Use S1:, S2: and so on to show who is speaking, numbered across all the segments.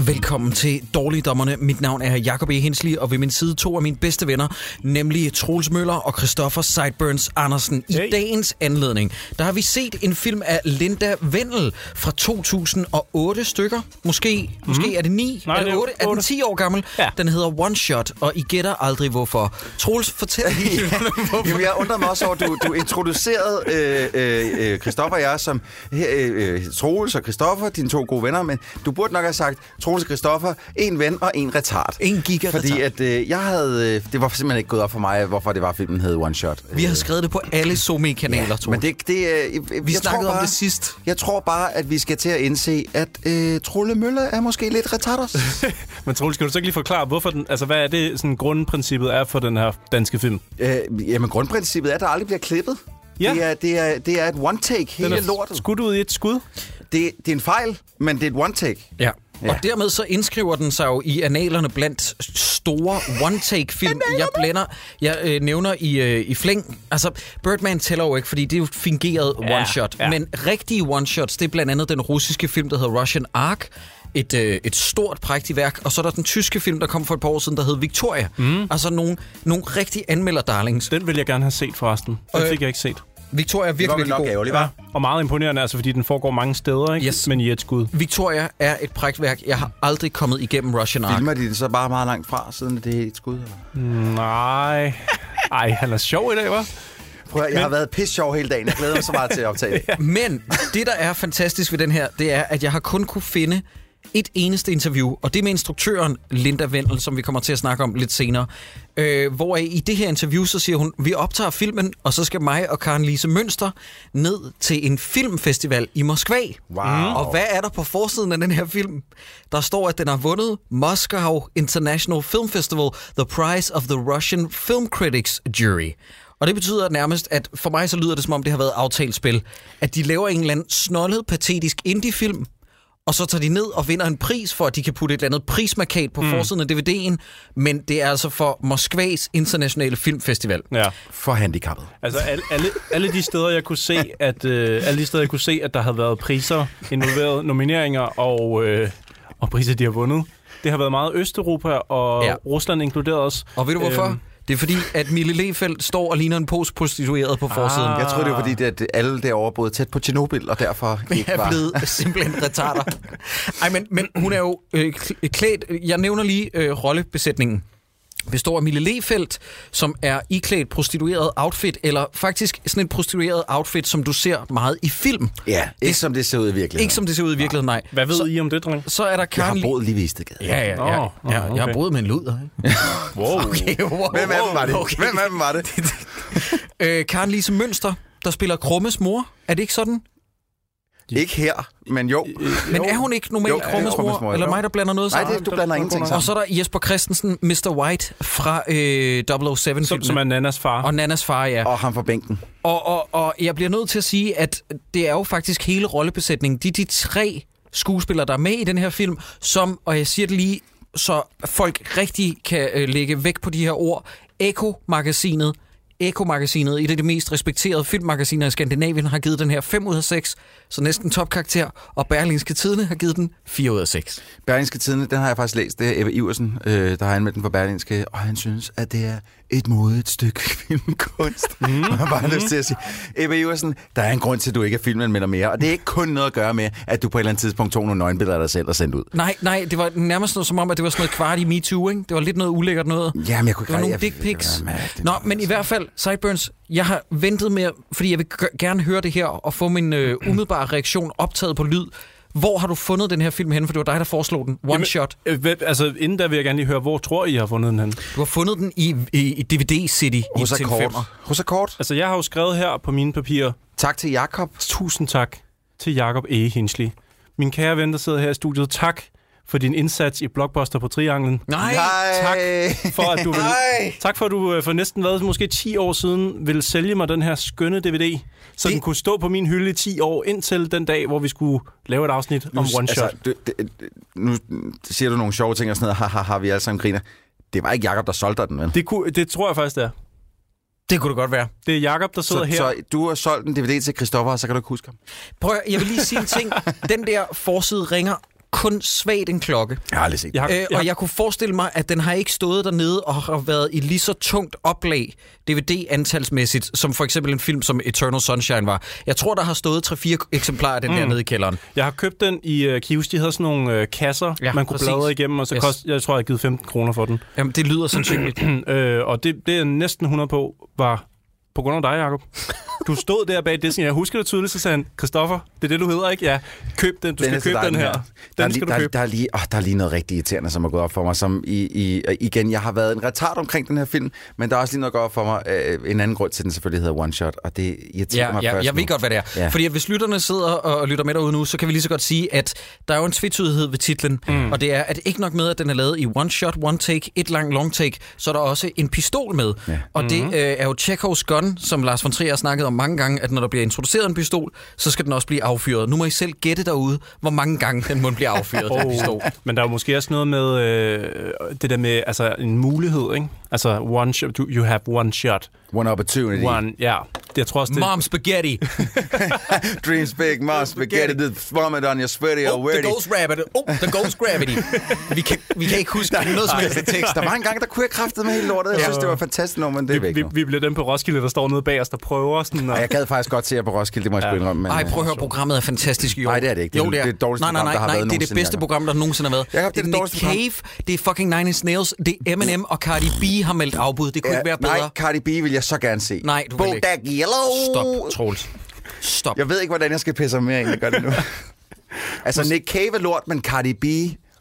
S1: Velkommen til Dårligdommerne. Mit navn er Jakob E. Hensli, og ved min side to af mine bedste venner, nemlig Troels Møller og Christoffer Sideburns Andersen. I hey.
S2: Hey.
S1: dagens anledning, der har vi set en film af Linda Vendel fra 2008 stykker. Måske, mm. måske er det 9,
S2: Mhm. Nej,
S1: er
S2: det
S1: det
S2: er
S1: 8, er den
S2: otte.
S1: 10 år gammel. Ja.
S2: Ja.
S1: Den hedder One Shot, og I gætter aldrig hvorfor. Troels, fortæl lige, hvorfor.
S3: Jamen, jeg undrede mig også over, at du, du introducerede øh, øh, øh, Christoffer og jeg som øh, øh, Troels og Christoffer, dine to gode venner, men du burde nok have sagt Troels og Christoffer, en ven og en retard.
S1: En giga
S3: Fordi at, øh, jeg havde, øh, det var simpelthen ikke gået op for mig, hvorfor det var, filmen hed One Shot.
S1: Vi har skrevet det på alle SoMe-kanaler, ja, Troels.
S3: Men det, det, øh, jeg,
S1: Vi
S3: jeg tror
S1: snakkede om
S3: bare,
S1: det sidst.
S3: Jeg tror bare, at vi skal til at indse, at øh, Trolle Møller er måske lidt retarders.
S2: Men Troels, kan du så ikke lige forklare, hvorfor den, altså, hvad er det, sådan, grundprincippet er for den her danske film?
S3: øh, jamen, grundprincippet er, at der aldrig bliver klippet.
S2: Ja.
S3: Det, er, det, er, det er et one-take,
S2: Den
S3: hele lortet.
S2: skudt ud i et skud.
S3: Det, det er en fejl, men det er et one-take.
S1: Ja.
S3: Ja.
S1: Og dermed så indskriver den sig jo i analerne blandt store one-take-film. jeg blænder, jeg øh, nævner i, øh, i flæng. Altså, Birdman tæller jo ikke, fordi det er jo et fingeret
S2: Ja,
S1: one-shot.
S2: ja.
S1: Men rigtige one-shots, det er blandt andet den russiske film, der hedder Russian Ark. Et, øh, et stort, prægtigt værk. Og så er der den tyske film, der kom for et par år siden, der hed Victoria. Mm. Altså nogle, nogle rigtige anmelder-darlings.
S2: Den vil jeg gerne have set forresten. Den
S1: Øh.
S2: fik jeg ikke set.
S1: Victoria er
S3: Det
S1: virkelig,
S3: var vel
S1: virkelig
S3: nok
S1: god.
S3: ærgerligt, var?
S2: Og meget imponerende, altså, fordi den foregår mange steder, ikke?
S1: Yes.
S2: men i et skud.
S1: Victoria er et prægtværk. Jeg har aldrig kommet igennem Russian Ark.
S3: Filmer de det så bare meget langt fra, siden det er et skud? Eller?
S2: Nej. Ej, han er sjov i dag, hva'?
S3: Prøv at, jeg har været pisse sjov hele dagen. Jeg glæder mig så meget til at optage det.
S1: Men det, der er fantastisk ved den her, det er, at jeg har kun kunne finde et eneste interview, og det er med instruktøren Linda Vendel, som vi kommer til at snakke om lidt senere. Øh, hvor i det her interview, så siger hun, vi optager filmen, og så skal mig og Karen Lise Mønster ned til en filmfestival i Moskva.
S3: Wow.
S1: Og hvad er der på forsiden af den her film? Der står, at den har vundet Moscow International Film Festival, The Prize of the Russian Film Critics Jury. Og det betyder nærmest, at for mig så lyder det, som om det har været aftalt spil. At de laver en eller anden snollet, patetisk indie-film, og så tager de ned og vinder en pris for, at de kan putte et eller andet prismarkat på mm. forsiden af DVD'en. Men det er altså for Moskvas Internationale Filmfestival.
S2: Ja.
S3: For handicappet.
S2: Altså alle, alle, alle de steder jeg kunne se at øh, alle de steder jeg kunne se at der havde været priser involveret nomineringer og øh, og priser de har vundet. Det har været meget Østeuropa og
S1: Ja.
S2: ja. Rusland inkluderet også.
S1: Og ved du hvorfor?
S2: Øhm.
S1: Det er fordi, at Mille Lefeldt står og ligner en pose prostitueret på forsiden.
S3: Jeg tror det var fordi, at alle derovre boede tæt på Tjernobyl, og derfor ikke
S1: er
S3: var...
S1: blevet simpelthen retarder. Ej, men, men hun er jo øh, kl- klædt... Jeg nævner lige øh, rollebesætningen. Består af Mille Lefeldt, som er iklædt prostitueret outfit, eller faktisk sådan et prostitueret outfit, som du ser meget i film.
S3: Ja, ikke som det ser ud i virkeligheden.
S1: Ikke som det ser ud i virkeligheden, nej.
S2: Hvad ved
S1: så,
S2: så, I om det, dreng?
S1: Så er der
S3: Jeg har
S1: Karen...
S3: boet lige ved Istedgade.
S1: Ja, ja, ja.
S2: Åh,
S1: ja Jeg har
S2: okay.
S1: boet med en luder, ikke?
S2: Wow.
S1: Okay, wow,
S3: Hvem af dem var det?
S1: Oh, okay.
S3: Hvem af dem var det?
S1: Øh, Karen Lise Mønster, der spiller Krummes mor. Er det ikke sådan?
S3: Ikke her, men jo.
S1: Men er hun ikke
S3: Jo,
S1: normalt
S3: det er
S1: Krummes
S3: Krummes
S1: mor?
S3: mor,
S1: Eller
S3: jo.
S1: mig, der blander noget
S3: Nej,
S1: sammen?
S3: det, du blander ingenting
S1: Og så
S3: sammen.
S1: er der Jesper Christensen, Mr. White fra øh, 007
S2: Som, som er Nannas far.
S1: og Nannas far, ja.
S3: Og ham fra bænken.
S1: Og, og, og jeg bliver nødt til at sige, at det er jo faktisk hele rollebesætningen. De er de tre skuespillere, der er med i den her film, som, og jeg siger det lige, så folk rigtig kan øh, lægge vægt på de her ord, Eko-magasinet, Eko-magasinet, et af de mest respekterede filmmmagasiner i Skandinavien, har givet den her 5 ud af 6, så næsten topkarakter, og Berlingske Tidene har givet den 4 ud af 6.
S3: Berlingske Tidene, den har jeg faktisk læst. Det er Ebbe Iversen, øh, der har anmeldt den for Berlingske, og han synes, at det er et modigt stykke filmkunst.
S1: Mhm.
S3: Mm. Og jeg har bare lyst til at sige, Ebbe Iversen, der er en grund til, at du ikke er filmanmelder mere, og det er ikke kun noget at gøre med, at du på et eller andet tidspunkt tog nogle nøgenbilleder af dig selv og sendte ud.
S1: Nej, nej, det var nærmest noget, som om, at det var sådan noget kvart i MeToo, ikke? Det var lidt noget ulækkert noget.
S3: Jamen, jeg kunne
S1: Det var nogle
S3: jeg-
S1: dick pics.
S3: det var mærkeligt.
S1: Nå, men i hvert fald, Sideburns, jeg har ventet med, fordi jeg vil gø- gerne høre det her og få min øh, umiddelbare reaktion optaget på lyd. Hvor har du fundet den her film henne? For det var dig, der foreslog den. One Jamen. shot.
S2: Øh, hvad- altså inden der vil jeg gerne lige høre, hvor tror I I har fundet den hen?
S1: Du har fundet den i, i, i DVD City i
S3: Hos
S1: til en
S3: Akkord.
S1: femmer.
S3: Hos Akkord.
S2: Altså jeg har jo skrevet her på mine papirer,
S3: Tak til Jakob.
S2: tusind tak til Jakob E. Hinsley. Min kære ven, der sidder her i studiet, tak for din indsats i Blockbuster på Trianglen.
S1: Nej,
S2: tak for, at du vil,
S1: Nej.
S2: tak for, at du øh, for næsten hvad, måske 10 år siden ville sælge mig den her skønne DVD, så
S1: Det-
S2: det... den kunne stå på min hylde i 10 år, indtil den dag, hvor vi skulle lave et afsnit om One Shot. Altså...
S3: det, det, nu siger du nogle sjove ting og sådan noget, ha, ha, ha, vi alle sammen griner. Det var ikke Jakob der solgte dig den, vel?
S2: Det, kunne, det tror jeg faktisk, det er.
S1: det kunne det godt være.
S2: Det er Jakob der sidder
S3: så,
S2: her.
S3: så du har solgt en DVD til Christoffer, og så kan du ikke huske ham.
S1: Prøv at, jeg vil lige sige en ting. Den der forside ringer kun svagt en klokke.
S3: Jeg har aldrig set
S2: Jeg har,
S1: Øh, og jeg kunne forestille mig, at den har ikke stået dernede og har været i lige så tungt oplag DVD-antalsmæssigt, som for eksempel en film som Eternal Sunshine var. Jeg tror, der har stået 3-4 eksemplarer af den mm. der nede i kælderen.
S2: Jeg har købt den i uh, Kios. De havde sådan nogle uh, kasser,
S1: Ja,
S2: ja, man kunne
S1: præcis.
S2: bladre igennem, og så
S1: Yes.
S2: yes. kost, jeg tror, jeg har givet 15 kroner for den.
S1: Jamen, det lyder sandsynligt.
S2: øh, og det, det er næsten 100 på, var på grund af dig, Jacob. Du stod der bag disken, jeg husker det tydeligt, så sagde han, Christoffer, det er det, du hedder, ikke? Ja, køb den, du
S3: er
S2: den skal
S3: så
S2: købe den
S3: dejlig,
S2: her.
S3: Der er,
S2: Den
S3: lige,
S2: skal du
S3: der, er-
S2: købe.
S3: der, er lige, åh, der er lige noget rigtig irriterende, som er gået op for mig. Som i, i, og igen, jeg har været en retard omkring den her film, men der er også lige noget gået op for mig. Øh, en anden grund til, at den selvfølgelig hedder One Shot, og det irriterer
S1: Ja,
S3: mig
S1: ja,
S3: først
S1: jeg
S3: nu.
S1: ved godt, hvad det er. Ja.
S3: Ja.
S1: Fordi hvis lytterne sidder og lytter med derude nu, så kan vi lige så godt sige, at der er jo en tvetydighed ved titlen. Mm. Og det er, at ikke nok med, at den er lavet i one shot, one take, et langt long take, så er der også en pistol med. Ja. Og mm. det øh, er jo Chekhovs gun, som Lars von Trier har snakket om mange gange, at når der bliver introduceret en pistol, så skal den også blive affyret. Nu må I selv gætte derude, hvor mange gange den må blive affyret, den pistol.
S2: Oh, men der er jo måske også noget med øh, det der med altså, en mulighed, ikke? Altså, one shot, you, you have one shot.
S3: One opportunity. One.
S2: One, ja. Det, jeg tror også, det,
S1: Mom spaghetti.
S3: Dreams big, must spaghetti, the vomit on your sweaty
S1: Oh, the
S3: already.
S1: ghost rabbit. Oh, the ghost gravity. vi, kan, vi kan ikke huske noget som helst af tekster.
S3: Der var en gang, der kunne jeg kraftede med hele lortet. Jeg synes, det var fantastisk nummer, men det er væk
S2: vi,
S3: nu.
S2: vi bliver dem på Roskilde, der står nede bag os, der prøver sådan
S3: Og
S2: at...
S3: jeg gad faktisk godt se jer på Roskilde, det må jeg sgu indrømme. men,
S1: Nej,
S3: øh,
S1: prøv at høre, programmet er fantastisk i år.
S3: Nej, det er det ikke. Det er-
S1: jo, det er
S3: det er det
S1: nej,
S3: dårligste
S1: nej, nej,
S3: program, der har
S1: nej,
S3: været
S1: det er det
S3: nogensinde,
S1: bedste
S3: Jacob.
S1: program, der nogensinde har været.
S3: Jacob, det er det
S1: Nick
S3: dårligste
S1: Cave, det er fucking Nine Inch Nails, det er Eminem og Cardi B har meldt afbud. Det kunne ikke være bedre.
S3: Nej, Cardi B vil jeg så gerne se.
S1: Nej, du vil ikke.
S3: Bodak Yellow.
S1: Stop, Troels. Stop.
S3: Jeg ved ikke, hvordan jeg skal pisse ham mere, end jeg gør det nu. altså, Nick Cave er lort, men Cardi B,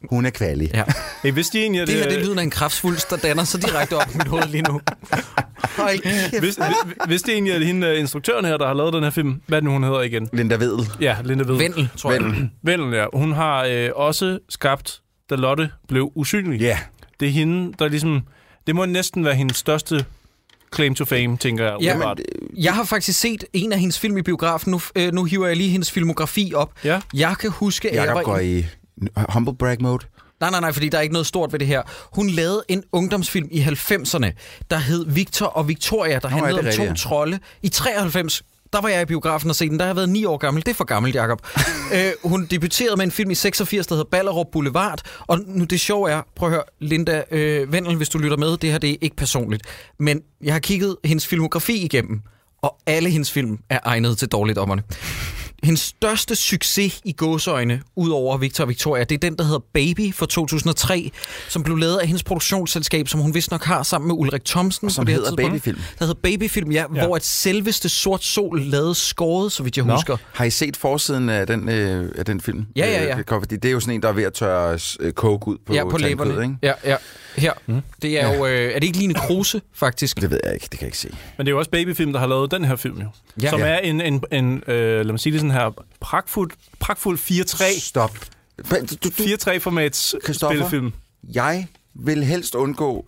S3: hun er kvalig.
S1: Ja.
S2: Hey, vidste I egentlig, at,
S1: Det her
S2: øh,
S1: det er lyden af en kraftsvulst, der danner sig direkte op i mit hoved lige nu. Hold kæft.
S2: Hvis, hvis- hvis det egentlig er hende, øh, instruktøren her, der har lavet den her film, hvad er det nu, hun hedder igen?
S3: Linda Vedel.
S2: Ja, Linda Vedel.
S1: Vendel, tror jeg.
S2: Vendel, ja. Hun har øh, også skabt, da Lotte blev usynlig.
S3: Ja.
S2: Det er hende, der ligesom... Det må næsten være hendes største claim to fame, tænker jeg.
S1: Ja,
S2: umiddelbart.
S3: øh,
S1: Jeg har faktisk set en af hendes film i biografen. Nu, øh, nu hiver jeg lige hendes filmografi op.
S2: Ja.
S1: Jeg kan huske, at jeg var
S3: Jakob går i humble brag mode.
S1: Nej, nej, nej, fordi der er ikke noget stort ved det her. Hun lavede en ungdomsfilm i 90'erne, der hed Victor og Victoria, der
S3: er
S1: handlede
S3: det
S1: om to
S3: rigtigt, ja.
S1: trolde. I 93, der var jeg i biografen og se den. Der har jeg været ni år gammel. Det er for gammelt, Jacob. øh, hun debuterede med en film i 86, der hedder Ballerup Boulevard. Og nu det sjove er, prøv at høre, Linda øh, Vendel, hvis du lytter med, det her det er ikke personligt. Men jeg har kigget hendes filmografi igennem, og alle hendes film er egnet til dårligdommerne. Hendes største succes i gåsøjne, ud over Victor og Victoria, det er den, der hedder Baby fra 2003, som blev lavet af hendes produktionsselskab, som hun vist nok har sammen med Ulrik Thomsen.
S3: som
S1: på det her
S3: hedder
S1: tidspunkt.
S3: Babyfilm.
S1: Der hedder Babyfilm, ja, ja.
S2: Ja.
S1: hvor at selveste Sort Sol lavede skåret, så vidt jeg Nå. husker.
S3: Har I set forsiden af den, øh, af den film?
S1: Ja, ja, ja.
S3: Øh, det kommer- Fordi det er jo sådan en, der er ved at tørre øh, coke ud på,
S1: ja, på
S3: tandkød,
S1: læberne.
S3: Ikke?
S1: Ja, ja. Her. Mm. Det er jo... Øh, er det ikke Line Kruse, faktisk?
S3: Det ved jeg ikke, det kan jeg ikke se.
S2: Men det er jo også Babyfilm, der har lavet den her film, jo.
S1: Ja.
S2: Ja. Som
S1: Ja.
S2: er en, en, en øh, lad mig sige det sådan her, pragtfuld, pragtfuld 4-3
S3: Stop. Men Du, du, du,
S2: 4-3-formats
S3: Christoffer?
S2: spillefilm.
S3: jeg vil helst undgå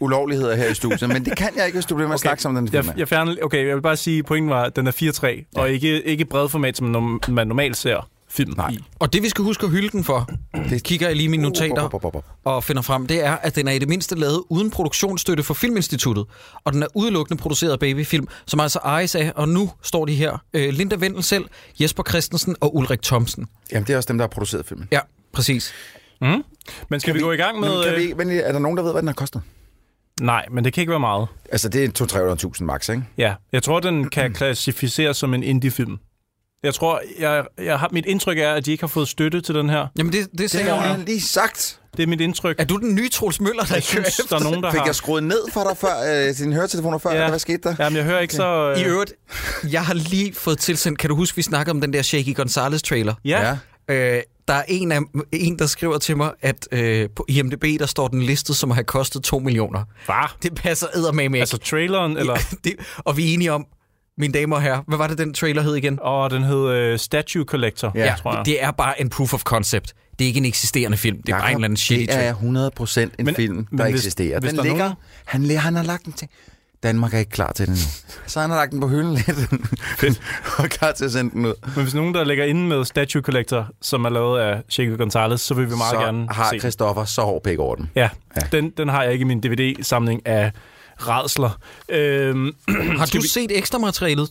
S3: ulovligheder her i studiet, men det kan jeg ikke, hvis du bliver med at snakke sammen om den film.
S2: Jeg, jeg fjerner, okay, jeg vil bare sige, at pointen var, at den er 4-3, ja. og ikke, ikke bredformat, som norm- man normalt ser film Nej. i.
S1: Og det, vi skal husker hylde den for, det kigger jeg lige i mine notater
S3: Bop, bop, bop, bop.
S1: og finder frem, det er, at den er i det mindste lavet uden produktionsstøtte fra Filminstituttet. Og den er udelukkende produceret af Babyfilm, som altså ejes af, og nu står de her, øh, Linda Vendel selv, Jesper Christensen og Ulrik Thomsen.
S3: Jamen, det er også dem, der har produceret filmen.
S1: Ja, præcis.
S2: Men skal vi, vi gå i gang med...
S3: Men, kan
S2: øh,
S3: vi, men er der nogen, der ved, hvad den har kostet?
S2: Nej, men det kan ikke være meget.
S3: Altså, det er 200-300.000 max, ikke?
S2: Ja, jeg tror, den kan klassificeres som en indie-film. Jeg tror, jeg, jeg har, mit indtryk er, at de ikke har fået støtte til den her.
S1: Jamen, det, det
S3: Det
S1: sagde
S3: har
S1: jeg jo.
S3: jeg lige sagt.
S2: Det er mit indtryk.
S1: Er du den nye Troels Møller, der kører
S2: jeg synes, der
S1: efter?
S2: er nogen, der
S3: Fik
S2: har...
S3: jeg skruet ned for dig før, øh, dine høretelefoner før, ja. eller hvad skete der?
S2: Jamen, jeg hører ikke så... Øh...
S1: I øvrigt, jeg har lige fået tilsendt, kan du huske, vi snakkede om den der Shaky Gonzalez trailer?
S2: Ja, ja.
S1: Øh, der er en, af, en, der skriver til mig, at øh, på IMDB, der står den listet, som har kostet 2 millioner.
S2: Var.
S1: Det passer eddermame ikke.
S2: Altså traileren, eller...
S1: det, og vi er enige om, mine damer og herrer. Hvad var det, den trailer hed igen?
S2: Og den hed øh, Statue Collector,
S3: Ja.
S2: tror jeg.
S1: det er bare en proof of concept. Det er ikke en eksisterende film. Det er bare en eller anden shitty
S3: Det
S1: trailer.
S3: er 100 en
S2: Men-
S3: men, film, der
S2: men
S3: men
S2: hvis-
S3: eksisterer.
S2: hvis
S3: den
S2: der er
S3: ligger,
S2: nogen-
S3: han, la- han har lagt den til... Danmark er ikke klar til det nu. Så han har lagt den på hylden lidt, og er klar til at sende den ud.
S2: Men hvis nogen, der ligger inde med Statue Collector, som er lavet af Chico Gonzalez, så vil vi meget
S3: så
S2: gerne
S3: har
S2: se den.
S3: Christoffer så hård pæk over den.
S2: Ja, ja. Den, den har jeg ikke i min DVD-samling af redsler. Øhm,
S1: Har du set ekstra materialet,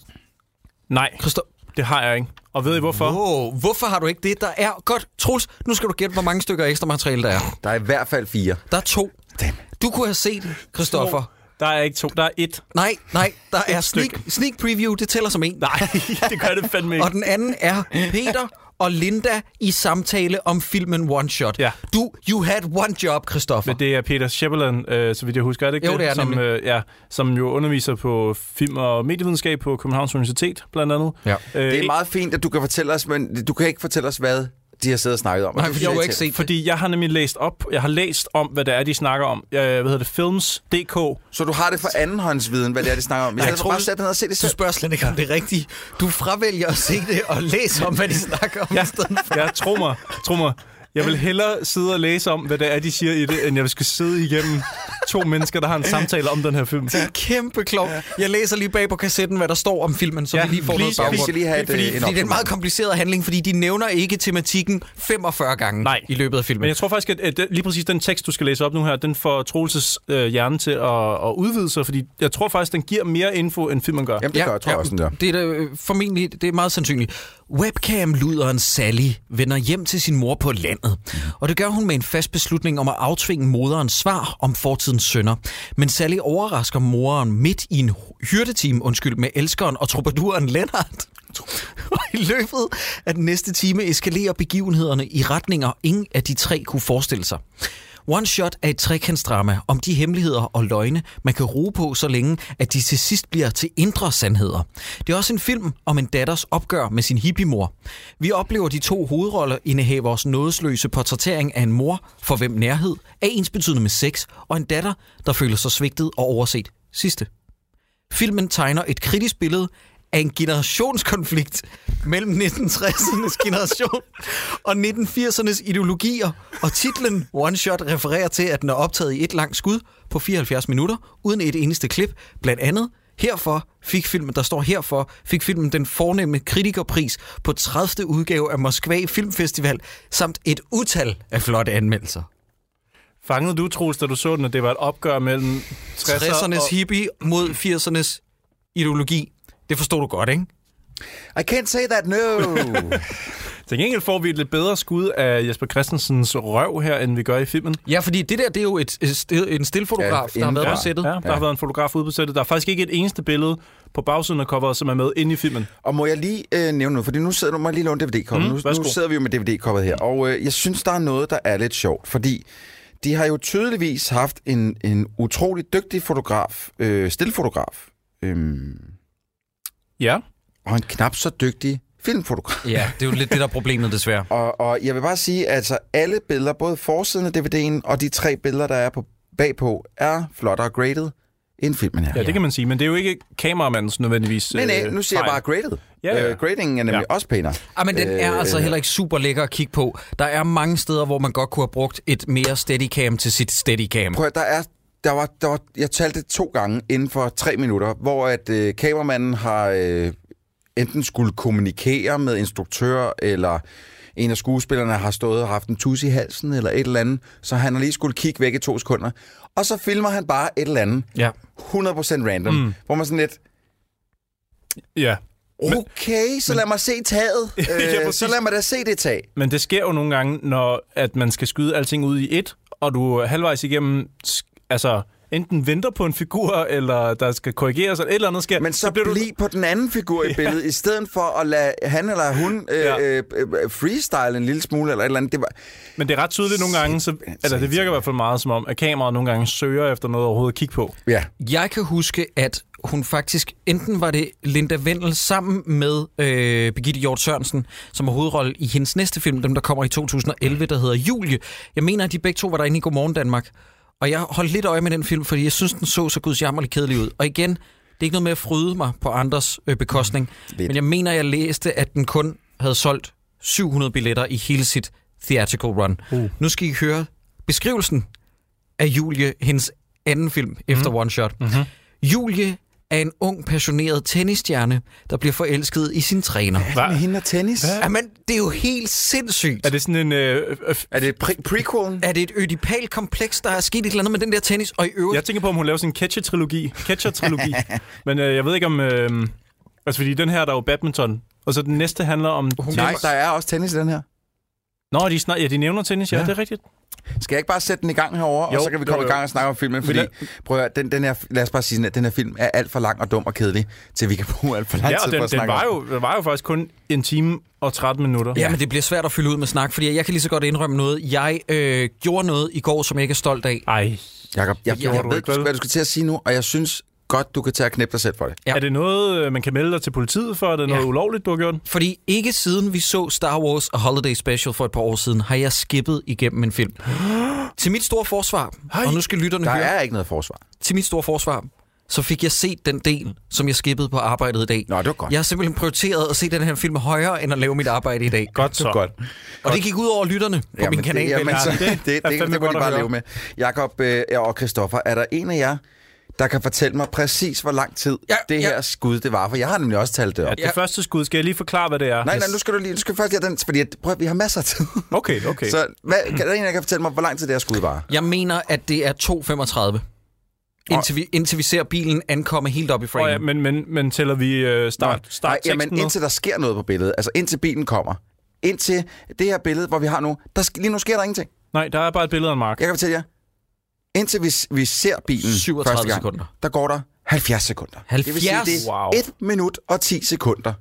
S2: nej,
S1: Christoph?
S2: det har jeg ikke. Og ved I hvorfor?
S1: Wow, hvorfor har du ikke det? Der er godt. Troels, nu skal du gætte, hvor mange stykker ekstra materiale der er.
S3: Der er i hvert fald fire.
S1: Der er to.
S3: Damn.
S1: Du kunne have set, Christoffer.
S2: Der er ikke to, der er et.
S1: Nej, nej, der er
S2: stykke.
S1: sneak, sneak preview, det tæller som en.
S2: Nej, det gør det fandme ikke.
S1: Og den anden er Peter og Linda i samtale om filmen One Shot.
S2: Ja.
S1: Du, you had one job, Christoffer.
S2: Men det er Peter Shepperland, øh, så vidt jeg husker, er det ikke
S1: Jo, det er
S2: som,
S1: nemlig.
S2: øh, ja, som jo underviser på film- og medievidenskab på Københavns Universitet, blandt andet.
S1: Ja.
S2: Øh,
S3: Det er meget fint, at du kan fortælle os, men du kan ikke fortælle os, hvad de har siddet og snakket om.
S1: Nej,
S3: Og det
S1: fordi jeg
S3: er
S1: har ikke
S3: irriterende.
S1: set det.
S2: Fordi jeg har nemlig læst op, jeg har læst om, hvad det er, de snakker om. Jeg, hvad hedder det? Films.dk.
S3: Så du har det for andenhåndsviden, hvad det er, de snakker om. Jeg
S1: Jeg
S3: har
S1: tror-
S3: bare sat den ned og set det
S1: Du
S3: selv.
S1: spørger slet ikke, om det er rigtigt. Du fravælger at se det og læse om, hvad de snakker om.
S2: Ja,
S1: i stedet for.
S2: ja, tro mig, tro mig. Jeg vil hellere sidde og læse om, hvad det er, de siger i det, end jeg skal sidde igennem to mennesker, der har en samtale om den her film.
S1: Kæmpe klog. Jeg læser lige bag på kassetten, hvad der står om filmen, så ja,
S2: Ja,
S1: vi lige får
S2: please,
S1: noget
S3: Vi
S1: baggrund.
S3: skal lige have et,
S2: Fordi-
S3: øh,
S2: fordi
S3: en
S1: Fordi det er en
S3: opsummering.
S1: meget kompliceret handling, fordi de nævner ikke tematikken 45 gange
S2: Nej.
S1: i løbet af filmen.
S2: Men jeg tror faktisk, at, at den- lige præcis den tekst, du skal læse op nu her, den får Troelses øh, hjerne til at, at udvide sig, fordi jeg tror faktisk, den giver mere info, end filmen gør.
S3: Jamen, det gør jeg, tror jeg også, den der.
S1: Det er da, øh, formentlig, det er meget sandsynligt. Webcam-luderen Sally vender hjem til sin mor på landet,
S3: Mm.
S1: og det gør hun med en fast beslutning om at aftvinge moderens svar om fortidens sønder. Men Sally overrasker moren midt i en hyrdeteam, undskyld, med elskeren og troubaduren Lennart. Og i løbet af den næste time eskalerer begivenhederne i retninger, ingen af de tre kunne forestille sig. One Shot er et trekantsdrama om de hemmeligheder og løgne, man kan roe på så længe, at de til sidst bliver til indre sandheder. Det er også en film om en datters opgør med sin hippiemor. Vi oplever de to hovedrolleindehavers nådesløse portrættering af en mor, for hvem nærhed er ensbetydende med sex, og en datter, der føler sig svigtet og overset sidste. Filmen tegner et kritisk billede af en generationskonflikt mellem 1960'ernes generation og 1980'ernes ideologier, og titlen One Shot refererer til, at den er optaget i et langt skud på 74 minutter, uden et eneste klip, blandt andet Herfor fik filmen, der står herfor, fik filmen den fornemme kritikerpris på 30. udgave af Moskva Filmfestival, samt et utal af flotte anmeldelser.
S2: Fangede du, Troels, da du så den, at det var et opgør mellem 60'ernes
S1: 60'ernes
S2: og...
S1: hippie mod 80'ernes ideologi. Det forstod du godt, ikke?
S3: I can't say that, no.
S2: Til gengæld får vi et lidt bedre skud af Jesper Christensens røv her, end vi gør i filmen.
S1: Ja, fordi det der, det er jo et, et stil, en stillfotograf, ja,
S3: Ja,
S1: der har været
S3: indenfra.
S1: på sættet.
S2: Ja,
S1: Ja.
S2: der har været en fotograf ude på sættet. Der er faktisk ikke et eneste billede på bagsiden af coveret, som er med inde i filmen.
S3: og må jeg lige øh, nævne noget, fordi nu sidder du må jeg lige låne DVD-koppen.
S2: Mm,
S3: Mm, nu,
S2: værsgo.
S3: nu sidder vi jo med DVD-koppet her, og øh, jeg synes, der er noget, der er lidt sjovt, fordi de har jo tydeligvis haft en, en utrolig dygtig fotograf, øh, stillfotograf, øh,
S2: Ja.
S3: og en knap så dygtig filmfotograf.
S1: ja, det er jo lidt det, der er problemet, desværre.
S3: Og, og jeg vil bare sige, at altså, alle billeder, både forsiden af DVD'en og de tre billeder, der er på, bagpå, er flottere graded end filmen her.
S2: ja, det kan man sige. Men det er jo ikke kameramandens nødvendigvis
S3: Nej, nej,
S2: øh,
S3: nu siger jeg
S2: fejl.
S3: bare graded.
S2: Ja, ja.
S3: Øh, gradingen er nemlig
S2: Ja.
S3: også pænere.
S1: Ah, men den er
S3: Øh,
S1: altså heller ikke super lækker at kigge på. Der er mange steder, hvor man godt kunne have brugt et mere steadicam til sit steadicam.
S3: Prøv at, der er... Der var, der var, jeg talte det to gange inden for tre minutter, hvor at øh, kameramanden har øh, enten skulle kommunikere med instruktør, eller en af skuespillerne har stået og haft en tus i halsen, eller et eller andet, så han har lige skulle kigge væk i to sekunder. Og så filmer han bare et eller andet,
S1: Ja.
S3: 100% random, mm. hvor man sådan lidt,
S2: Ja.
S3: okay, så lad mig se taget.
S2: Ja,
S3: Øh, så
S2: præcis.
S3: lad mig da se det tag.
S2: Men det sker jo nogle gange, når at man skal skyde alting ud i et, og du er halvvejs igennem, sk- altså enten venter på en figur, eller der skal korrigeres, eller et eller andet sker.
S3: Men så, så bliv
S2: du...
S3: på den anden figur i billedet, i stedet for at lade han eller hun øh,
S2: Ja.
S3: ja. øh, øh, freestyle en lille smule eller et eller andet. Det var,
S2: Men det er ret tydeligt nogle gange, så, eller det virker i hvert fald meget som om, at kameraet nogle gange søger efter noget overhovedet at kigge på.
S3: ja.
S1: Jeg kan huske, at hun faktisk, enten var det Linda Vendel sammen med øh, Birgitte Hjort Sørensen, som har hovedrolle i hendes næste film, dem der kommer i 2011, der hedder Julie. Jeg mener, at de begge to var derinde i Godmorgen Danmark. Og jeg holdt lidt øje med den film, fordi jeg synes, den så så gudsjammerligt kedelig ud. Og igen, Det er ikke noget med at fryde mig på andres øh, bekostning.
S4: Lidt.
S1: Men jeg mener, jeg læste, at den kun havde solgt 700 billetter i hele sit theatrical run.
S2: Uh.
S1: Nu skal I høre beskrivelsen af Julie, hendes anden film efter One Shot.
S2: Mhm.
S1: Julie er en ung, passioneret tennisstjerne, der bliver forelsket i sin træner.
S2: Hva?
S3: Med hende og tennis?
S1: Jamen, det er jo helt sindssygt.
S2: Er det sådan en... Øh, øh,
S3: Er det pre- prequelen?
S1: Er det et ødipal kompleks, der er sket et eller andet med den der tennis? Og i øvrigt,
S2: jeg tænker på, om hun laver sådan en catcher-trilogi. Catcher-trilogi. Men øh, jeg ved ikke om... Øh, altså, fordi den her, der er jo badminton. Og så den næste handler om... tennis.
S3: Nej, der er også tennis i den her.
S2: Nå, de, snak, ja, de nævner tennis, ja,
S3: Ja.
S2: det er rigtigt.
S3: Skal jeg ikke bare sætte den i gang herover og
S2: Jo,
S3: så kan vi
S2: jo,
S3: komme
S2: jo.
S3: i gang og snakke om filmen? Fordi,
S2: lad-
S3: prøv at høre, den, den her, lad os bare sige sådan, at den her film er alt for lang og dum og kedelig, til vi kan bruge alt for lang
S2: Ja,
S3: tid
S2: og
S3: på
S2: den,
S3: at
S2: den
S3: snakke
S2: var,
S3: om
S2: jo, den var jo faktisk kun en time og 13 minutter.
S1: Ja, men det bliver svært at fylde ud med snak, fordi jeg kan lige så godt indrømme noget. Jeg øh, gjorde noget i går, som jeg ikke er stolt af.
S2: Ej,
S3: Jakob, jeg, jeg,
S1: gjorde
S3: jeg
S2: du
S3: ved,
S2: ikke, vel?
S3: hvad du skal til at sige nu, og jeg synes godt, du kan tage og knæppe dig selv for det.
S1: Ja.
S2: Ja. Er det noget, øh, man kan melde dig til politiet for? Er det noget
S1: Ja.
S2: ja. ulovligt, du har gjort?
S1: Fordi ikke siden vi så Star Wars og Holiday Special for et par år siden, har jeg skippet igennem en film. til mit store forsvar,
S2: Hej.
S1: og nu skal lytterne
S3: Der
S1: høre,
S3: er ikke noget forsvar.
S1: til mit store forsvar, så fik jeg set den del, som jeg skippede på arbejdet i dag.
S3: Nå, det var godt.
S1: Jeg har simpelthen prioriteret at se den her film højere, end at lave mit arbejde i dag.
S2: Godt så.
S3: Godt.
S1: Og det gik ud over lytterne på
S3: Jamen,
S1: min kanal.
S3: Det, jamen,
S1: vel?
S3: så,
S2: Ja,
S3: det,
S2: det er
S3: det, det, det,
S2: fandme
S3: det må
S2: godt
S3: de
S2: at
S3: bare
S2: høre.
S3: leve med. Jakob øh, og Christoffer, er der en af jer, der kan fortælle mig præcis, hvor lang tid
S1: Ja,
S3: ja, det
S1: ja.
S3: her ja. skud det var? For jeg har nemlig også talt det op.
S2: Ja,
S3: Ja.
S2: det
S1: Ja.
S2: ja. første skud, skal jeg lige forklare, hvad det er?
S3: Nej, nej, nu skal du lige, nu skal vi først lige have den, fordi at- prøv, at- vi har masser af tid.
S2: Okay, okay.
S3: Så hvad, kan der en, af jer, der kan fortælle mig, hvor lang tid det her skud var?
S1: Jeg mener, at det er 2.35. Indtil vi, indtil vi ser bilen ankomme helt op i
S2: oh,
S1: framen.
S3: mm,
S2: ja, men, men, men tæller vi øh, start,
S3: Nej,
S2: start
S3: jamen, indtil der sker noget på billedet. Altså indtil bilen kommer. Indtil det her billede, hvor vi har nu, der, sk- lige nu sker der ingenting.
S2: nej, der er bare et billede af en mark.
S3: Jeg kan fortælle jer, indtil vi, vi ser bilen
S1: 37
S3: første gang,
S1: sekunder.
S3: der går der 70 sekunder. Det vil sige,
S1: 70?
S3: det er
S2: Wow.
S3: 1 minut og 10 sekunder.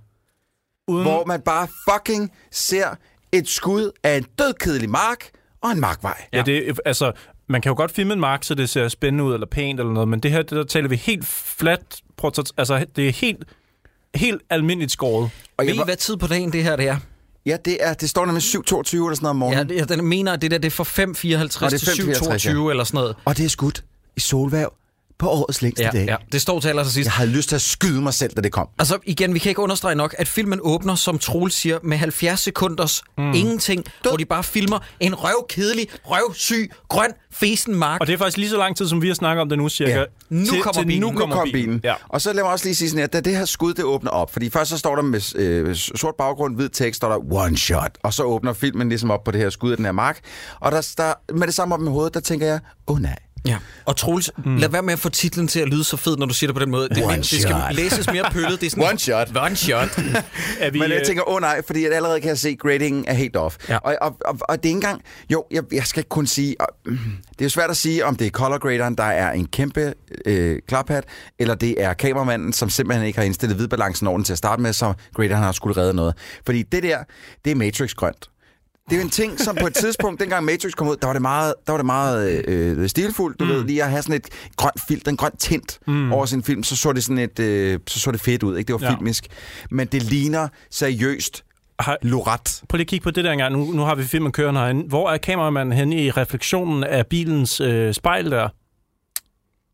S2: Uden,
S3: hvor man bare fucking ser et skud af en dødkedelig mark og en markvej.
S2: ja, det, er- altså, man kan jo godt filme en mark, så det ser spændende ud eller pænt eller noget, men det her, det der taler vi helt flat. portræt- Altså, det er helt, helt almindeligt skåret.
S3: Og
S1: Ved
S3: jeg,
S1: I, hvad tid på dagen det her det er?
S3: ja, det, er, det står nemlig 7.22 eller sådan noget om
S1: Ja,
S3: morgenen.
S1: det- jeg den mener, at det der det er fra 5.54
S3: Nå, det
S1: til
S3: er 5:54,
S1: 7.22 eller sådan noget.
S3: Og det er skudt i solværv på årets længste
S1: Ja,
S3: dag.
S1: ja. Det står til allersidst. sidst.
S3: Jeg havde lyst til at skyde mig selv, da det kom.
S1: Altså igen, vi kan ikke understrege nok, at filmen åbner, som Troel siger, med 70 sekunders
S3: Hmm.
S1: mm. ingenting, Død. hvor de bare filmer en røvkedelig, røvsyg, grøn, fesen mark.
S2: Og det er faktisk lige så lang tid, som vi har snakket om det nu, cirka.
S3: Ja.
S1: Nu
S2: til,
S1: kommer
S2: til
S1: bilen.
S2: Nu
S3: Nu
S2: kommer
S3: kom bilen.
S2: Ja.
S3: Og så lad mig også lige sige sådan her, da det her skud, det åbner op. Fordi først så står der med øh, sort baggrund, hvid tekst, står der one shot. Og så åbner filmen ligesom op på det her skud af den her mark. Og der, der med det samme op med hovedet, der tænker jeg, åh oh, nej.
S1: Ja. Og Troels, mm. lad være med at få titlen til at lyde så fed, når du siger det på den måde. Det,
S3: Hmm. One
S1: det skal
S3: shot.
S1: læses mere pøllet. Det er sådan,
S3: One shot.
S1: One shot.
S2: Er vi,
S3: Men jeg
S2: øh,
S3: tænker, åh oh, nej, fordi jeg allerede kan jeg se, at gradingen er helt off.
S1: Ja.
S3: Ja. Og, og, og, og det er ikke engang... Jo, jeg, jeg skal ikke kun sige... Og, mm, det er jo svært at sige, om det er color graderen, der er en kæmpe øh, klaphat, eller det er kameramanden, som simpelthen ikke har indstillet hvidbalancen ordentligt til at starte med, så graderen har skulle redde noget. Fordi det der, det er Matrix-grønt. Det er jo en ting, som på et tidspunkt, dengang Matrix kom ud, der var det meget, der var det meget øh, stilfuldt, du mm. ved, lige at have sådan et grønt filter, en grøn tint mm. over sin film, så så det sådan et, øh, så så det fedt ud, ikke? Det var
S2: Ja.
S3: filmisk. Men det ligner seriøst
S2: har,
S3: Loret.
S2: Prøv lige at kigge på det der engang. Nu, nu har vi filmen kørende herinde. Hvor er kameramanden henne i refleksionen af bilens øh, spejl der?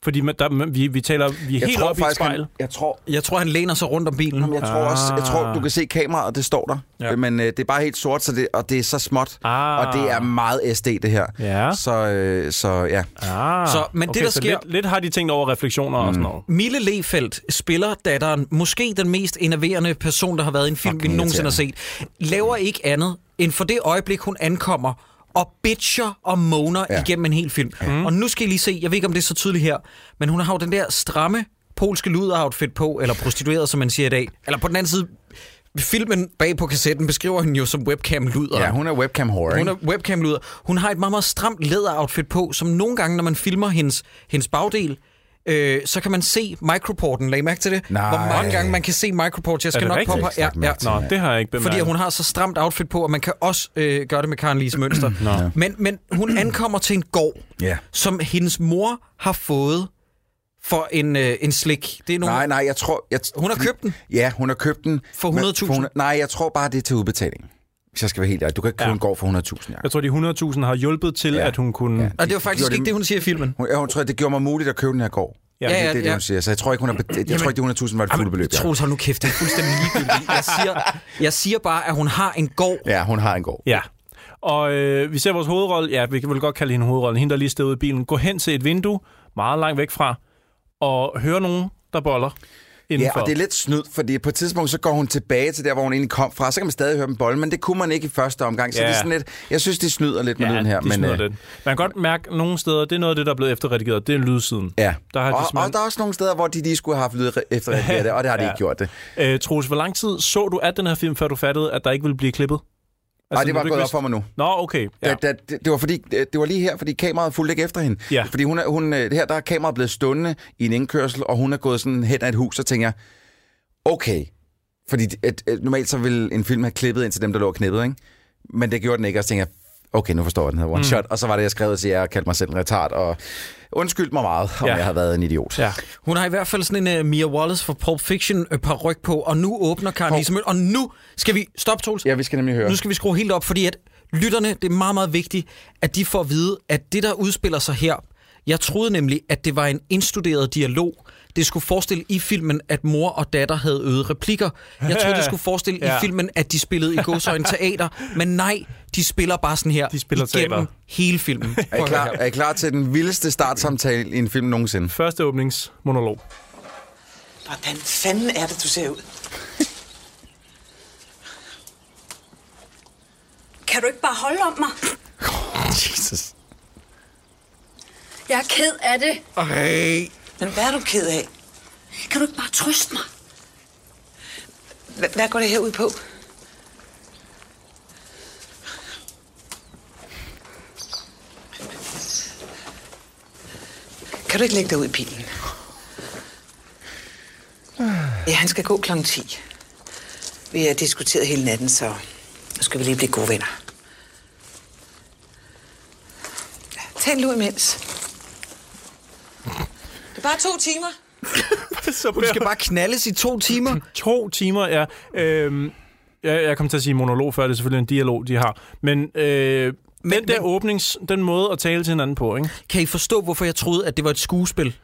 S2: Fordi man, der, man, vi, vi taler vi er helt oppe i et spejl.
S3: han, jeg tror,
S1: Jeg tror, han læner sig rundt om bilen.
S3: jeg tror også, jeg tror, du kan se kameraet, det står der.
S2: Ah. Ja.
S3: Ja. Men øh, det er bare helt sort, så det, og det er så småt.
S2: Ah.
S3: Og det er meget SD, det her.
S2: Ja.
S3: Så, øh, så ja.
S2: Ah,
S1: Så- men det,
S2: okay,
S1: der
S2: så
S1: sker-
S2: Lidt, lidt har de tænkt over refleksioner mm. og sådan noget.
S1: Mille Lefeldt spiller datteren, måske den mest enerverende person, der har været i en film, vi
S3: Fucking
S1: nogensinde har set, laver ikke andet end for det øjeblik, hun ankommer og bitcher og moaner ja.
S3: Ja. Mhm.
S1: igennem en hel film. Mm. Og nu skal I lige se, jeg ved ikke, om det er så tydeligt her, men hun har jo den der stramme polske luder-outfit på, eller prostitueret, som man siger i dag. Eller på den anden side, filmen bag på kassetten beskriver hende jo som webcam-luder.
S3: Ja, hun er webcam whore,
S1: Hun
S3: ikke?
S1: er webcam-luder. Hun har et meget, meget stramt læderoutfit på, som nogle gange, når man filmer hendes, hendes bagdel, øh, så kan man se microporten. Lag I mærke til det?
S3: Nej.
S1: Hvor mange gange man kan se microport. Jeg skal
S2: det
S1: nok
S2: rigtigt?
S1: poppe... Ja, ja.
S2: Nå, det har jeg ikke bemærket.
S1: Fordi hun har så stramt outfit på, og man kan også øh, gøre det med Karen Lise Mønster. men, men hun ankommer til en gård,
S3: Ja.
S1: som hendes mor har fået for en, øh, en slik. Det er nogle...
S3: Nej, nej, jeg tror... Jeg,
S1: Hun har
S3: fordi-
S1: købt den?
S3: Ja, hun har købt den.
S1: For
S3: Men-
S1: 100.000?
S3: hun- Nej, jeg tror bare, det er til udbetaling. Hvis jeg skal være helt ærlig. Du kan ikke kun
S2: Ja.
S3: gå for 100.000, Jacob.
S2: Jeg tror, de 100.000 har hjulpet til, ja.
S3: Ja.
S2: at hun kunne... Ja.
S3: Ja.
S1: Og det var faktisk
S3: Gjorde det-
S1: ikke det, hun siger i filmen.
S3: Hun, ja, hun tror, det gjorde mig muligt at købe den her gård. Ja, det,
S1: ja,
S3: det, er det,
S1: ja.
S3: hun siger. Så jeg tror ikke, hun er, be- jeg tror ikke, det 100.000 var det fulde beløb. Ja.
S1: Troels, hold nu kæft, det er fuldstændig ligegyldigt. Jeg siger, jeg siger bare, at hun har en god...
S3: ja, hun har en god.
S2: Ja. Og øh, vi ser vores hovedrolle, ja, vi kan vel godt kalde hende hovedrollen, hende der lige stod ude i bilen, gå hen til et vindue, meget langt væk fra, og høre nogen, der boller
S3: Ja,
S2: indenfor.
S3: og det er lidt snyd, fordi på et tidspunkt, så går hun tilbage til der, hvor hun egentlig kom fra. Så kan man stadig høre dem bolle, men det kunne man ikke i første omgang. Så
S2: Ja.
S3: det er sådan lidt, jeg synes, de snyder lidt med
S2: ja,
S3: lyden her.
S2: de
S3: men,
S2: smider
S3: øh,
S2: den. Man kan godt mærke nogle steder, det er noget af det, der er blevet efterredigeret, det er lydsiden.
S3: Ja,
S2: Der har de
S3: og,
S2: simpelthen-
S3: og der er også nogle steder, hvor de lige skulle have haft lyd efter det, og det har de
S2: Ja.
S3: ikke gjort det.
S2: Øh, Troels, hvor lang tid så du af den her film, før du fattede, at der ikke ville blive klippet?
S3: Altså, Ej, det
S2: når
S3: var
S2: du
S3: gået
S2: ikke
S3: op for mig nu.
S2: vidste- Nå, okay. Ja.
S3: Ja. Da, da, det, det var fordi det det var lige her, fordi kameraet fulgte ikke efter hende.
S2: Ja.
S3: Fordi hun, er, hun øh, her der er kameraet blevet stående i en indkørsel, og hun er gået sådan hen ad et hus, og tænker jeg, okay. Fordi at, at normalt så ville en film have klippet ind til dem, der lå og knippede, ikke? Men det gjorde den ikke, og så tænker jeg, okay, nu forstår jeg den her
S1: Mm.
S3: one shot. Og så var det, jeg skrev til jer og kaldte mig selv en retard, og undskyld mig meget, om
S2: Ja.
S3: ja. jeg har været en idiot.
S2: Ja.
S1: Hun har i hvert fald sådan en uh, Mia Wallace fra Pulp Fiction øh, paryk på, og nu åbner Karen Lise Møller, og nu skal vi... Stop, Troels.
S3: ja, vi skal nemlig høre.
S1: Nu skal vi skrue helt op, fordi at lytterne, det er meget, meget vigtigt, at de får at vide, at det, der udspiller sig her, jeg troede nemlig, at det var en indstuderet dialog. Det skulle forestille i filmen, at mor og datter havde øget replikker. Jeg troede, det skulle forestille
S2: Ja.
S1: i filmen, at de spillede i godsøjne teater. Men nej, de spiller bare sådan her
S2: De spiller
S1: igennem
S2: teater.
S1: hele filmen. Prøv
S3: Er I,
S1: at
S3: klar,
S1: høre her.
S3: er I klar til den vildeste startsamtale i en film nogensinde?
S2: Første åbningsmonolog.
S4: Hvordan fanden er det, du ser ud?
S5: Kan du ikke bare holde om mig?
S3: Jesus.
S5: Jeg er ked af det.
S4: Men hvad er du ked af?
S5: Kan du ikke bare trøste mig?
S4: Hva- Hvad går det her ud på? Kan du ikke lægge dig ud i bilen? Ja, han skal gå kl. 10. Vi har diskuteret hele natten, så nu skal vi lige blive gode venner. Ja, Tag en lur imens. Det er bare to timer.
S2: Så
S1: Hun skal bare knaldes i to timer.
S2: To timer, ja. Øhm, jeg, jeg kom til at sige monolog før, det er selvfølgelig en dialog, de har. Men, øh, men den der
S1: men-
S2: åbnings, den måde at tale til hinanden på, ikke?
S1: Kan I forstå, hvorfor jeg troede, at det var et skuespil?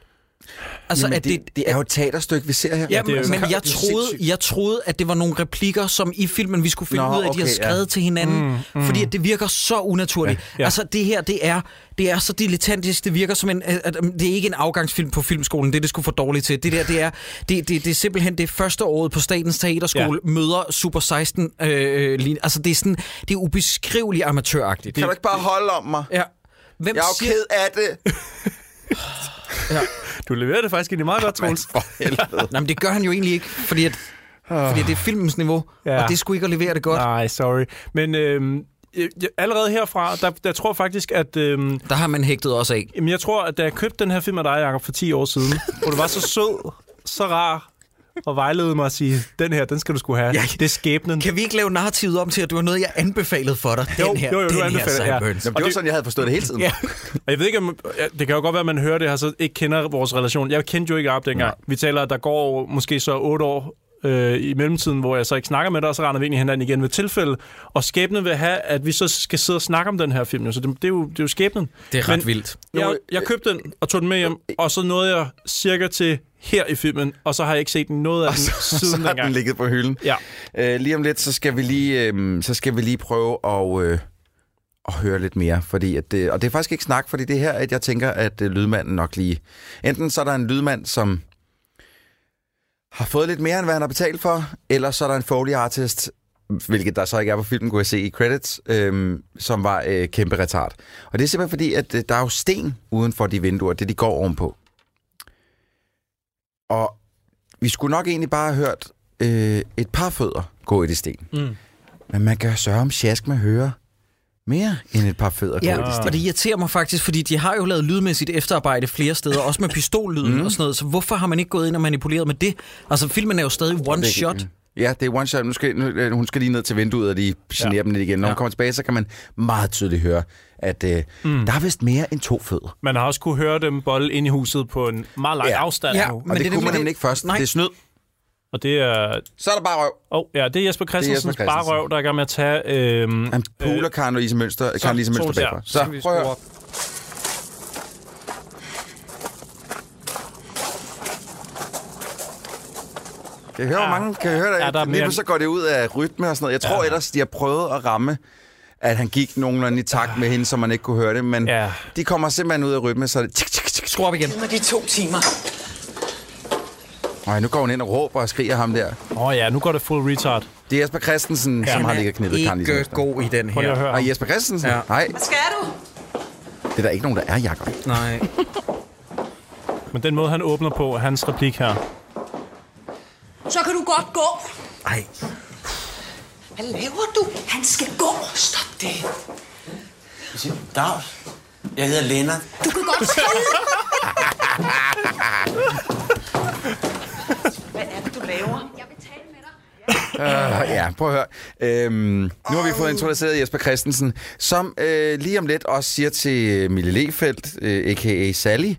S1: Altså,
S3: Jamen,
S1: at det,
S3: det, det er jo et teaterstykke, vi ser her.
S1: Ja,
S2: det er jo-
S1: men
S2: det er
S1: jeg troede,
S3: sindssygt.
S1: jeg troede, at det var nogle replikker, som i filmen vi skulle finde
S3: Nå,
S1: ud af, at de havde
S3: okay, ja.
S1: skrevet til hinanden. Mm, mm. Fordi at det virker så unaturligt. Ja,
S2: Ja, ja.
S1: Altså det her, det er, det er så dilettantisk. Det virker som en... At, at, det er ikke en afgangsfilm på filmskolen. Det er det skulle for dårligt til. Det der, det er, det, det, det er simpelthen det første året på Statens Teaterskole ja. møder Super 16. Øh, lin- altså det er sådan... Det er ubeskriveligt amatøragtigt.
S3: Kan du ikke bare holde om mig?
S1: Ja. Hvem
S3: Jeg er jo
S1: siger...
S3: ked af det.
S2: Du leverer det faktisk egentlig meget godt, Troels.
S3: For helvede.
S1: Nej, men det gør han jo egentlig ikke, fordi at... Fordi det er filmens niveau,
S2: Ja.
S1: ja. og det skulle ikke at levere det godt.
S2: Nej, sorry. Men øhm, jeg, jeg, allerede herfra, der, der tror jeg faktisk, at... Øhm,
S1: Der har man hægtet også af.
S2: Jamen, jeg tror, at da jeg købte den her film af dig, Jacob, for 10 år siden, hvor du var så sød, så rar, og vejledede mig at sige, den her, den skal du skulle have. Ja.
S1: Ja.
S2: Det er skæbnen.
S1: Kan vi ikke lave narrativet om til, at det var noget, jeg anbefalede for dig?
S2: Jo,
S1: den her,
S2: jo, jo, du
S1: den her,
S2: anbefalede,
S1: Sam
S2: ja.
S1: Burns.
S3: Jamen, det var sådan, jeg havde forstået det hele tiden.
S2: Ja. Og jeg ved ikke, om, ja, det kan jo godt være, at man hører det her, så ikke kender vores relation. Jeg kendte jo ikke op dengang. Nej. Vi taler, at der går måske så otte år øh, i mellemtiden, hvor jeg så ikke snakker med dig, og så render vi ind i hinanden igen ved tilfælde. Og skæbnen vil have, at vi så skal sidde og snakke om den her film. Jo. Så det, det, er, jo, det er jo skæbnen.
S1: Det er ret vildt.
S2: Jeg, jeg
S3: øh,
S2: købte den og tog den med hjem, og så nåede jeg cirka til her i filmen, og så har jeg ikke set noget af den
S3: Så
S2: siden
S3: har den
S2: dengang.
S3: ligget på hylden.
S2: Ja.
S3: Øh, lige om lidt, så skal vi lige, øh, så skal vi lige prøve at, øh, at høre lidt mere. Fordi at det, og det er faktisk ikke snak, fordi det er her, at jeg tænker, at øh, lydmanden nok lige... Enten så er der en lydmand, som har fået lidt mere, end hvad han har betalt for, eller så er der en Foley artist, hvilket der så ikke er på filmen, kunne jeg se i credits, øhm, som var øh, kæmpe retard. Og det er simpelthen fordi, at øh, der er jo sten uden for de vinduer, det de går ovenpå. Og vi skulle nok egentlig bare have hørt øh, et par fødder gå i det sten. Mm. Men man kan jo sørge om sjask med høre mere end et par fødder gå i det
S1: Ja,
S3: sten.
S1: og det irriterer mig faktisk, fordi de har jo lavet lydmæssigt efterarbejde flere steder, også med pistollyden mm. og sådan noget, så hvorfor har man ikke gået ind og manipuleret med det? Altså, filmen er jo stadig one shot.
S3: Mm. Ja, det er one shot. Nu skal, nu, øh, hun skal lige ned til vinduet, og de generer ja. dem lidt igen. Når hun kommer tilbage, så kan man meget tydeligt høre, at øh, mm. der er vist mere end to fødder.
S2: Man har også kunne høre dem bolle ind i huset på en meget lang ja.
S3: Ja.
S2: afstand
S1: Ja.
S2: nu.
S3: Og
S1: Men
S3: men det,
S1: det er
S3: det kunne
S1: nemlig
S3: man
S1: det-
S3: nemlig ikke først.
S1: Nej.
S3: Nej. Det er snyd.
S2: Og det er,
S3: Så er der bare røv.
S2: oh, ja, det er Jesper Christensens
S3: Christensen.
S2: barrøv, der er i gang med at tage... Øhm,
S3: Han puler øh, Karen Louise Mønster, Karen Lise Mønster
S2: Troels, ja.
S3: bagfra.
S2: Så
S3: Så prøv at høre. Kan I høre, hvor mange? Kan I høre,
S2: Ah. Ja,
S3: der,
S2: der
S3: der
S2: er
S3: lige
S2: mere-
S3: pludselig så går det ud af rytme og sådan noget. Jeg tror ellers, de har prøvet at ramme, at han gik nogenlunde i takt med hende, så man ikke kunne høre det. Men
S2: Ja.
S3: de kommer simpelthen ud af rytme, så er det... Tsk, tsk, tsk.
S1: Skru op igen.
S4: Giv mig de to timer.
S3: Ej, nu går hun ind og råber og skriger ham der.
S2: Åh oh, ja, nu går det full retard.
S3: Det er Jesper Christensen, ja, som har ligget og knippet Karen
S1: Ikke
S3: Lise.
S1: god i den
S2: Prøv lige at
S1: her.
S2: høre.
S3: Og Jesper Christensen?
S1: Ja.
S3: Ja. Nej,
S4: Hvad skal du?
S3: det er der ikke nogen, der er, Jacob.
S1: Nej.
S2: Men den måde, han åbner på, hans replik her.
S5: Så kan du godt gå.
S1: Ej.
S4: Hvad laver du?
S5: Han skal gå. Stop det.
S6: Dags. Jeg hedder Lennart.
S5: Du kan godt skride.
S4: Hvad er det, du laver?
S3: Øh, ja, prøv at høre. Øhm, nu har vi fået introduceret Jesper Christensen, som øh, lige om lidt også siger til Mille Lefeldt, øh, a.k.a. Sally,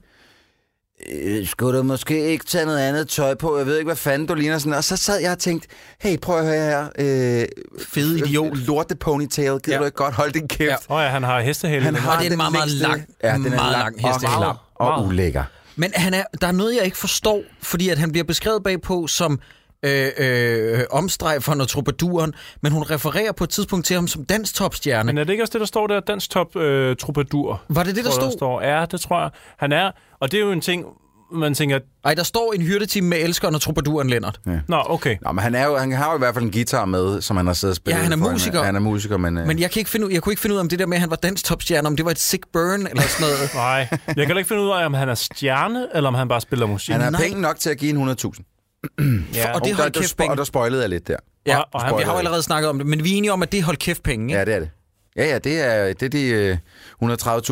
S3: øh, skulle du måske ikke tage noget andet tøj på? Jeg ved ikke, hvad fanden du ligner sådan. Og så sad jeg og tænkte, hey, prøv at høre her. Øh,
S1: Fed idiot.
S3: Lorte ponytail. Gider
S1: Ja.
S3: ja. du ikke godt holde din kæft?
S1: Ja.
S3: Ja.
S2: Åh oh, ja, han har hestehælen.
S3: Han har
S1: det er en
S3: den
S1: meget, meget
S3: længste-
S1: lang-
S3: ja, den er
S1: meget
S3: lang,
S1: lang
S3: og
S1: hestehale.
S3: klam og
S2: Meget.
S3: ulækker.
S1: Men han er, der er noget, jeg ikke forstår, fordi at han bliver beskrevet bagpå som øh, øh, omstrejferen og troubaduren, men hun refererer på et tidspunkt til ham som danstopstjerne.
S2: Men er det ikke også det, der står der? Dansk top øh, troubadour.
S1: Var det det, der
S2: Tror,
S1: stod?
S2: Der står? Ja, det tror jeg. Han er, og det er jo en ting, man tænker,
S1: Ej, der står en hyrdeteam med elskeren og troubaduren Lennart.
S2: nå, okay.
S3: Nå, men han, er jo, han har jo i hvert fald en guitar med, som han har siddet og spillet.
S1: Ja, han er
S3: for hende.
S1: musiker.
S3: Han er musiker, men... Øh,
S1: Men jeg, kan ikke finde ud, jeg kunne ikke finde ud af, om det der med, at han var danstopstjerne, om det var et sick burn eller sådan noget.
S2: Nej, jeg kan heller ikke finde ud af, om han er stjerne, eller om han bare spiller musik.
S3: han har
S1: Nej.
S3: penge nok til at give en 100.000.
S2: ja.
S1: og det-
S3: Og
S1: hold
S3: der, du
S1: kæft,
S3: spo-
S1: Bing.
S3: og der spoilede jeg lidt der.
S1: Ja,
S2: og
S1: og
S2: han-
S1: vi har jo allerede snakket om det, men vi er enige om, at det er hold kæft penge, ikke?
S3: Ja, det er det. Ja, ja, det er, det er de øh,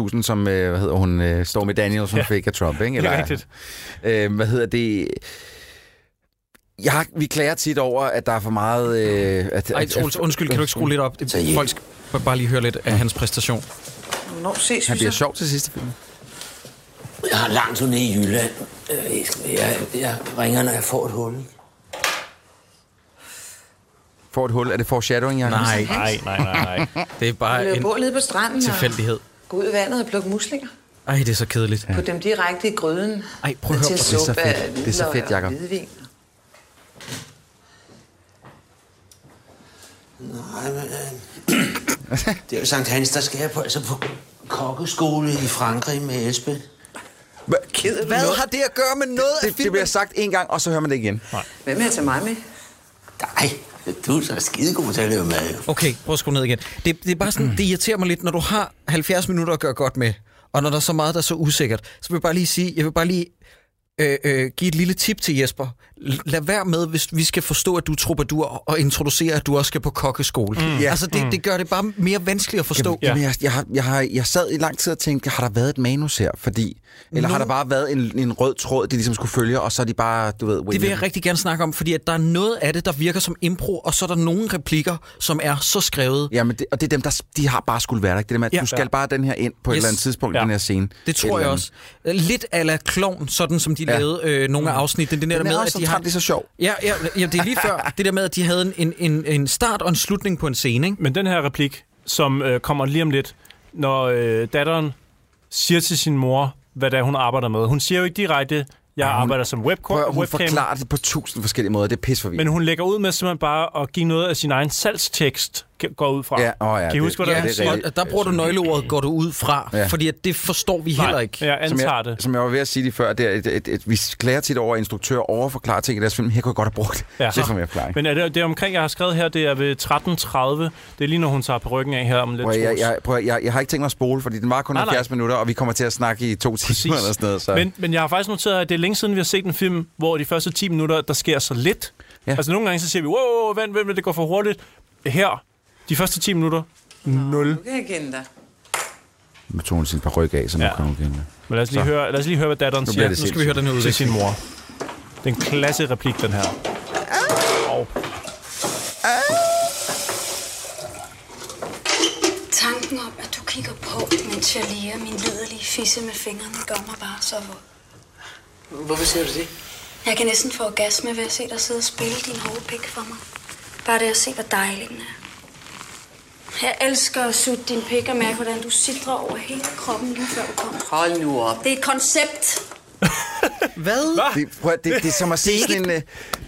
S3: 130.000, som, øh, hvad hedder hun, øh, Stormy Daniels, hun ja. fik af Trump, ikke?
S2: det er rigtigt.
S3: Øh, hvad hedder det? Jeg, vi klager tit over, at der er for meget... Øh, at,
S1: Ej,
S3: at,
S1: Troels, altså, undskyld, kan du ikke skrue lidt op? Det, folk skal bare lige høre lidt af hans præstation.
S4: Hvornår ses
S3: han
S4: vi
S3: bliver
S4: så?
S3: sjov til sidste film.
S6: Jeg har langt ude nede i Jylland. Øh, Jeg, skal- jeg, jeg ringer, når jeg får et hul.
S3: Får et hul. Er det foreshadowing, jeg
S1: Nej,
S2: Nej, nej, nej, nej.
S1: det er bare
S4: Løbe
S1: en
S4: bål nede på stranden
S1: tilfældighed.
S4: og gå ud i vandet og plukke muslinger.
S1: Ej, det er så kedeligt.
S4: Put dem direkte i gryden.
S1: Ej, prøv at høre
S4: til
S1: på det.
S3: Det er så
S4: suppe
S3: fedt.
S4: af
S3: Det er så
S4: hvidløg
S3: fedt,
S4: og
S3: Jacob.
S4: hvidvin.
S6: Nej, men, øh, det er jo Sankt Hans, der skal jeg på, altså på kokkeskole i Frankrig med Esben.
S4: Ked
S1: Hvad har det at gøre med noget af
S3: Det, det
S1: filmen?
S3: bliver sagt en gang, og så hører man det igen.
S4: Hvem er jeg til mig med?
S6: Nej, du er så skidegod til at lave mad. jo.
S1: Okay, prøv at skrue ned igen. Det, det er bare sådan, det irriterer mig lidt, når du har 70 minutter at gøre godt med, og når der er så meget, der er så usikkert, så vil jeg bare lige sige, jeg vil bare lige øh, øh, give et lille tip til Jesper. L- lad være med, hvis vi skal forstå, at du er troubadour, og introducere, at du også skal på kokkeskole. Mm. Altså, det, det gør det bare mere vanskeligt at forstå.
S3: Jamen, jeg, jeg, har- jeg, har, jeg sad i lang tid og tænkte, har der været et manus her? Fordi, eller har der bare været en, en rød tråd, de ligesom skulle følge, og så er de bare, du ved...
S1: Det vil jeg
S3: winged?
S1: rigtig gerne snakke om, fordi at der er noget af det, der virker som impro, og så er der nogle replikker, som er så skrevet.
S3: Ja, men det, og det er dem, der, s- de har bare skulle være der. ikke? Det er dem, at
S1: Ja.
S3: ja. du skal bare den her ind på yes.
S1: Yes.
S3: et eller andet tidspunkt,
S2: Ja.
S3: ja. den her scene.
S1: Det
S3: Et
S1: tror
S3: eller
S1: jeg
S3: andet.
S1: også. Lidt ala klovn, sådan som de ja.
S3: Ja.
S1: lavede øh, nogle af afsnittene. Det der
S3: Den er
S1: med,
S3: også
S1: at de
S3: så
S1: har...
S3: træt, det er så sjov.
S1: Ja, ja, ja, det er lige før. Det der med, at de havde en, en, en start og en slutning på en scene, ikke?
S2: Men den her replik, som øh, kommer lige om lidt, når øh, datteren siger til sin mor, hvad det er, hun arbejder med. Hun siger jo ikke direkte, jeg
S3: hun-
S2: arbejder som webcam,
S3: Prøv, at- hun
S2: webcam
S3: forklarer det på tusind forskellige måder. Det er pis for
S2: men hun lægger ud med simpelthen bare at give noget af sin egen salgstekst, kan- går ud fra.
S3: Ja, åh ja,
S2: kan I
S3: det-
S2: huske, hvad
S3: ja,
S2: der
S3: det er
S1: Ja,
S2: er?
S3: rigtigt.
S1: og der bruger du nøgleordet, går du ud fra, ja.
S3: Ja.
S1: fordi at det forstår vi heller ikke.
S2: Nej, jeg
S3: som
S2: antager
S3: jeg,
S2: det.
S3: som jeg var ved at sige lige før, det er, at, at, at vi klager tit over, at instruktører overforklarer ting i deres film. Her kunne jeg godt have brugt
S2: Ja.
S3: ja. det, som jeg plejer. Men,
S2: Men er det, det er omkring, jeg har skrevet her, det er ved 13.30. Det er lige, når hun tager perukken af her om lidt.
S3: prøv, at- jeg,
S2: Troels.
S3: jeg, prøv, at- jeg, jeg har ikke tænkt mig at spole, fordi den var kun
S2: Nej, nej.
S3: 70 minutter, og vi kommer til at snakke i to timer eller sådan noget. Så.
S2: Men, men jeg har faktisk noteret, at det er længe siden, vi har set en film, hvor de første 10 minutter, der sker så lidt. Ja.
S3: Ja.
S2: Altså nogle gange, så siger vi, wow, wow, wow, vent, vent, det går for hurtigt. Her, de første 10 minutter, 0.
S4: Nu kan jeg kende dig.
S3: Nu tog hun sin par ryg af, så nu
S2: Ja.
S3: ja. kommer hun igen.
S2: Men lad os lige,
S3: Så.
S2: høre, lad os lige høre, hvad datteren
S3: bliver
S2: siger
S3: det
S1: Nu skal vi høre den her
S2: til sin
S1: udvikling.
S2: mor. Det er en klasse replik, den her. Og
S5: Tanken om, at du kigger på, mens jeg læger min liderlige fisse med fingrene, gør mig bare så våd.
S4: Hvorfor siger du det?
S5: Jeg kan næsten få orgasme ved at se dig sidde og spille din hovedpik for mig. Bare det at se, hvor dejlig den er. Jeg elsker at sutte din pik og mærke, hvordan du sidder over hele kroppen lige før du kommer.
S4: Hold nu op.
S5: Det er et koncept.
S1: Hvad?
S3: Det, prøv, at- det, det er som at se sådan en... øh,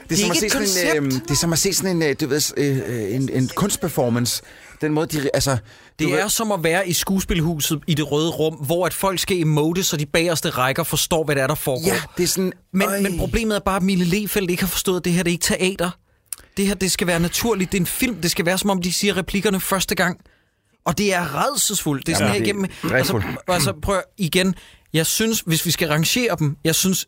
S3: Det er, som at se sådan en, øh, det er som at se sådan en, øh, du ved, øh, øh, en, en kunstperformance. Den måde, de... Altså, du
S1: Det
S3: ved-
S1: er som at være i skuespilhuset i det røde rum, hvor at folk skal emote, så de bagerste rækker forstår, hvad det er, der foregår.
S3: Ja, det er sådan...
S1: Men,
S3: Øj.
S1: men problemet er bare, at Mille Lefeldt ikke har forstået, at det her det er ikke teater. Det her, det skal være naturligt. Det er en film. Det skal være, som om de siger replikkerne første gang. Og det er redselsfuldt. Det er sådan
S3: Jamen,
S1: her
S3: det er
S1: igennem... Altså,
S3: rædselsfuldt.
S1: altså, prøv at- igen. Jeg synes, hvis vi skal rangere dem, jeg synes,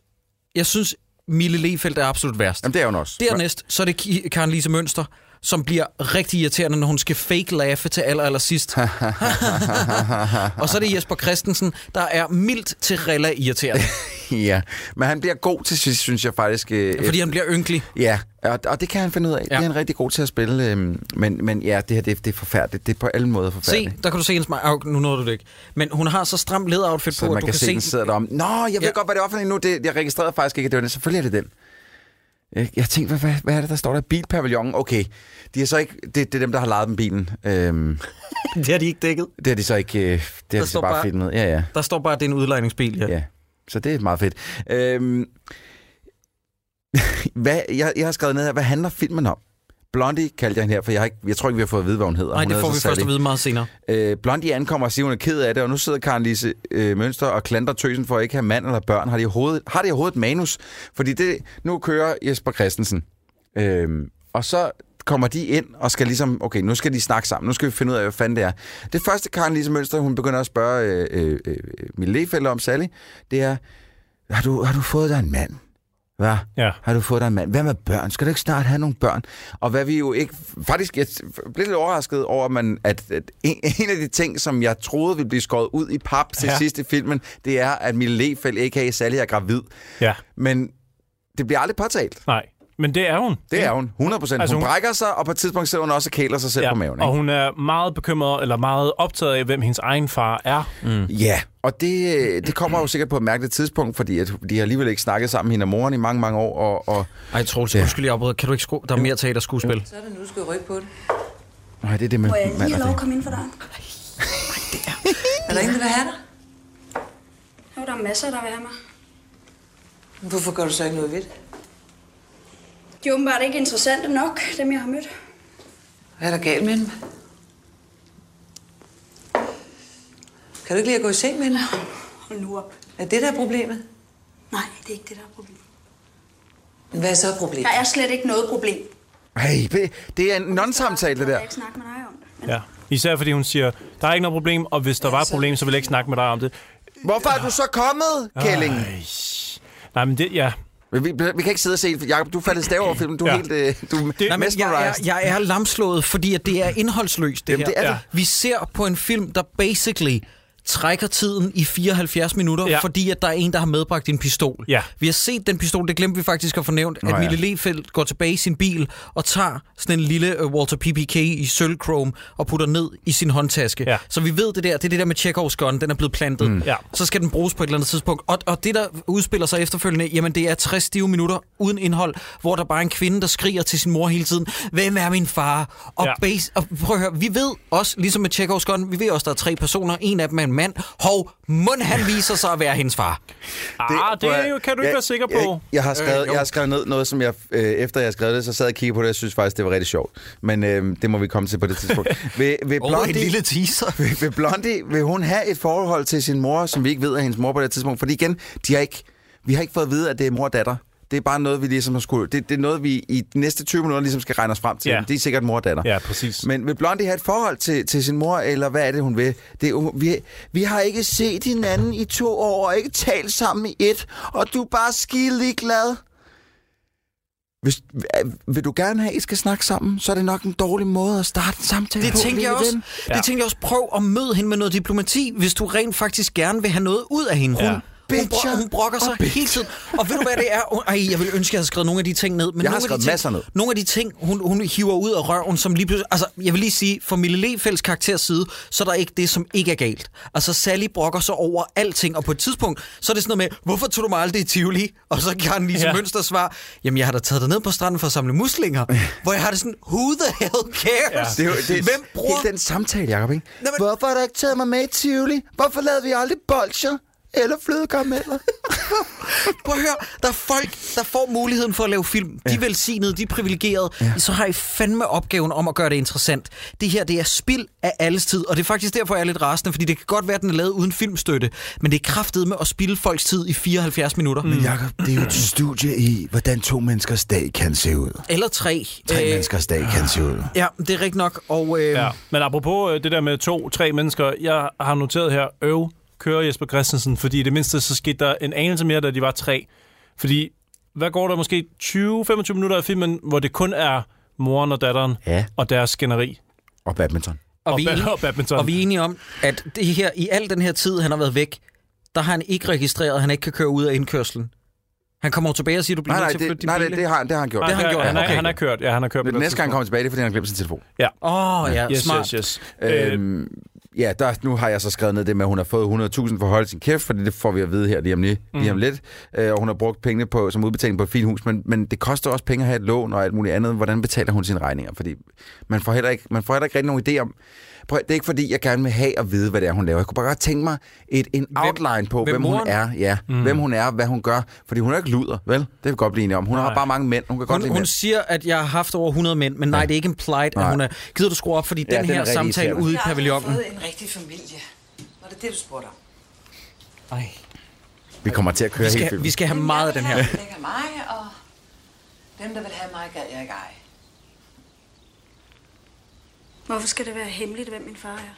S1: jeg synes Mille Lefeldt er absolut værst.
S3: Jamen, det er hun også.
S1: Dernæst, så er det Ki- Karen Lise Mønster, som bliver rigtig irriterende, når hun skal fake laffe til aller, aller sidst. og så er det Jesper Christensen, der er mildt til rella irriterende,
S3: Ja, men han bliver god til sidst, synes jeg faktisk. Øh,
S1: fordi han bliver ynkelig.
S3: Ja, og, og det kan han finde ud af. Ja. Det er han rigtig god til at spille. Øh, men, men ja, det her det, det er forfærdeligt. Det er på alle måder
S1: Se,
S3: forfærdeligt.
S1: der kan du se hendes mig. Oh, nu nåede du det ikke. Men hun har så stram lederoutfit
S3: Så
S1: på,
S3: man
S1: at du
S3: kan, se, den sidder derom. Nå, jeg ved
S1: Ja.
S3: godt, hvad det var for en nu. Det, jeg registrerede faktisk ikke, at det var den. Selvfølgelig er det den. Jeg, jeg tænkte, hvad, hvad, hvad er det, der står der? Bilpavillon. Okay, de er så ikke, det, det er dem, der har lejet dem bilen. Øhm,
S1: det har de ikke dækket.
S3: det har de så ikke... øh, Det har de så
S1: står
S3: bare,
S1: bare-
S3: filmet. Ja, ja.
S1: Der står bare, at det er en udlejningsbil, ja.
S3: Ja, så det er meget fedt. Øhm, hvad, jeg, jeg har skrevet ned her, hvad handler filmen om? Blondie kaldte jeg hende her, for jeg, har ikke, jeg tror ikke, vi har fået at vide, hvad hun hedder.
S1: Nej,
S3: hun
S1: det
S3: hedder
S1: får vi
S3: så
S1: først
S3: Sally.
S1: at vide meget senere.
S3: Øh, Blondie ankommer og siger, hun er ked af det, og nu sidder Karen Lise øh, Mønster og klandrer tøsen for at ikke have mand eller børn. Har de overhovedet, har de overhovedet et manus? Fordi det, nu kører Jesper Christensen. Øh, og så kommer de ind og skal ligesom, okay, nu skal de snakke sammen, nu skal vi finde ud af, hvad fanden det er. Det første, Karen Lise Mønster, hun begynder at spørge øh, øh, øh, Mille Lehfelder om Sally, det er, har du, har du fået dig en mand? Hvad?
S2: Ja.
S3: Har du fået dig en mand? Hvad med børn? Skal du ikke snart have nogle børn? Og hvad vi jo ikke... Faktisk, jeg blev lidt overrasket over, at man, at, at en, en af de ting, som jeg troede ville blive skåret ud i pap til ja.
S2: Ja.
S3: sidst i filmen, det er, at Mille Lefeld, a.k.a. Sally, er gravid.
S2: Ja,
S3: Men det bliver aldrig påtalt.
S2: nej. Men det er hun.
S3: Det er hun, 100 procent. Altså,
S2: Altså,
S3: hun, hun
S2: hun-
S3: brækker sig, og på et tidspunkt sidder hun også og kæler sig selv ja, på maven.
S2: og
S3: Ikke?
S2: hun er meget bekymret, eller meget optaget af, hvem hendes egen far er. Mm.
S3: Ja, og det, øh, det kommer jo sikkert på et mærkeligt tidspunkt, fordi at de har alligevel ikke snakket sammen, hende og moren, i mange, mange år. Og, og...
S1: Ej, Troels, ja. undskyld, jeg afbryder. Kan du ikke skrue? Der er mere teaterskuespil.
S4: Så er det nu, du skal rykke på det.
S3: Nej, det er det med
S5: Må jeg
S3: mand
S5: lige
S3: og
S5: have lov
S3: det.
S5: at komme ind for dig?
S4: Er der ingen, der vil have dig?
S5: Jo, der er masser, der vil have mig.
S4: Men Hvorfor gør du så ikke noget ved det?
S5: De er åbenbart ikke interessante nok, dem jeg har mødt.
S4: Hvad er der galt med dem? Kan du ikke lige at gå i seng med hende?
S5: Hold nu op.
S4: Er det der er problemet?
S5: Nej, det er ikke det, der er problemet.
S4: Men Hvad er så problemet?
S5: Der er slet ikke noget problem.
S3: Hey, det, det er en non-samtale, det
S5: Jeg
S3: der.
S5: vil ikke snakke med dig om det. Men
S2: Ja. Især fordi hun siger, der er ikke noget problem, og hvis der var et problem, så vil jeg ikke snakke med dig om det.
S3: Hvorfor er du så kommet, Kælling?
S2: Nej, men det, ja.
S3: Men Vi, vi kan ikke sidde og se, Jacob, du faldt stav over filmen. Du er
S2: Ja.
S3: helt... Øh, du er
S2: Nej,
S1: Nej, men
S3: mesmerized.
S1: jeg, er, jeg er lamslået, fordi at det er indholdsløst, det
S3: Jamen,
S1: her.
S3: det er det.
S1: Vi ser på en film, der basically trækker tiden i 74 minutter, ja.
S2: Ja.
S1: fordi at der er en, der har medbragt en pistol.
S2: Ja.
S1: Vi har set den pistol, det glemte vi faktisk at fornævnt,
S3: ja.
S1: at Mille Lefeldt går tilbage i sin bil og tager sådan en lille øh, Walter PPK i sølvchrome og putter ned i sin håndtaske.
S2: Ja.
S1: Så vi ved det der, det er det der med Chekhovs gun, den er blevet plantet. Mm.
S2: Ja.
S1: Så skal den bruges på et eller andet tidspunkt. Og, og det, der udspiller sig efterfølgende, jamen det er 60 stive minutter uden indhold, hvor der bare er en kvinde, der skriger til sin mor hele tiden, hvem er min far? Og, ja.
S2: Ja.
S1: base, og prøv at høre, vi ved også, ligesom med Chekhovs gun, vi ved også, der er tre personer, en af dem er en mand. Hov, mund han viser sig at være hendes far.
S2: Ah, det,
S3: prøv at-
S2: er jo- kan du ikke
S3: jeg-
S2: være sikker
S3: Jeg,
S2: på. Øh,
S3: jeg, har skrevet, jeg har skrevet ned noget, som jeg, øh, efter jeg har skrevet det, så sad jeg og kiggede på det, og jeg synes faktisk, det var rigtig sjovt. Men øh, det må vi komme til på det tidspunkt. ved, ved,
S1: Åh,
S3: Blondie,
S1: teaser.
S3: ved, ved Blondie, vil hun have et forhold til sin mor, som vi ikke ved er hendes mor på det tidspunkt? Fordi igen, de har ikke, vi har ikke fået at vide, at det er mor og datter. Det er bare noget, vi ligesom har skulle... Det, det er noget, vi i de næste 20 minutter ligesom skal regne os frem til.
S2: Ja.
S3: Yeah. Det er sikkert mor og datter.
S2: Ja, præcis.
S3: Men vil Blondie have et forhold til, til sin mor, eller hvad er det, hun vil? Det, er jo- vi, vi har ikke set hinanden i to år, og ikke talt sammen i et, og du er bare skide glad. Hvis, vil du gerne have, at I skal snakke sammen, så er det nok en dårlig måde at starte en samtale
S1: Det
S3: på.
S1: tænkte, jeg
S3: lille
S1: også,
S3: ven.
S1: ja. det tænkte jeg også. Prøv at møde hende med noget diplomati, hvis du rent faktisk gerne vil have noget ud af hende.
S2: Ja.
S1: Hun, hun, bro,
S3: Bitcher
S1: hun brokker
S3: og
S1: sig
S3: bitcher.
S1: hele tiden. Og ved du, hvad det er? Hun, ej, jeg ville ønske, jeg havde skrevet nogle af de ting ned. Men
S3: Jeg har
S1: nogle af de
S3: skrevet
S1: ting,
S3: masser ned.
S1: Nogle af de ting, hun, hun hiver ud af røven, som lige pludselig... Altså, jeg vil lige sige, fra Mille Lefælds karakters side, så er der ikke det, som ikke er galt. Altså, Sally brokker sig over alting, og på et tidspunkt, så er det sådan noget med, hvorfor tog du mig aldrig i Tivoli? Og så kan Lise ja.
S2: Ja.
S1: Mønster svar, jamen, jeg har da taget dig ned på stranden for at samle muslinger, hvor jeg har det sådan, who the hell cares?
S3: Det er jo, det
S1: Altså,
S3: er
S1: Hvem bruger
S3: Hele den samtale, Jacob, ikke?
S1: Nå, men-
S3: Hvorfor har du ikke taget mig med i Tivoli? Hvorfor lavede vi aldrig bolcher? eller flødekarameller.
S1: Prøv at høre, der er folk, der får muligheden for at lave film. De er velsignede, de er privilegerede. Ja. Så har I fandme opgaven om at gøre det interessant. Det her, det er spild af alles tid, og det er faktisk derfor, jeg er lidt rasende, fordi det kan godt være, at den er lavet uden filmstøtte, men det er kraftet med at spille folks tid i 74 minutter. Mm.
S3: Jakob, det er jo et studie i, hvordan to menneskers dag kan se ud.
S1: Eller tre.
S3: Tre
S1: Øh, ah.
S3: øh, menneskers dag kan se ud.
S1: Ja, det er rigtigt nok, og... Øh,
S2: Ja. Men apropos øh, det der med to-tre mennesker, jeg har noteret her, øv, kører Jesper Christensen, fordi i det mindste så skete der en anelse mere, da de var tre. Fordi hvad går der måske 20-25 minutter af filmen, hvor det kun er moren og datteren
S3: Ja.
S2: og deres skænderi?
S3: Og badminton.
S1: Og,
S2: Og
S1: vi, er
S2: ba-
S1: enige-
S2: og badminton.
S1: og vi er enige om, at det her, i al den her tid, han har været væk, der har han ikke registreret, at han ikke kan køre ud af indkørslen. Han kommer jo tilbage og siger, du bliver
S3: Nej, nej,
S1: nødt til at flytte
S3: det,
S1: din
S3: nej det,
S1: bil.
S3: det, har, det har han gjort.
S1: Det har han gjort,
S2: Ah, Han,
S1: okay.
S2: er, han er kørt, ja, han er kørt. på
S3: Men
S2: det
S3: næste
S2: tidspunkt.
S3: gang han kommer tilbage, det er, fordi han har glemt sin telefon.
S1: Åh, oh, ja,
S2: Yes,
S1: smart.
S2: yes, yes. Øh,
S3: Øhm, ja, der, nu har jeg så skrevet ned det med, at hun har fået 100.000 for at holde sin kæft, fordi det får vi at vide her lige om, lige, mm. lige om lidt. Øh, og hun har brugt pengene på, som udbetaling på et fint hus, men, men det koster også penge at have et lån og alt muligt andet. Hvordan betaler hun sine regninger? Fordi man får heller ikke, man får heller ikke rigtig nogen idé om... Prøv, det er ikke fordi, jeg gerne vil have at vide, hvad det er, hun laver. Jeg kunne bare godt tænke mig et, en outline
S1: hvem
S3: på, hvem, hvem hun
S1: moren?
S3: er, ja, mm. hvem hun er, hvad hun gør. Fordi hun er ikke luder, vel? Det kan vi godt blive enige om. Hun Nej. har bare mange mænd. Hun kan godt
S1: Hun,
S3: lide
S1: hun
S3: mænd.
S1: siger, at jeg har haft over 100 mænd, men nej, det er ikke implied, at
S3: Nej.
S1: hun er... Gider du skrue op, fordi
S3: Ja,
S1: den
S3: den er
S1: her
S3: rigtig
S1: samtale
S3: irriterende.
S1: ude i
S4: Jeg har
S1: pavillonen...
S4: fået en rigtig familie. Var det det, du spurgte om?
S1: Ej,
S3: Vi kommer til at køre
S1: vi,
S3: helt
S1: skal, vi skal have meget af den her.
S4: Jeg vil have mig, og dem, der vil have mig, gad jeg ikke ej.
S5: Hvorfor skal det være hemmeligt, hvem min far er?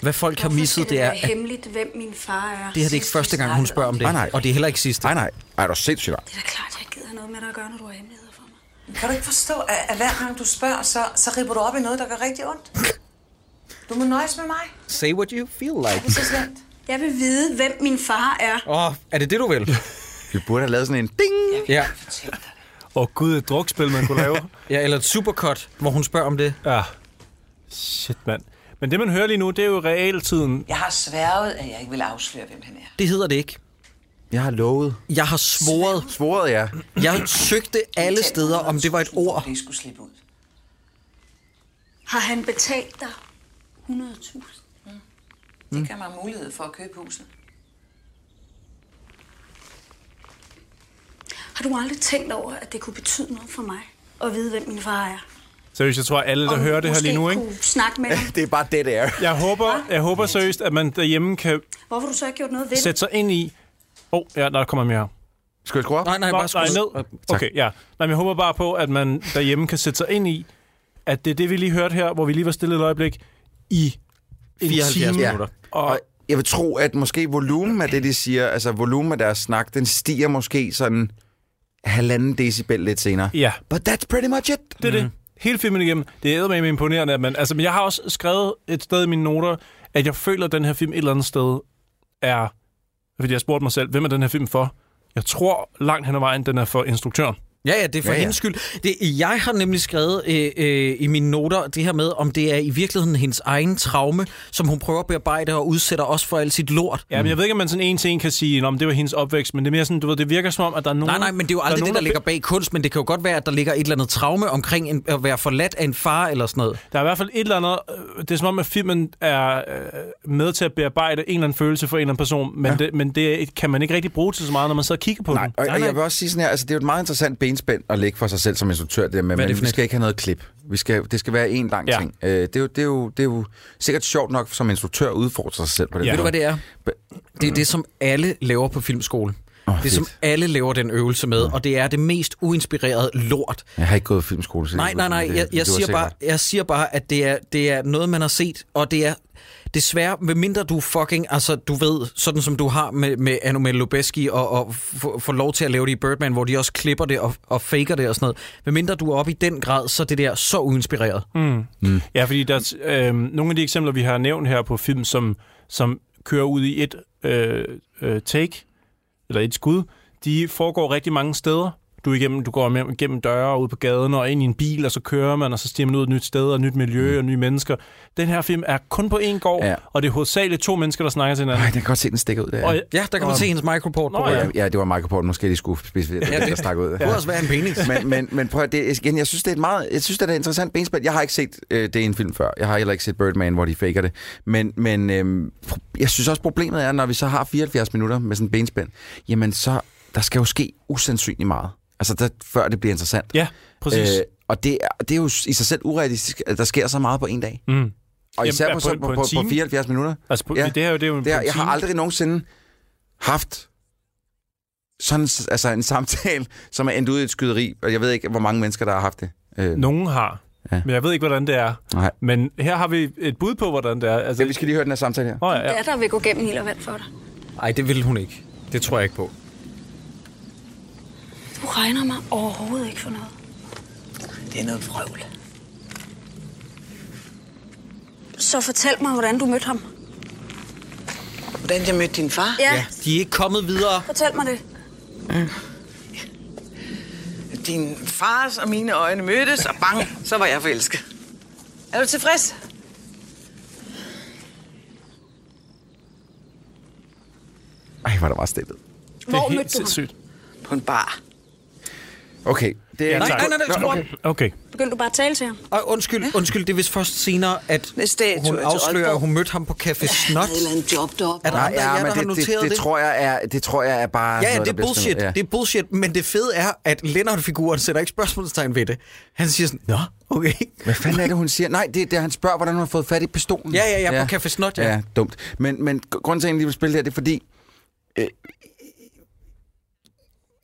S1: Hvad folk har
S5: Hvorfor
S1: misset,
S5: skal
S1: det er,
S5: være
S1: at
S5: hemmeligt, hvem min far er?
S1: det her det er ikke første gang, hun spørger om det.
S3: Nej, nej.
S1: Og det er heller ikke sidste.
S3: Nej, nej. Ej, du er sindssygt.
S5: Det er da klart, jeg ikke gider have noget med dig at gøre, når du har hemmeligheder for mig.
S4: Kan du ikke forstå, at, at hver gang du spørger, så, så ripper du op i noget, der gør rigtig ondt? Du må nøjes med mig.
S1: Say what you feel
S4: Det er
S1: like.
S4: så slemt.
S5: Jeg vil vide, hvem min far er.
S1: Åh, oh, er det det, du vil?
S3: Vi burde have lavet sådan en ding.
S1: Ja.
S2: Åh oh, gud, et drukspil, man kunne lave.
S1: ja, eller et supercut, hvor hun spørger om det.
S2: ja. Shit, mand. Men det, man hører lige nu, det er jo realtiden.
S4: Jeg har sværget, at jeg ikke vil afsløre, hvem han er.
S1: Det hedder det ikke.
S3: Jeg har lovet.
S1: Jeg har svoret.
S3: Svoret, ja.
S1: Jeg søgte alle steder, om det var et ord.
S4: Det skulle slippe ud.
S5: Har han betalt dig 100.000?
S1: Mm.
S4: Det gav mig mulighed for at købe huset.
S5: Har du aldrig tænkt over, at det kunne betyde noget for mig? At vide, hvem min far er?
S2: Seriøst, jeg tror, alle, der
S5: Og
S2: hører det her
S5: måske
S2: lige nu, ikke?
S5: kunne snakke med ham.
S3: Det er bare det, det er.
S2: Jeg håber, jeg håber seriøst, at man derhjemme kan
S5: Hvorfor har du så ikke gjort noget ved det?
S2: sætte sig ind i... Åh, oh, ja, der kommer mere.
S3: Skal jeg skrue op?
S1: Nej, nej,
S2: Nå,
S1: bare
S2: nej,
S1: skru
S2: ned. Okay, ja. Nej, men jeg håber bare på, at man derhjemme kan sætte sig ind i, at det er det, vi lige hørte her, hvor vi lige var stille et øjeblik, i en
S1: 74
S2: time.
S1: minutter.
S2: Og
S3: Og jeg vil tro, at måske volumen af det, de siger, altså volumen af deres snak, den stiger måske sådan halvanden decibel lidt senere.
S2: ja,
S3: But that's pretty much it.
S2: det
S1: Mm.
S2: er det. Hele filmen igennem. Det er med imponerende, at man... Altså, men jeg har også skrevet et sted i mine noter, at jeg føler, at den her film et eller andet sted er... Fordi jeg spurgte mig selv, hvem er den her film for? Jeg tror langt hen ad vejen, den er for instruktøren.
S1: Ja, ja, det er for ja,
S3: Ja,
S1: ja.
S3: ja.
S1: hendes skyld. Det, jeg har nemlig skrevet øh, øh, i mine noter det her med, om det er i virkeligheden hendes egen traume, som hun prøver at bearbejde og udsætter os for alt sit lort.
S2: Ja, men jeg ved ikke, om man sådan en til en kan sige, om det var hendes opvækst, men det er mere sådan, du ved, det virker som om, at der er nogen...
S1: Nej, nej, men det er jo aldrig
S2: er
S1: det,
S2: nogen,
S1: der
S2: der
S1: ligger bag kunst, men det kan jo godt være, at der ligger et eller andet traume omkring en, at være forladt af en far eller sådan noget.
S2: Der er i hvert fald et eller andet... øh, Det er som om, at filmen er øh, med til at bearbejde en eller anden følelse for en eller anden person, men, ja. det, men det kan man ikke rigtig bruge til så meget, når man sidder og kigger på
S3: Nej,
S2: den.
S3: og, og jeg vil også sige sådan her, altså det er jo et meget interessant benspænd at lægge for sig selv som instruktør, det der med,
S1: Hvad er det
S3: men
S1: for
S3: vi
S1: et?
S3: skal ikke have noget klip. Vi skal, det skal være en lang
S2: Ja.
S3: ja. ting. Øh, det, er jo, det, er jo, det er jo sikkert sjovt nok som instruktør at udfordre sig selv på det.
S2: Ja.
S1: Ved du,
S3: måde.
S1: hvad det er? Det er det, som alle laver på filmskole.
S3: Åh,
S1: Det er, som
S3: fedt.
S1: alle laver den øvelse med, og det er det mest uinspirerede lort,
S3: Jeg har ikke gået i filmskole. så
S1: Nej, nej, nej.
S3: det-
S1: Jeg,
S3: det var
S1: jeg, siger,
S3: sikkert.
S1: bare, jeg siger bare, at det er, det er noget, man har set, og det er desværre, medmindre du fucking, altså du ved, sådan som du har med, med Anomel Lubeski, og, og f- får lov til at lave det i Birdman, hvor de også klipper det og, og faker det og sådan noget. Medmindre du er oppe i den grad, så er det der så uinspireret. Mm.
S2: Ja, fordi der, øh, nogle af de eksempler, vi har nævnt her på film, som, som kører ud i et øh, øh, take, eller et skud, de foregår rigtig mange steder. du, er igennem, du går med- igennem døre og ud på gaden og ind i en bil, og så kører man, og så stiger man ud et nyt sted og et nyt miljø og nye mennesker. Den her film er kun på én gård,
S3: Mm. Ja.
S2: ja. og det er hovedsageligt to mennesker, der snakker til hinanden.
S3: Ej, jeg kan godt se, den stikker ud der.
S2: Og,
S1: Ja, der kan man se hendes microport på.
S2: Nå,
S1: ryggen.
S2: ja.
S3: ja. ja, det var Michael Porten, måske de skulle specificere, ja, det, der stak ud.
S1: Det kunne også være en penis.
S3: men, men, men prøv at det, er- igen, jeg synes, det er et meget, jeg synes, det er et interessant benspænd. Jeg har ikke set øh, det i en film før. Jeg har heller ikke set Birdman, hvor de faker det. Men, men øh, jeg synes også, problemet er, når vi så har 74 minutter med sådan en benspænd, jamen så, der skal jo ske usandsynligt meget. Altså, der, før det bliver interessant.
S2: ja, præcis. Øh,
S3: og det er, det er jo i sig selv urealistisk, at der sker så meget på en dag.
S2: Mm.
S3: Og især
S2: Jamen,
S3: på,
S2: på
S3: så,
S2: en-
S3: på,
S2: på en
S3: på, på
S2: time?
S3: 74 minutter.
S2: altså, på,
S3: ja.
S2: ja. det her er jo det er jo en
S3: Det er,
S2: en
S3: jeg har
S2: time.
S3: aldrig nogensinde haft sådan altså en samtale, som er endt ud i et skyderi, og jeg ved ikke, hvor mange mennesker, der har haft det. Øh,
S2: Nogen har,
S3: Ja.
S2: ja. men jeg ved ikke, hvordan det er.
S3: Nej.
S2: Men her har vi et bud på, hvordan det er. Altså,
S3: Ja, vi skal lige høre den her samtale her.
S2: Nå, ja,
S5: Ja.
S2: ja.
S5: Er der vil gå gennem ild og vand for dig.
S1: Nej, det ville hun ikke. Det tror jeg ikke på.
S5: Du regner mig overhovedet ikke for noget.
S4: Det er noget vrøvl.
S5: Så fortæl mig, hvordan du mødte ham.
S4: Hvordan jeg mødte din far?
S5: Ja,
S1: Ja,
S5: ja.
S1: de er ikke kommet videre.
S5: fortæl mig det.
S4: Din fars og mine øjne mødtes, og bang, så var jeg forelsket. Er du tilfreds?
S3: Ej, hvor der var stillet.
S2: Det
S5: Hvor
S2: er helt
S5: mødte du ham?
S2: sindssygt.
S4: På en bar.
S3: Okay. Det er
S2: Ja,
S1: Nej,
S2: tak.
S1: nej, nej, nej, nej.
S2: Okay.
S5: Begyndte du bare at tale til ham?
S1: Og undskyld, undskyld, det er vist først senere, at
S4: Med statue
S1: hun
S4: til
S1: afslører, at
S4: Aalborg.
S1: hun mødte ham på Café Snot.
S4: Et eller andet job deroppe.
S1: Er der
S3: Nej,
S1: andre af jer, der
S3: ja,
S1: har
S3: men det, det,
S1: noteret
S3: det,
S1: det?
S3: det, tror jeg er, det tror jeg er bare...
S1: Ja, ja,
S3: noget,
S1: det
S3: der
S1: er
S3: bliver
S1: bullshit.
S3: stillet.
S1: Det er bullshit, men det fede er, at Lennart-figuren sætter ikke spørgsmålstegn ved det. Han siger sådan, nå, okay.
S3: Hvad fanden er det, hun siger? Nej, det er, det er, han spørger, hvordan hun har fået fat i pistolen.
S1: Ja, ja, ja, på Café Snot, ja.
S3: ja. dumt. Men, men gr- grunden til, at jeg egentlig vil spille det her, det er fordi... Øh,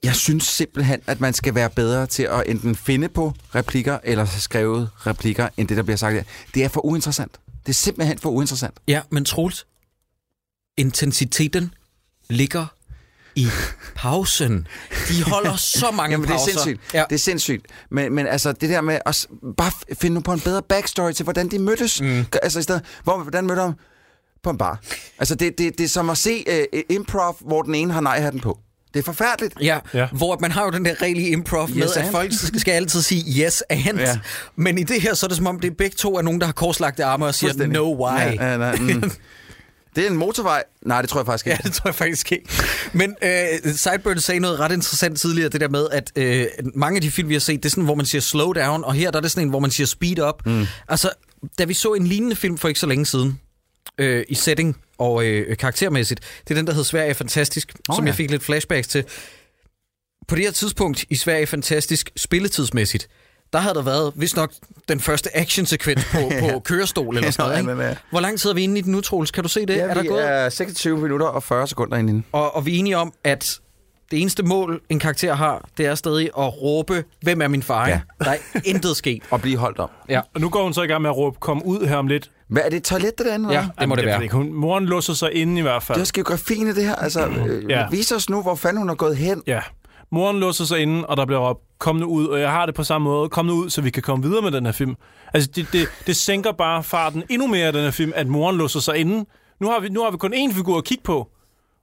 S3: jeg synes simpelthen, at man skal være bedre til at enten finde på replikker, eller skrive replikker, end det, der bliver sagt her. Det er for uinteressant. Det er simpelthen for uinteressant.
S1: Ja, men Troels, intensiteten ligger i pausen. De holder så mange
S3: Jamen, det er
S1: pauser.
S3: sindssygt.
S1: Ja.
S3: Ja. Det er sindssygt. Men, men altså, det der med at s- bare f- finde nu på en bedre backstory til, hvordan de mødtes. Mm. Altså, i stedet, hvor, hvordan mødte de på en bar? Altså, det, det, det er som at se uh, improv, hvor den ene har nej-hatten på. Det er forfærdeligt.
S1: Ja, ja,
S2: Ja.
S1: hvor man har jo den der regel i improv yes med,
S3: Yes,
S1: at
S3: and.
S1: folk skal altid sige yes and. Ja.
S3: Ja.
S1: Men i det her, så er det som om, det er begge to er nogen, der har korslagte arme og siger,
S3: Fuldstændig.
S1: no why.
S3: Ja, ja, nej, mm. Det er en motorvej. Nej, det tror jeg faktisk
S1: Ja,
S3: ikke.
S1: det tror jeg faktisk ikke. Men øh, Sideburn sagde noget ret interessant tidligere, det der med, at øh, mange af de film, vi har set, det er sådan, hvor man siger slow down, og her der er det sådan en, hvor man siger speed up. Mm. Altså, da vi så en lignende film for ikke så længe siden, øh, i setting og øh, karaktermæssigt, det er den, der hedder Sverige er fantastisk, oh,
S3: Åh,
S1: som ja.
S3: ja.
S1: jeg fik lidt flashbacks til. På det her tidspunkt i Sverige er fantastisk spilletidsmæssigt, der havde der været, hvis nok, den første actionsekvens på, på kørestol eller sådan noget.
S3: Ja, men,
S1: Ikke?
S3: ja.
S1: Hvor lang tid er vi inde i den nu, Troels? Kan du se det?
S3: Ja,
S1: er der
S3: vi
S1: gået?
S3: er 26 minutter og 40 sekunder inde. i den.
S1: Og, og vi er enige om, at det eneste mål, en karakter har, det er stadig at råbe, hvem er min far? Ja.
S3: Ja.
S1: Der er intet sket.
S3: Og blive holdt om.
S2: Og nu går hun så i gang med at råbe, kom ud her om lidt.
S3: Hvad er det et toilet, det derinde?
S1: Ja,
S3: eller?
S1: det må det
S2: jeg
S1: være.
S2: ved ikke, Hun, moren låser sig inde i hvert fald.
S3: Det er også geografien i det her. Altså, øh,
S2: Ja.
S3: vis os nu, hvor fanden hun er gået hen.
S2: Ja. Moren låser sig inde, og der bliver råbt, kom nu ud, og jeg har det på samme måde, kom nu ud, så vi kan komme videre med den her film. Altså, det, det, det sænker bare farten endnu mere i den her film, at moren låser sig inde. Nu har vi, nu har vi kun én figur at kigge på,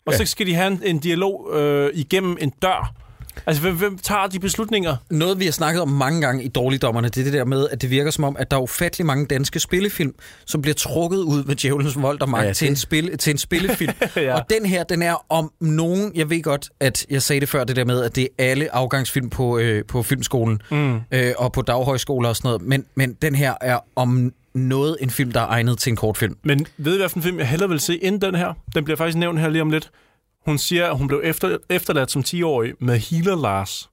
S2: og ja. så skal de have en, en dialog øh, igennem en dør. Altså, hvem, hvem tager de beslutninger?
S1: Noget, vi har snakket om mange gange i Dårligdommerne, det er det der med, at det virker som om, at der er ufattelig mange danske spillefilm, som bliver trukket ud med djævelens vold og magt ja,
S3: Ja,
S1: til, en
S3: det-
S1: spil, til en spillefilm. ja.
S2: Ja.
S1: Og den her, den er om nogen... Jeg ved godt, at jeg sagde det før, det der med, at det er alle afgangsfilm på, øh, på filmskolen mm. øh, og på daghøjskoler og sådan noget. Men, men den her er om noget en film, der er egnet til en kortfilm.
S2: Men ved I, hvilken film jeg hellere vil se end den her? Den bliver faktisk nævnt her lige om lidt. Hun siger, at hun blev efter, efterladt som 10-årig med Healer Lars.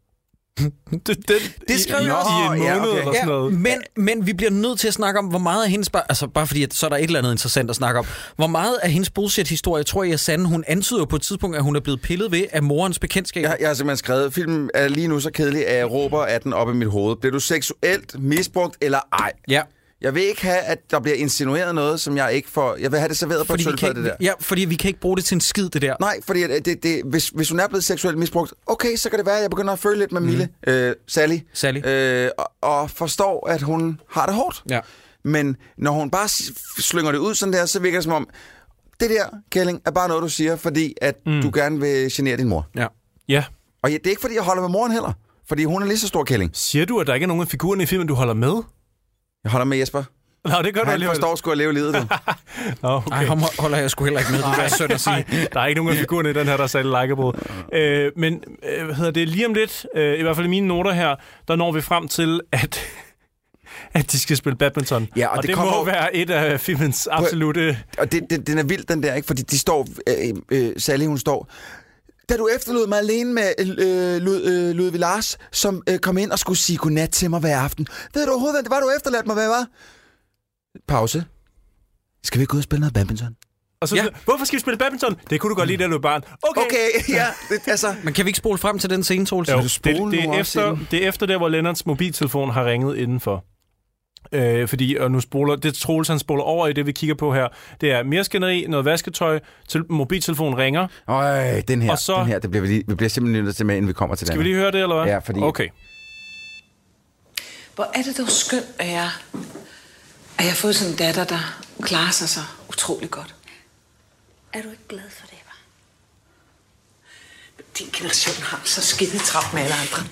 S2: det, den,
S1: Det skrev
S2: i,
S1: jeg også.
S2: i en måned
S3: Ja, okay.
S2: eller sådan noget.
S1: men, men vi bliver nødt til at snakke om, hvor meget af hendes... Bare, altså bare fordi, at så er der et eller andet interessant at snakke om. Hvor meget af hendes bullshit-historie, tror jeg, er sande. Hun antyder jo på et tidspunkt, at hun er blevet pillet ved af morens bekendtskab.
S3: Jeg, jeg har simpelthen skrevet, filmen er lige nu så kedelig, at jeg råber af den op i mit hoved. Bliver du seksuelt misbrugt eller ej?
S1: ja.
S3: Jeg vil ikke have, at der bliver insinueret noget, som jeg ikke får... Jeg vil have det serveret på et
S1: Fordi vi, kan,
S3: sølvfad, det der.
S1: ikke- ja, fordi vi kan ikke bruge det til en skid, det der.
S3: Nej, fordi at det, det, hvis, hvis hun er blevet seksuelt misbrugt, okay, så kan det være, at jeg begynder at føle lidt med Mille, øh, Sally,
S1: Mhm. Sally.
S3: Øh, og, og forstår, at hun har det hårdt.
S1: Ja.
S3: Men når hun bare s- slynger det ud sådan der, så virker det som om, det der, Kælling, er bare noget, du siger, fordi at mm. du gerne vil genere din mor.
S1: Ja.
S2: Ja,
S3: Og ja, det er ikke, fordi jeg holder med moren heller. Fordi hun er lige så stor kælling.
S2: Siger du, at der ikke er nogen af figurerne i filmen, du holder med?
S3: Jeg holder med Jesper.
S2: Nå, det gør du
S3: Han
S2: alligevel.
S3: forstår sgu at leve livet, du.
S2: Nå, okay.
S1: Nej, ham holder jeg sgu heller ikke med. Det er synd at sige.
S2: Nej, der er ikke nogen af figurerne i den her, der er særlig likeable. Øh, men øh, hvad hedder det lige om lidt, øh, i hvert fald i mine noter her, der når vi frem til, at, at de skal spille badminton.
S3: Ja,
S2: og
S3: og det
S2: det, det
S3: kommer
S2: må
S3: jo-
S2: være et af filmens absolute...
S3: Og det, det, den er vild, den der, ikke? Fordi de står... Øh, øh, Sally, hun står... Da du efterlod mig alene med øh, Lud, øh, Ludvig Lars, som øh, kom ind og skulle sige godnat til mig hver aften. Ved du overhovedet, hvad det var, du efterladt mig, hvad var? Pause. Skal vi ikke ud og spille noget badminton?
S2: Og så,
S1: Ja.
S2: ja. Hvorfor skal vi spille badminton? Det kunne du godt lide, da du var barn. Okay,
S3: Okay, ja, det, altså...
S1: Men kan vi ikke spole frem til den scene, Troels?
S2: Jo,
S3: du
S2: det,
S3: spole
S2: det,
S3: nu
S2: er
S3: også
S2: efter,
S3: inden?
S2: det er efter der, hvor Lennarts mobiltelefon har ringet indenfor. Øh, fordi, og nu spoler, det Troels, han spoler over i det, vi kigger på her, det er mere skænderi, noget vasketøj, til, mobiltelefon ringer.
S3: Øj, den her,
S2: Og så-
S3: den her, det bliver vi, lige, vi bliver simpelthen nødt til med, inden vi kommer til
S2: Skal
S3: den.
S2: vi lige høre det, eller hvad?
S3: Ja, fordi-
S2: Okay.
S4: Hvor er det dog skønt, at jeg, at jeg har fået sådan en datter, der klarer sig så utrolig godt.
S5: Er du ikke glad for det, var?
S4: Din generation har så skide travlt med alle andre.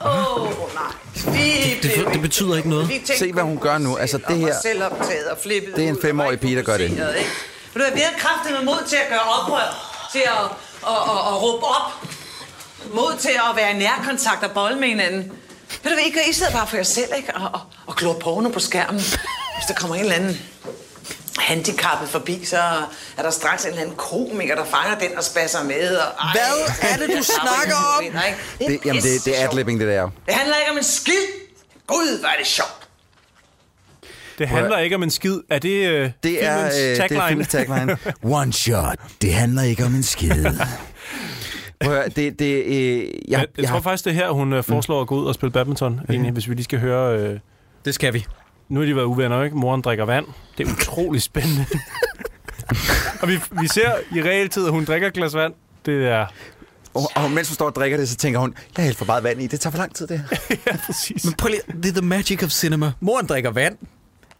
S4: Åh, oh, nej. Det,
S1: det- det betyder ikke noget.
S3: Se, hvad hun gør nu. Altså, det her-
S4: Selvoptaget og flippet
S3: det er en
S4: ud og
S3: femårig
S4: ikke
S3: pige, der gør det.
S4: fokuseret, ikke? Men du har virkelig kraftigt med mod til at gøre oprør. Til at, at, at, at råbe op. Mod til at være i nærkontakt og bolle med hinanden. Ved du hvad, I, gør, I sidder bare for jer selv, ikke? Og, og, og klor porno på skærmen. Hvis der kommer en eller anden handicappet forbi, så er der straks en eller anden komiker, der fanger den og spasser med. Og, ej,
S1: Hvad er det, du snakker om?
S4: Det, er
S3: Det, jamen, det, det er
S4: pisse sjovt.
S3: adlibbing, det der.
S4: Det handler ikke om en skid. Gud, hvor er det sjovt.
S2: Det handler ikke om en skid. Er det, øh,
S3: Det er, øh,
S2: filmens
S3: det
S2: tagline?
S3: er filmens tagline. One shot. Det handler ikke om en skide. Prøv at høre, det, det, øh, jeg,
S2: jeg, jeg tror faktisk, det er her, hun øh, foreslår at gå ud og spille badminton,
S3: Mhm.
S2: egentlig, hvis vi lige skal høre... Øh,
S1: Det skal vi.
S2: nu har de været uvenner, ikke? Moren drikker vand. Det er utrolig spændende. og vi, vi ser i realtid, at hun drikker et glas vand. Det er
S3: Og, og mens hun står og drikker det, så tænker hun, jeg hælder for meget vand i, det tager for lang tid det her.
S2: præcis.
S1: Men prøv lige, det er the magic of cinema. Moren drikker vand.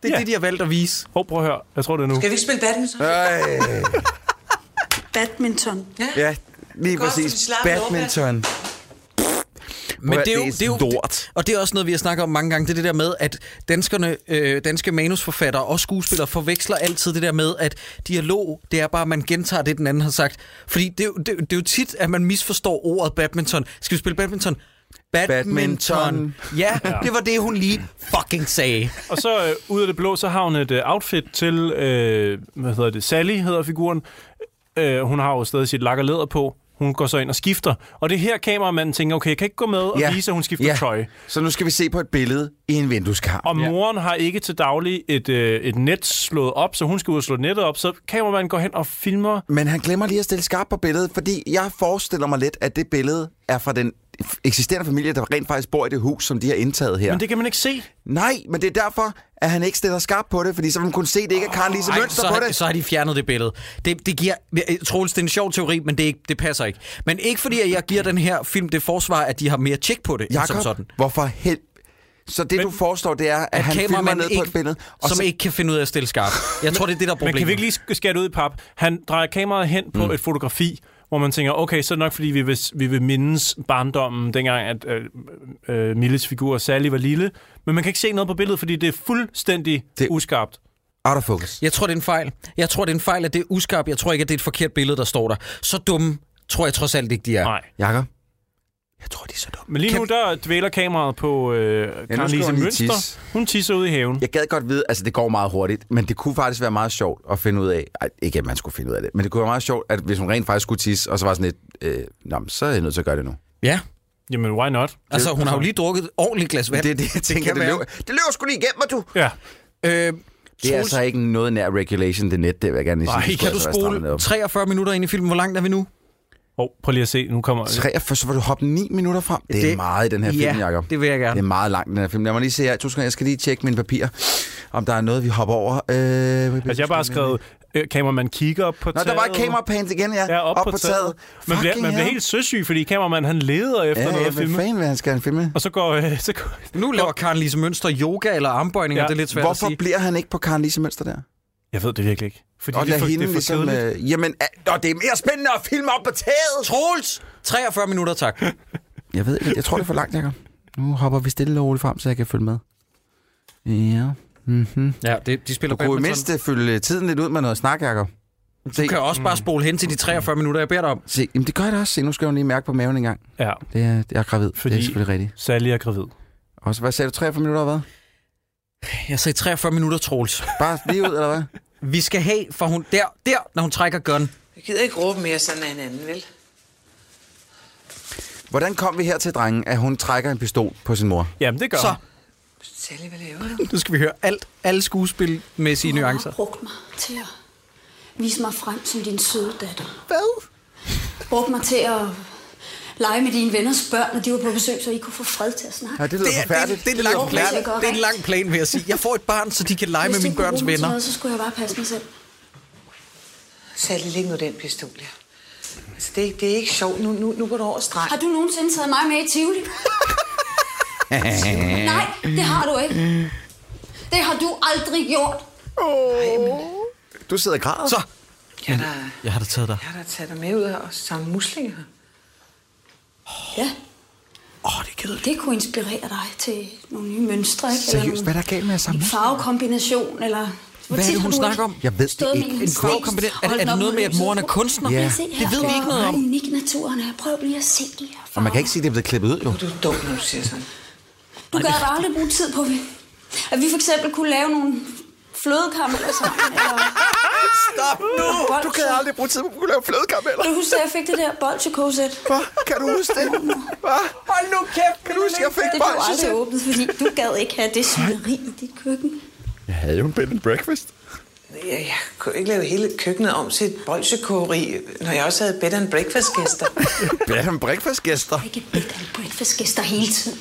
S1: Det er
S2: Ja.
S1: det, de har valgt at vise.
S2: Hov, prøv at høre. Jeg tror, det er nu.
S4: Skal vi ikke spille badminton?
S3: Øh,
S5: Badminton.
S3: ja, lige
S4: Godt,
S3: præcis.
S4: så vi slapper
S3: Badminton.
S1: Men det er, jo,
S3: det er
S1: det, er jo,
S3: lort.
S1: Og det er også noget, vi har snakket om mange gange, det er det der med, at danskerne, øh, danske manusforfattere og skuespillere forveksler altid det der med, at dialog, det er bare, at man gentager det, den anden har sagt. Fordi det, er jo- det, er jo- det er jo tit, at man misforstår ordet badminton. Skal vi spille badminton? Badminton.
S3: Badminton.
S1: Ja, det var det, hun lige fucking sagde.
S2: Og så øh, ud af det blå, så har hun et øh, outfit til, øh, hvad hedder det, Sally hedder figuren. Øh, hun har jo stadig sit lak og læder på. Hun går så ind og skifter. Og det er her, kameramanden tænker, okay, jeg kan ikke gå med og ja. vise, at hun skifter ja. tøj.
S3: Så nu skal vi se på et billede i en vindueskarm.
S2: Og moren har ikke til daglig et, øh, et net slået op, så hun skal ud og slå nettet op. Så kameramanden går hen og filmer.
S3: Men han glemmer lige at stille skarp på billedet, fordi jeg forestiller mig lidt, at det billede er fra den eksisterende familie, der rent faktisk bor i det hus, som de har indtaget her.
S2: Men det kan man ikke se.
S3: Nej, men det er derfor, at han ikke stiller skarp på det, fordi så vil man kunne se, at det ikke er Karen Lise
S1: Ej,
S3: Mønster
S1: så,
S3: på
S1: har-
S3: det.
S1: så har de fjernet det billede. Det, det giver... Troels, det er en sjov teori, men det, er ikke, det passer ikke. Men ikke fordi, at jeg giver den her film det forsvar, at de har mere tjek på det, end som sådan.
S3: Jakob, hvorfor hel... Så det, du forestår, det er, at han filmer
S1: kameramanden
S3: ned på et billede, og
S1: som
S3: så
S1: ikke kan finde ud af at stille skarp. Jeg tror, det er det, der er
S2: Man
S1: problemet.
S2: kan virkelig lige sk- skære det ud i pap. Han drejer kameraet hen på mm. et fotografi, hvor man tænker, okay, så er det nok, fordi vi vil, vi vil mindes barndommen, dengang at øh, øh, Milles figur Sally var lille. Men man kan ikke se noget på billedet, fordi det er fuldstændig
S3: Det-
S2: det... uskarpt.
S3: out of focus.
S1: Jeg tror, det er en fejl. Jeg tror, det er en fejl, at det er uskarp. Jeg tror ikke, at det er et forkert billede, der står der. Så dumme tror jeg trods alt ikke, de er.
S2: Nej.
S3: Jakob, jeg tror, de er så dumme.
S2: Men lige
S3: Kan-
S2: nu, der dvæler kameraet på øh,
S3: skal
S2: Karen Lise
S3: hun lige
S2: Mønster.
S3: tisse.
S2: Hun tisser ud i haven.
S3: Jeg gad godt vide, altså det går meget hurtigt, men det kunne faktisk være meget sjovt at finde ud af, ej, ikke at man skulle finde ud af det, men det kunne være meget sjovt, at hvis hun rent faktisk skulle tisse, og så var sådan lidt, øh, nå, men så er jeg nødt til at gøre det nu.
S1: Ja.
S2: Jamen, why not?
S1: Altså, hun har jo lige drukket et ordentligt glas vand.
S3: det er det, jeg tænker,
S1: kan
S3: det, det,
S1: være.
S3: løber, det løber sgu lige igennem mig, du.
S2: Ja.
S1: Øh,
S3: Det er
S1: Troels,
S3: altså ikke noget nær regulation, det net, det vil jeg gerne lige sige.
S2: Nej,
S3: Det
S2: kan
S3: skulle
S1: du
S3: altså være strammet
S1: spole
S3: op.
S1: 43 minutter ind i filmen. Hvor langt er vi nu?
S2: Oh, prøv lige at se, nu kommer...
S3: 43, så var du hoppe 9 minutter frem. Det, det er
S1: Det-
S3: meget i den her film,
S1: ja,
S3: Jacob.
S1: det vil jeg
S3: Det
S1: gerne.
S3: er meget langt, den her film. Lad mig lige se her. To sekunder, jeg skal lige tjekke mine papirer, om der er noget, vi hopper over. Øh,
S2: Altså, jeg har bare skrevet, øh, kameramanden kigger op på
S3: Nå, der var et kamerapans igen, ja.
S2: Ja, op, op på, taget. Man bliver,
S3: Fucking
S2: man bliver
S3: hell.
S2: helt søsyg, fordi kameramanden han leder efter
S3: Ja,
S2: noget
S3: ja,
S2: at
S3: hvad
S2: filme.
S3: fanden vil han skal han filme?
S2: Og så går... Øh, så går
S1: Nu laver Karen Lise Mønster yoga eller armbøjninger.
S2: Ja.
S1: Det er lidt svært at
S3: Hvorfor
S1: sige.
S3: bliver han ikke på Karen Lise Mønster der?
S2: jeg ved det virkelig ikke. Fordi
S3: Og
S2: det, er
S3: lad
S2: for,
S3: hende
S2: det er for
S3: ligesom...
S2: kedeligt.
S3: Øh, jamen, øh, og det er mere spændende at filme op på taget!
S1: Troels! 43 minutter, tak.
S3: Jeg ved ikke, jeg tror, det er for langt, Jacob. Nu hopper vi stille og roligt frem, så jeg kan følge med. Ja. Mm-hmm.
S1: Ja, det, de spiller
S3: Du kunne jo mindst øh, fylde tiden lidt ud med noget snak, Jacob. Se,
S1: Du kan også
S2: Mm.
S1: bare spole hen til de 43 minutter, jeg beder dig om.
S3: se, jamen det gør jeg da også. Se, nu skal jeg jo lige mærke på maven en gang.
S2: Ja,
S3: øh, Det er, jeg er gravid. Fordi... Det
S2: Fordi-
S3: er selvfølgelig rigtigt.
S2: Sally er gravid.
S3: Og så, hvad sagde du, 43 minutter eller hvad?
S1: Jeg sagde 43 minutter, Troels.
S3: Bare lige ud, eller hvad?
S1: Vi skal have, for hun der, der, når hun trækker gun.
S4: Jeg gider ikke råbe mere sådan af hinanden, vel?
S3: Hvordan kom vi her til drengen, at hun trækker en pistol på sin mor?
S2: Jamen, det gør
S1: Så,
S2: hun. Altså,
S4: Sally, hvad laver du?
S1: nu skal vi høre alt, alle skuespilmæssige nuancer.
S5: Du har brugt mig til at vise mig frem som din søde datter.
S1: Hvad?
S5: Brugt mig til at lege med dine venners børn, når de var på besøg, så I kunne få fred til at snakke.
S3: Ja, det lyder
S1: Det er, det, er-
S3: forfærdeligt.
S1: det, er en lang plan,
S5: forfærdeligt. Det er
S1: det er en lang plan, vil jeg sige. Jeg får et barn, så de kan lege med
S5: Hvis du
S1: mine
S5: kunne
S1: børns
S5: bruge mig til
S1: venner.
S5: Noget, så skulle jeg bare passe mig selv.
S4: Sally, læg nu den pistol her. Altså, det, det er ikke sjovt. Nu, nu, nu går du over stregen.
S5: Har du nogensinde taget mig med i Tivoli? Nej, det har du ikke. Det har du aldrig gjort.
S3: Du sidder og græder.
S1: Så,
S4: Jeg har da-
S1: jeg har da taget dig.
S4: jeg har da taget dig med ud og samlet muslinger her.
S5: Ja,
S1: Åh, oh, det er kedeligt.
S5: det kunne inspirere dig til nogle nye mønstre, ikke?
S3: Seriøst, hvad er der
S5: nogle-
S3: galt med at samle
S5: en
S3: muslinger?
S5: farvekombination, eller... Hvor
S1: Hvad er
S5: tit
S1: det,
S5: har
S1: hun
S5: du
S1: snakker
S5: ikke
S1: om?
S3: Jeg ved det
S5: stået med
S3: ikke.
S5: en
S3: En
S5: liten
S1: farve-
S5: sten,
S1: kombinat- er-
S5: holdt
S1: er det
S5: den op
S1: noget med,
S5: mod
S1: at moren er
S5: lyset?
S1: kunstner?
S3: Ja.
S5: Se her,
S1: Det ved vi
S5: hvor
S1: ikke noget om.
S5: unik naturen er. Prøv lige at se de her farver.
S3: Og man kan ikke sige, at det er blevet klippet ud, jo.
S4: Du er dum, når du siger sådan.
S5: Du kan da aldrig bruge tid på, vi- at vi for eksempel kunne lave nogle flødekarmeller sammen. Eller...
S3: Stop nu! Du kan aldrig bruge tid på at lave flødekarameller.
S5: Kan du huske, at jeg fik det der bolsjekosæt?
S3: Hvad? Kan du huske det? Hvad? Hold nu kæft! Kan du huske, at jeg fik
S5: Det blev aldrig åbnet, fordi du gad ikke have det svineri i dit køkken.
S3: Jeg havde jo en bed and breakfast.
S4: Jeg, jeg kunne ikke lave hele køkkenet om til et bolsjekogeri, når jeg også havde bed and breakfast gæster.
S3: Bed and breakfast gæster.
S5: Ikke bed and breakfast gæster hele tiden.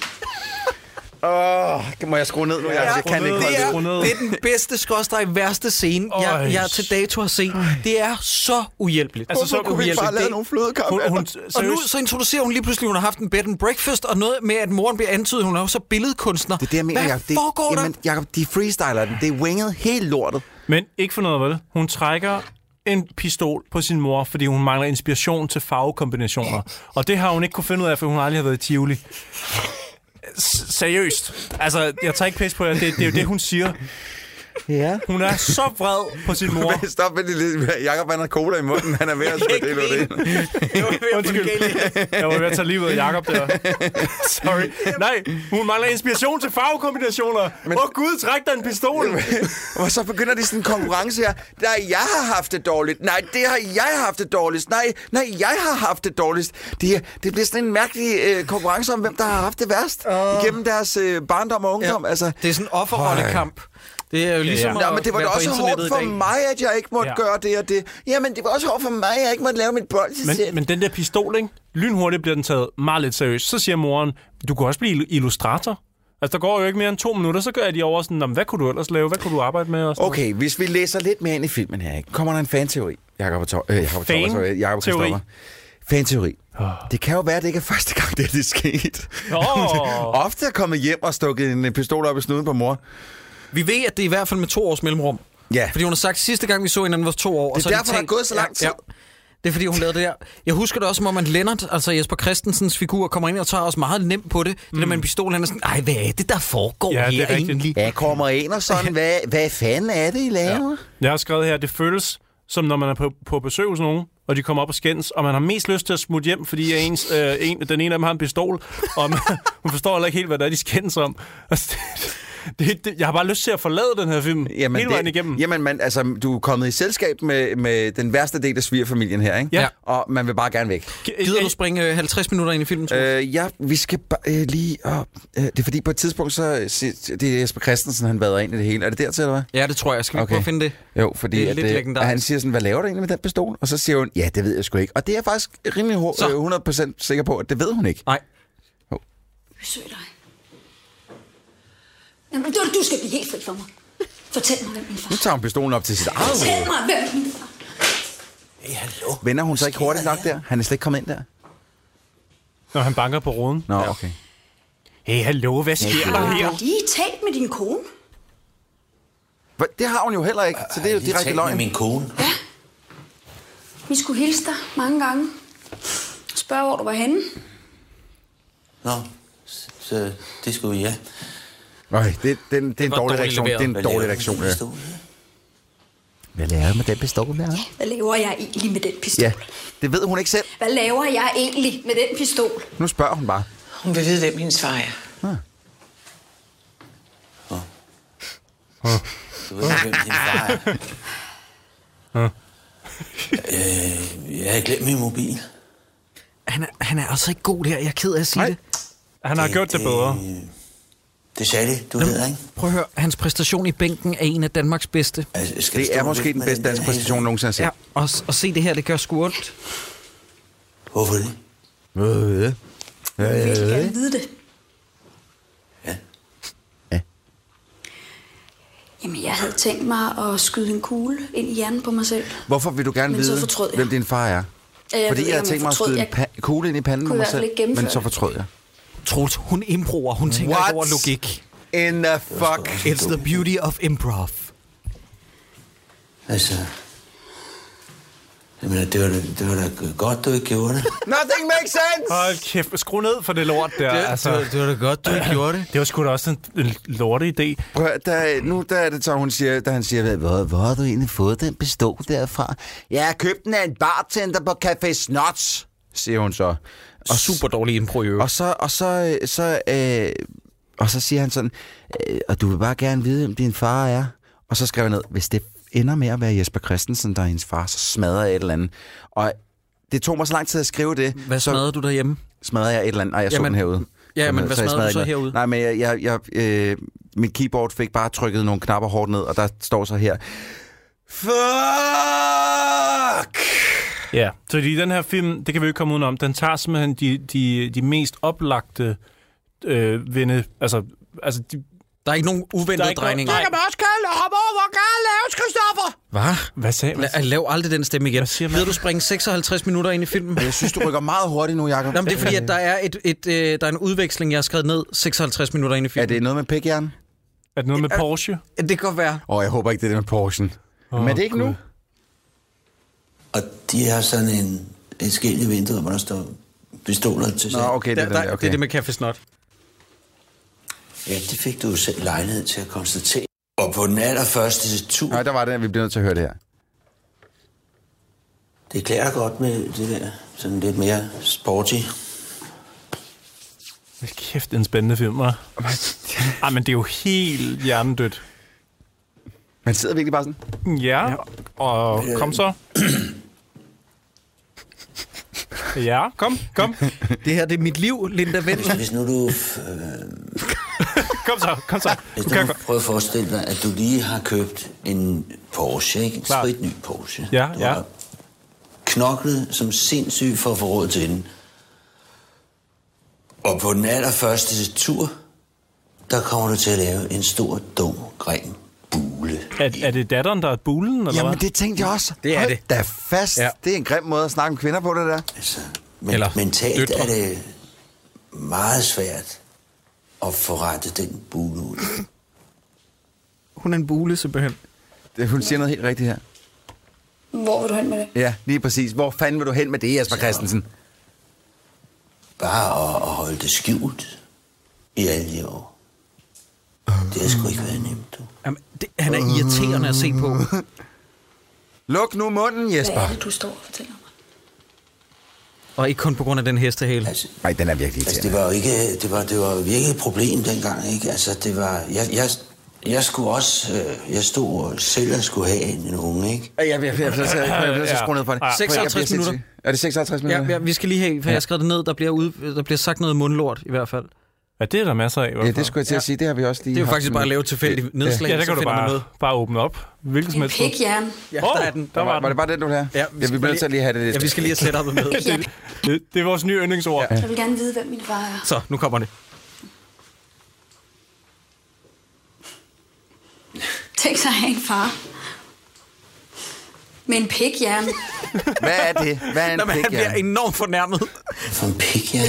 S3: Åh, må jeg skrue ned nu? Jeg, jeg
S2: skru
S3: kan
S2: ned.
S3: ikke holde
S2: Det
S3: det.
S2: er- Skru ned.
S1: Det er den bedste, skråstrej, værste scene,
S2: Øj.
S1: jeg, jeg til dato har set. Det er så uhjælpeligt.
S2: Altså, så
S3: Hvorfor kunne vi ikke bare lave nogle
S2: Hun,
S3: flødekarameller?
S2: hun,
S1: Og nu
S2: seriøst,
S1: så introducerer hun lige pludselig, at hun har haft en bed and breakfast, og noget med, at moren bliver antydet, at hun er også billedkunstner.
S3: Det er det, jeg mener,
S1: Hvad
S3: Jacob. Det,
S1: foregår der?
S3: jamen, Jacob, de freestyler den. Det er winget helt lortet.
S2: Men ikke for noget, vel? Hun trækker en pistol på sin mor, fordi hun mangler inspiration til farvekombinationer. Og det har hun ikke kunne finde ud af, for hun aldrig har været i Tivoli. S- seriøst. Altså, jeg tager ikke pis på jer. Det, det er jo det, hun siger.
S3: Ja.
S2: Hun er så vred på sin mor.
S3: Stop med det lille. Jacob, han har cola i munden. Han er ved at spille det ud af det.
S2: Undskyld. Jeg var ved at tage livet af Jacob der. Sorry. Nej, hun mangler inspiration til farvekombinationer. Men... Åh gud, træk dig en pistol.
S3: Og så begynder de sådan en konkurrence her. Nej, jeg har haft det dårligt. Nej, det har jeg haft det dårligst. Nej, nej, jeg har haft det dårligst. Det, det bliver sådan en mærkelig øh, konkurrence om, hvem der har haft det værst uh. igennem deres øh, barndom og ungdom. Ja. Altså,
S1: Det er sådan en offerrollekamp. Det er jo ligesom
S2: Ja.
S1: at
S3: Ja, men det var da
S1: være på
S3: også hårdt
S1: internettet i
S3: for
S1: dag.
S3: mig, at jeg ikke måtte
S2: Ja.
S3: ja. gøre det og det. Jamen, det var også hårdt for mig, at jeg ikke måtte lave mit bold til
S2: Men, men den der pistol, ikke? lynhurtigt bliver den taget meget lidt seriøst. Så siger moren, du kan også blive il- illustrator. Altså, der går jo ikke mere end to minutter, så gør de over sådan, "Nå, men hvad kunne du ellers lave? Hvad kunne du arbejde med? Og sådan
S3: Okay, hvis vi læser lidt mere ind i filmen her, ikke? kommer der en fanteori. Jakob og Tor- øh, Jakob og
S2: Fan-
S3: Thomas, øh, Jakob og
S2: teori.
S3: Christoffer. Fanteori. Det kan jo være, at det ikke er første gang, det er det er sket.
S2: Åh.
S3: Ofte er kommet hjem og stukket en øh, pistol op i snuden på mor.
S1: Vi ved, at det er i hvert fald med to års mellemrum.
S3: Ja.
S1: Fordi hun har sagt, at sidste gang vi så hinanden var to år.
S3: Det er
S1: har de
S3: derfor, der er gået så lang tid.
S1: Det er fordi, hun lavede det der. Jeg husker det også, som om at Lennart, altså Jesper Christensens figur, kommer ind og tager os meget nemt på det. Mm. Det der med en pistol, han er sådan, ej, hvad er det, der foregår
S2: Ja, det er
S1: her
S2: rigtigt.
S1: egentlig?
S3: Ja, kommer en og sådan, hvad, hvad fanden er det, I laver?
S2: noget?" Jeg har skrevet her, det føles som når man er på, på besøg hos nogen, og de kommer op og skændes, og man har mest lyst til at smutte hjem, fordi ens, øh, en, den ene af dem har en pistol, og man, hun forstår heller ikke helt, hvad det er, de skændes om. Altså, det, det, det, jeg har bare lyst til at forlade den her film jamen, hele vejen
S3: det,
S2: igennem.
S3: Jamen, man, altså, du er kommet i selskab med, med den værste del af svigerfamilien her, ikke?
S2: Ja.
S3: Og man vil bare gerne væk.
S1: Gider du springe øh, 50 minutter ind i filmen? Øh.
S3: Øh, ja, vi skal ba- øh, lige... Øh, øh, det er fordi, på et tidspunkt, så... se- Det er Jesper Christensen, han vader ind i det hele. Er det dertil, eller hvad?
S1: Ja, det tror jeg. Skal vi okay. prøve at finde det?
S3: Jo, fordi
S1: Det
S3: det
S1: er
S3: at,
S1: lidt
S3: øh,
S1: legendarisk.
S3: han siger sådan, hvad laver du egentlig med den pistol? Og så siger hun, ja, det ved jeg sgu ikke. Og det er jeg faktisk rimelig ho-
S1: Så.
S3: øh, 100% sikker på, at det ved hun ikke.
S1: Nej.
S5: Besøg dig. Jamen, du, du skal blive helt fri for mig. Fortæl mig, hvem min far
S3: Nu
S5: er.
S3: tager hun pistolen op til sit eget
S5: Fortæl
S3: hoved.
S5: mig, hvem min far er.
S6: Hey, hallo.
S3: Vender hun så ikke hurtigt nok der? Han er slet ikke kommet ind der?
S2: Når han banker på roden.
S3: Nå, ja. okay.
S2: Hey, hallo, hvad sker der
S5: Har
S2: her?
S5: du lige talt med din kone?
S3: Hva? Det har hun jo heller ikke, så det er jo
S6: Jeg har lige
S3: direkte
S6: talt
S3: løgn.
S6: med min kone.
S5: Ja. Vi skulle hilse dig mange gange. Spørge, hvor du var henne.
S6: Nå, så, så det skulle vi, ja.
S3: Nej, det, det, er en- det er en
S1: var
S3: dårlig
S1: dårligt
S3: reaktion. Det er
S1: leveret.
S3: en dårlig reaktion. ja. Hvad laver du med den pistol der?
S5: Hvad laver jeg egentlig med den pistol?
S3: Ja, det ved hun ikke selv.
S5: Hvad laver jeg egentlig med den pistol?
S3: Nu spørger hun bare.
S4: Hun vil vide, hvem hendes far er.
S6: Du ved ikke, hvem din far er. øh, jeg har glemt min mobil.
S1: Han er, han er altså ikke god der. Jeg er ked af at sige
S2: Nej.
S1: det.
S2: Han har gjort det bedre.
S6: Det sagde det, du hedder, ikke?
S1: Prøv at høre. Hans præstation i bænken er en af Danmarks bedste.
S6: Altså, skal vi
S3: Det
S6: stå
S3: er måske
S6: lidt
S3: den
S6: med
S3: bedste
S6: der
S3: danske
S6: hale?
S3: præstation nogensinde
S1: Ja,
S3: set.
S1: og, s- og se det her, det gør sgu ondt.
S6: Hvorfor det?
S3: Øh,
S5: Jeg vil gerne vide det.
S6: Ja.
S5: Jamen, jeg havde tænkt mig at skyde en kugle ind i hjernen på mig selv.
S3: Hvorfor vil du gerne
S5: Men så
S3: vide,
S5: fortrød jeg.
S3: hvem din far er?
S5: Ja, Øh, jeg ved
S3: Fordi
S5: ikke,
S3: jeg
S5: om
S3: tænkte mig at
S5: fortrød.
S3: skyde en pa- kugle ind i panden
S5: kunne
S3: på mig
S5: i hvert fald
S3: selv,
S5: ikke gennemføre
S3: men så
S5: det.
S3: fortrød jeg.
S1: Troels, hun improver. Hun tænker
S3: What?
S1: ikke over logik.
S3: In the fuck.
S1: It's the beauty of improv.
S6: Altså... Jamen, det var, da- det var da godt, du ikke gjorde det.
S3: Nothing makes sense!
S2: Hold kæft, skru ned for det lort der. altså.
S1: det var da godt, du ikke gjorde
S2: Det var sgu da også en, en lorte idé.
S3: Prøv, at høre, der, nu der er det så, hun siger, da han siger, "Hvad- hvor, hvor har du egentlig fået den pistol derfra? Jeg har købt den af en bartender på Café Snots, siger hun så.
S1: Og super dårlig impro i
S3: Og
S1: øvrigt.
S3: så, og så, øh, så, øh, og så siger han sådan, øh, og du vil bare gerne vide, hvem din far er. Og så skriver jeg ned, hvis det ender med at være Jesper Christensen, der er hendes far, så smadrer jeg et eller andet. Og det tog mig så lang tid at skrive det.
S1: Hvad
S3: så
S1: smadrede du derhjemme?
S3: smadrede jeg et eller andet. Nej, jeg så
S1: Jamen-
S3: den herude.
S1: Ja,
S3: Så-
S1: men hvad
S3: så jeg
S1: smadrede du så
S3: ikke noget.
S1: herude?
S3: Nej, men jeg, jeg, jeg, øh, mit keyboard fik bare trykket nogle knapper hårdt ned, og der står så her. Fuck!
S2: Ja, så i den her film, det kan vi jo ikke komme udenom, den tager simpelthen de, de, de mest oplagte øh, vinde, altså, altså de,
S1: Der er ikke nogen uventede drejninger.
S2: noget- nej.
S3: også kalde hopper, hvor galt laves, Christoffer!
S1: Hvad?
S2: Hvad sagde man?
S1: La- lav aldrig den stemme igen.
S2: siger man?
S1: Ved du springe 56 minutter ind i filmen?
S3: Jeg synes, du rykker meget hurtigt nu, Jacob.
S1: Nå, men det er fordi, at der er, et, et, øh, der er en udveksling, jeg har skrevet ned 56 minutter ind i
S3: Er
S1: filmen.
S3: det noget med pikjern?
S2: Er det noget med Porsche?
S1: det? det kan godt være.
S3: Åh, oh, jeg håber ikke, det er det med Porschen. Oh, men er det ikke nu?
S6: Og de har sådan en, en skilt i vinduet, hvor der står pistoler til
S3: Nå,
S6: salg.
S3: okay, det er
S1: Der,
S3: den
S1: der, det
S3: der,
S1: er det
S3: okay.
S1: med Café Snot.
S6: Ja, det fik du jo selv lejlighed til at konstatere. Og på den allerførste tur,
S3: Nej, der var det, at vi bliver nødt til at høre det her.
S6: det klæder dig godt med det der sådan lidt mere sporty.
S2: Hold Kæft, en spændende film, hva'? Ej, men det er jo helt hjernedødt.
S3: Man sidder virkelig bare sådan.
S2: Ja, og kom så. Ja, kom, kom,
S1: Det her, det er mit liv, Linda
S6: Hvis,
S1: Vendel.
S6: hvis nu du, øh,
S2: kom så, kom så.
S6: hvis
S2: Du
S6: du
S2: kan
S6: nu
S2: godt.
S6: prøver at forestille dig, at du lige har købt en Porsche, ikke? en
S2: Klart.
S6: spritny Porsche.
S2: Ja,
S6: du
S2: ja.
S6: har knoklet som sindssyg for at få råd til den. Og på den allerførste tur, der kommer du til at lave en stor, dum, grim bule.
S2: Er, er det datteren, der er bulen, eller
S3: Jamen,
S2: hvad?
S3: det tænkte jeg også.
S1: Det er
S3: Hold
S1: det.
S3: Da fast. Ja.
S1: Ja.
S3: Det er en grim måde at snakke om kvinder på, det der.
S6: Altså, men,
S1: Eller
S6: Eller mentalt
S1: døtre.
S6: døtre. er det meget svært at få rettet den bule ud.
S1: Hun er en bule, simpelthen.
S3: Det, hun siger noget helt rigtigt her.
S5: Hvor vil du hen med det?
S3: Ja, lige præcis. Hvor fanden vil du hen med det, Jesper Christensen?
S6: Bare at, at holde det skjult i alle de år. Det har sgu ikke været nemt, du.
S1: Jamen, det, han er irriterende at se på.
S3: Luk nu munden,
S5: Hvad
S3: Jesper.
S5: er det, du står og fortæller mig?
S1: Og ikke kun på grund af den hestehale.
S6: Altså,
S3: Nej, den er virkelig
S6: altså det
S3: irriterende.
S6: var jo ikke, det var, det var virkelig et problem dengang, ikke? Altså, det var, jeg, jeg, jeg skulle også, øh, jeg stod og selv og skulle have en, en unge, ikke?
S3: Ja, Jeg bliver jeg bliver nødt til- jeg bliver nødt til at skrue ned for det.
S2: Ja.
S3: Jeg bliver
S1: 56
S3: sindssyg.
S1: minutter.
S3: Er det 56
S1: Ja,
S3: minutter?
S1: ja, vi skal lige have, for jeg har skrevet det ned, der bliver, ude, der bliver sagt noget mundlort i hvert fald.
S2: Ja, det er der masser af, i hvert
S3: Ja,
S2: fald.
S3: det skulle jeg til at sige. Det har vi også lige
S1: Det er jo
S3: haft
S1: faktisk
S3: med.
S1: bare at lave tilfældige nedslag,
S2: Ja,
S1: så
S2: der kan du
S1: finder man noget.
S2: bare, bare åbne op. Hvilket som
S5: En
S2: helst. sted.
S5: pikhjerne.
S1: Ja,
S2: Hov,
S1: der er den.
S2: der var
S3: Var
S2: den.
S3: det bare det, du ville have? Ja, vi
S1: skal
S3: bliver nødt til at lige have det lidt.
S1: Ja, vi skal lige have setupet med.
S5: Ja.
S2: Det, det er vores nye yndlingsord. Ja.
S5: Jeg vil gerne vide, hvem min far er.
S1: Så, nu kommer det.
S5: Tænk sig at have en far. Med en pikhjerne.
S3: Hvad er det? Hvad er en
S1: Nå, men han bliver
S3: pikhjerne?
S1: enormt fornærmet.
S6: For en pik, ja.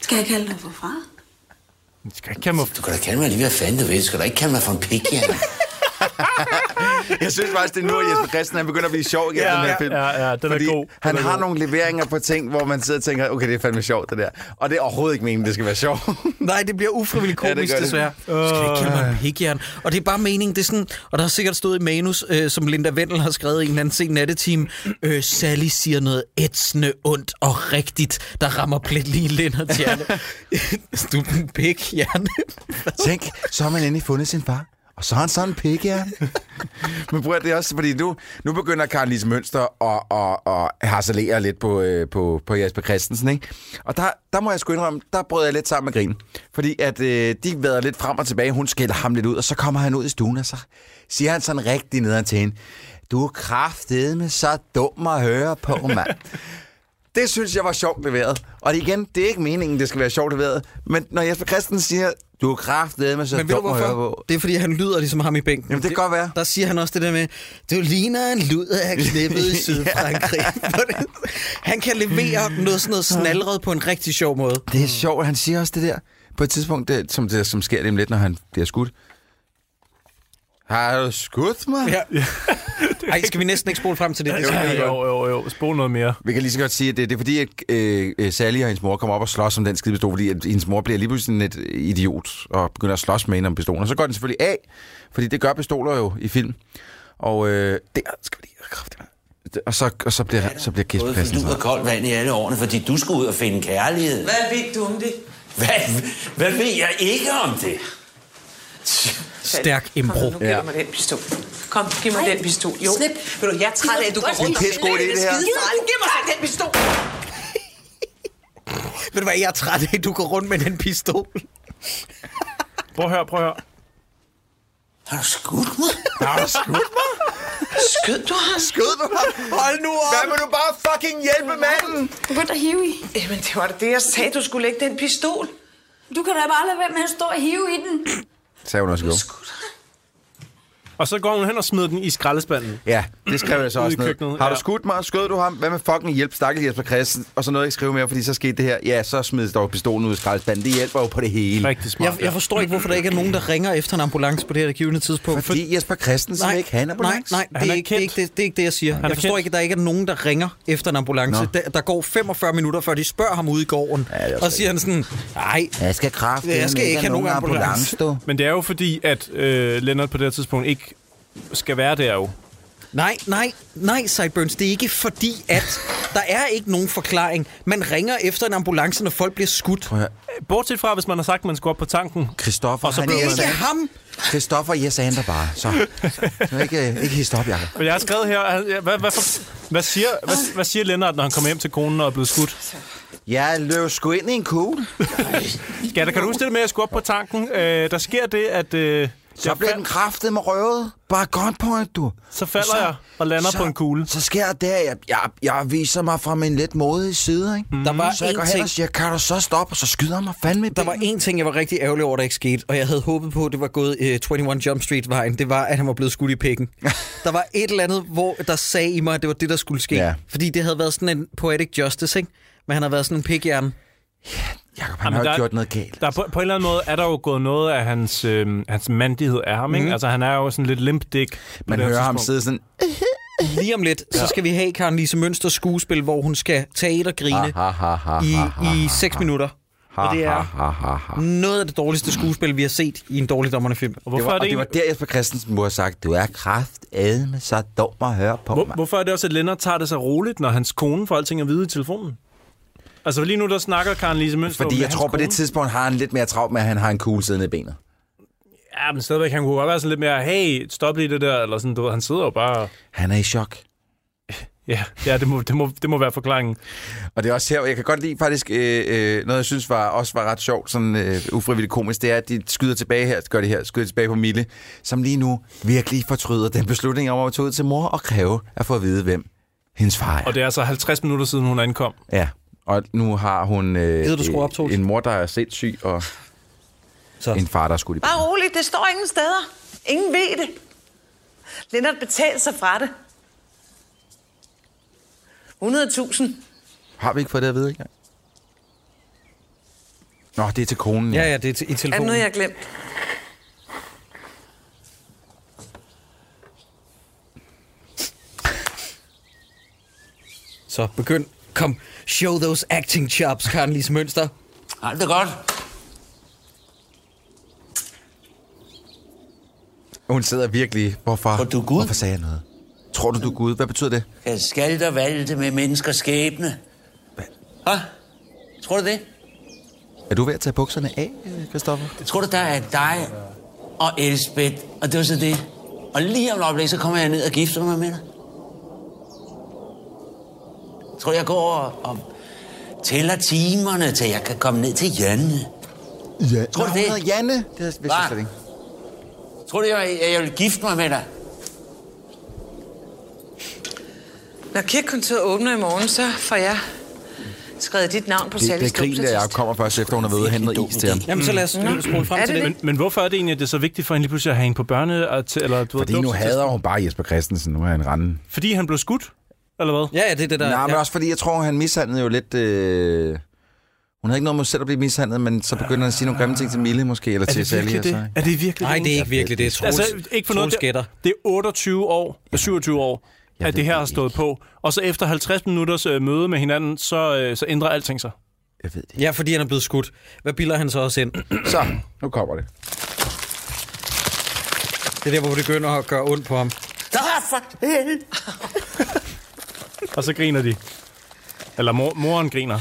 S5: Skal jeg kalde dig for far?
S2: Skal ikke kalde mig
S6: Du kan da kalde mig lige, hvad fanden du vil. Du skal da ikke kalde mig for en pik, ja.
S3: Jeg synes faktisk, det er nu, at Jesper Christen han begynder at blive sjov igen,
S2: Ja,
S3: den her
S2: ja,
S3: film.
S2: ja, ja, den er
S3: fordi
S2: god. Den
S3: han
S2: er
S3: har
S2: god.
S3: nogle leveringer på ting, hvor man sidder og tænker, okay, det er fandme sjovt, det der. Og det er overhovedet ikke meningen, det skal være sjovt.
S1: Nej, det bliver ufrivilligt
S3: Ja, det
S1: komisk,
S3: gør
S1: ja, det
S3: det.
S1: desværre. Det. Skal ikke kalde mig en pigjern. Og det er bare meningen, det er sådan, og der har sikkert stået i manus, øh, som Linda Vendel har skrevet i en eller anden sen nattetime, øh, Sally siger noget ætsende, ondt og rigtigt, der rammer plet lige Lennart hjerne. du er en pigjern.
S3: Tænk, så har man endelig fundet sin far. Og så har han sådan en pik, ja. Men prøv at det er også, fordi nu, nu begynder Karen Lise Mønster at, at, at harcelere lidt på, øh, på, på Jesper Christensen, ikke? Og der, der må jeg sgu indrømme, der brød jeg lidt sammen med grin. Fordi at øh, de vader lidt frem og tilbage, hun skælder ham lidt ud, og så kommer han ud i stuen, og så siger han sådan rigtig nederen til hende. Du er kraftedeme så dum at høre på, mand. Det synes jeg var sjovt leveret. Og igen, det er ikke meningen, det skal være sjovt leveret. Men når Jesper Christensen siger, du er kraftedeme så
S1: Men ved du
S3: dum at høre
S1: hvorfor?
S3: på.
S1: Det er, fordi han lyder ligesom ham i bænken.
S3: Jamen, det kan godt være.
S1: Der siger han også det der med, du ligner en lud af knippet i Sydfrankrig. han kan levere noget sådan noget snalret på en rigtig sjov måde.
S3: Det er sjovt, han siger også det der. På et tidspunkt, det, som, det, som sker lige om lidt, når han bliver skudt. Har du skudt mig?
S1: Ja. Ej, skal vi næsten ikke spole frem til det? det
S3: Jo,
S1: skal vi
S3: jo.
S1: ikke.
S2: Altså, Jo, jo, jo. Spol noget mere.
S3: Vi kan lige så godt sige, at det, det er fordi, at øh, øh, Sally og hendes mor kommer op og slås om den skide pistol, fordi at hendes mor bliver lige pludselig sådan et idiot og begynder at slås med hende om pistolen. Og så går den selvfølgelig af, fordi det gør pistoler jo i film. Og øh, der skal vi lige have og så, og så bliver, så bliver Kasper
S6: Både fordi
S3: Christensen.
S6: du og koldt vand i alle årene, fordi du skulle ud og finde kærlighed.
S4: Hvad ved du om det?
S6: Hvad, hvad ved jeg ikke om det?
S1: Stærk impro.
S4: Kom, nu giver
S3: Ja.
S4: du mig den pistol. Kom, giv mig den pistol. Jo.
S5: Slip.
S4: Ved du, jeg er træt af, at du går
S5: Det er en
S4: rundt og
S3: pissegod idé, det her.
S4: skidefarligt. Giv mig den pistol.
S1: Ved du hvad, jeg er træt af, at du går rundt med den pistol.
S2: Prøv at høre, prøv at høre.
S6: Har du skudt mig?
S3: Har du skudt mig?
S4: Skød du ham?
S3: Skød du mig?
S1: Hold nu op!
S3: Hvad vil du bare fucking hjælpe manden?
S5: Du begyndte at hive i.
S4: Jamen, det var da det, jeg sagde, du skulle lægge den pistol.
S5: Du kan da bare lade være med at stå og hive i den.
S3: Sagde hun også i går.
S2: Og så går hun hen og smider den i skraldespanden.
S3: Ja, det skrev jeg så
S2: Ude i
S3: også ned.
S2: køkkenet,
S3: Har du
S2: ja.
S3: skudt mig? Skød du ham? Hvad med fucking hjælp, stakkel Jesper Christen? Og så noget, jeg ikke skrive mere, fordi så skete det her. Ja, så smed dog pistolen ud i skraldespanden. Det hjælper jo på det hele.
S2: Rigtig smart.
S1: Jeg, jeg forstår ikke, hvorfor der ikke er nogen, der ringer efter en ambulance på det her givende tidspunkt.
S3: Fordi Jesper Christensen
S1: Nej,
S3: ikke han er på
S1: nej, nej, det
S2: Han
S1: er,
S2: er
S1: ikke, det, er ikke,
S2: kendt.
S1: det, det er ikke det, jeg siger. Jeg
S2: er
S1: forstår
S2: kendt.
S1: ikke, at der ikke er nogen, der ringer efter en ambulance.
S3: Nå.
S1: Der, der går 45 minutter, før de spørger ham ude i gården.
S3: Ja, det er også
S1: og siger han sådan, nej,
S3: Jeg skal kraft.
S1: Jeg skal ikke have nogen ambulance.
S3: du.
S2: Men det er jo fordi, at øh, Lennart på det her tidspunkt ikke skal være der jo.
S1: nej, nej, nej, Sideburns. Det er ikke fordi, at der er ikke nogen forklaring. Man ringer efter en ambulance, når folk bliver skudt.
S2: Bortset fra, hvis man har sagt, at man skulle op på tanken.
S3: Christoffer,
S2: Og så
S3: han
S2: blev
S1: Det er
S3: er
S1: ikke ham.
S3: Christoffer, jeg sagde dig bare. Så, så ikke, øh, ikke hist op, Jacob.
S2: Men jeg har skrevet her, han- ja, hvad, hvad, for, hvad, siger, hvad, hvad siger Lennart, når han kommer hjem til konen og er blevet skudt?
S3: Jeg løb sgu ind i en kugle.
S2: Ja, der kan du huske det med, at jeg skulle op på tanken? Øh, der sker det, at... Øh,
S3: Så
S2: jeg
S3: blev
S2: fal-
S3: den kraftet med røvet. Bare godt point, du.
S2: så falder jeg og lander på en kugle.
S3: Så sker der, at jeg, jeg, jeg viser mig fra min lidt modige side, ikke?
S2: Mm.
S1: Der var
S3: Så jeg
S1: én
S3: går hen
S1: ting-
S3: og siger, kan du så stoppe? Og så skyder han mig fandme i
S1: Der var
S3: benet.
S1: en ting, jeg var rigtig ærgerlig over, der ikke skete, og jeg havde håbet på, at det var gået øh, 21 Jump Street-vejen. Det var, at han var blevet skudt i pikken. der var et eller andet, hvor der sagde i mig, at det var det, der skulle ske.
S3: Ja.
S1: Fordi det havde været sådan en poetic justice, ikke? Men han har været sådan en pikhjerne.
S3: Jacob,
S2: Jamen,
S3: han har jo
S2: der-
S3: ikke gjort noget galt.
S2: Der er på, på en eller anden måde er der jo gået noget af hans, øh, hans mandighed af ham, ikke? Altså, han er jo sådan lidt limp dick. på
S3: Mhm. Man
S2: det her
S3: hører ham
S2: tidspunkt.
S3: sidde sådan,
S1: Lige om lidt, så skal vi have Karen Lise Mønsters skuespil, hvor hun skal tage et og grine
S3: ha, ha, ha,
S1: i,
S3: ha, ha,
S1: i 6 minutter. Og det
S3: ha,
S1: er
S3: ha, ha, ha.
S1: noget af det dårligste skuespil, vi har set i en dårligdommerne film.
S2: Og hvorfor,
S3: det var,
S2: er det
S3: og det var
S2: egentlig,
S3: der, Jesper Christensen må have sagt, du er kraft med så dum at høre på
S2: hvor,
S3: mig.
S2: hvorfor er det også, at Lennart tager det så roligt, når hans kone får alting at vide i telefonen? Altså lige nu, der snakker Karen Lise Mønster
S3: Fordi
S2: med
S3: jeg
S2: hans
S3: tror, på det
S2: kone.
S3: tidspunkt har han lidt mere travlt med, at han har en kugle siddende i benet.
S2: Ja, men stadigvæk, han kunne godt være sådan lidt mere, hey, stop lige det der, eller sådan, du ved, han sidder jo bare...
S3: Han er i chok.
S2: Ja, ja det, må, det, må, det må være forklaringen.
S3: Og det er også her, og jeg kan godt lide faktisk, øh, øh, noget jeg synes var, også var ret sjovt, sådan øh, ufrivilligt komisk, det er, at de skyder tilbage her, gør det her, skyder tilbage på Mille, som lige nu virkelig fortryder den beslutning om at tage ud til mor og kræve at få at vide, hvem hendes far er.
S2: Og det er altså 50 minutter siden, hun ankom.
S3: Ja, og nu har hun øh,
S1: Gider du skrue op, Troels?
S3: en mor, der er sindssyg, og
S1: Så.
S3: en far, der er skudt i
S4: Bare roligt, det står ingen steder. Ingen ved det. Lennart betalte sig fra det. 100.000.
S3: Har vi ikke fået det at vide engang? Nå, det er til konen,
S1: Ja, ja, det er til- i
S4: Er det
S1: telefonen.
S4: noget, jeg har glemt?
S1: Så begynd. Kom, show those acting chops, Karen Lise Mønster.
S6: Har du det godt?
S3: Hun sidder virkelig... Hvorfor?
S6: Tror du Gud?
S3: Hvorfor sagde jeg noget? Tror du, du er Gud? Hvad betyder det?
S6: Jeg skal og valte med menneskers skæbne. Hvad? Tror du det?
S3: Er du ved at tage bukserne af, øh, Christoffer?
S6: Tror du, der er dig og Elspeth? Og det var så det. Og lige om et øjeblik, så kommer jeg ned og gifter mig med dig. Tror du, jeg går og, og tæller timerne, til jeg kan komme ned til Janne?
S3: Ja.
S6: Tror du
S3: Nå,
S6: det?
S3: hun hedder Janne. Det vidste jeg
S6: Hva?
S3: slet ikke.
S6: Tror du, jeg, jeg vil gifte mig med dig?
S4: Når kirkekontoret åbner i morgen, så får jeg skrevet dit navn på
S3: Det, det er
S4: salgets
S3: grin, der jeg kommer først efter, hun har været ude og hentet is til ham.
S1: Jamen, så lad os spole frem
S4: Er
S1: til det.
S4: det
S2: Men, men hvorfor er det egentlig, at det er så vigtigt for hende lige pludselig at have hende på børne... og til- Eller, du ved,
S7: Fordi nu
S2: dåbsattest?
S7: hader hun bare Jesper Christensen. Nu er han randen.
S2: Fordi han blev skudt, eller hvad?
S1: Ja, ja, det er det der.
S3: Nej, men
S1: ja.
S3: også fordi, jeg tror, han mishandlede jo lidt... Øh... Hun havde ikke noget mod selv at blive mishandlet, men så begynder han at sige nogle grimme ting til Mille måske, eller
S2: Er
S3: til
S2: det
S3: Sally.
S2: virkelig
S3: og så-
S2: det? Er det virkelig
S1: Nej, det er ikke virkelig det. Troels,
S2: Altså, ikke for noget.
S1: Troels gætter.
S2: Det, det er 28 år, 27 år, at
S3: Jeg ved
S2: det her
S3: det
S2: har stået
S3: ikke.
S2: på. Og så efter 50 minutters øh, møde med hinanden, så, øh, så ændrer alting sig.
S3: Jeg ved det.
S1: Ja, fordi han er blevet skudt. Hvad bilder han så også ind?
S7: Så, nu kommer det.
S1: Det er der, hvor det begynder at gøre ondt på ham.
S2: Og så griner de. Eller mor, moren griner.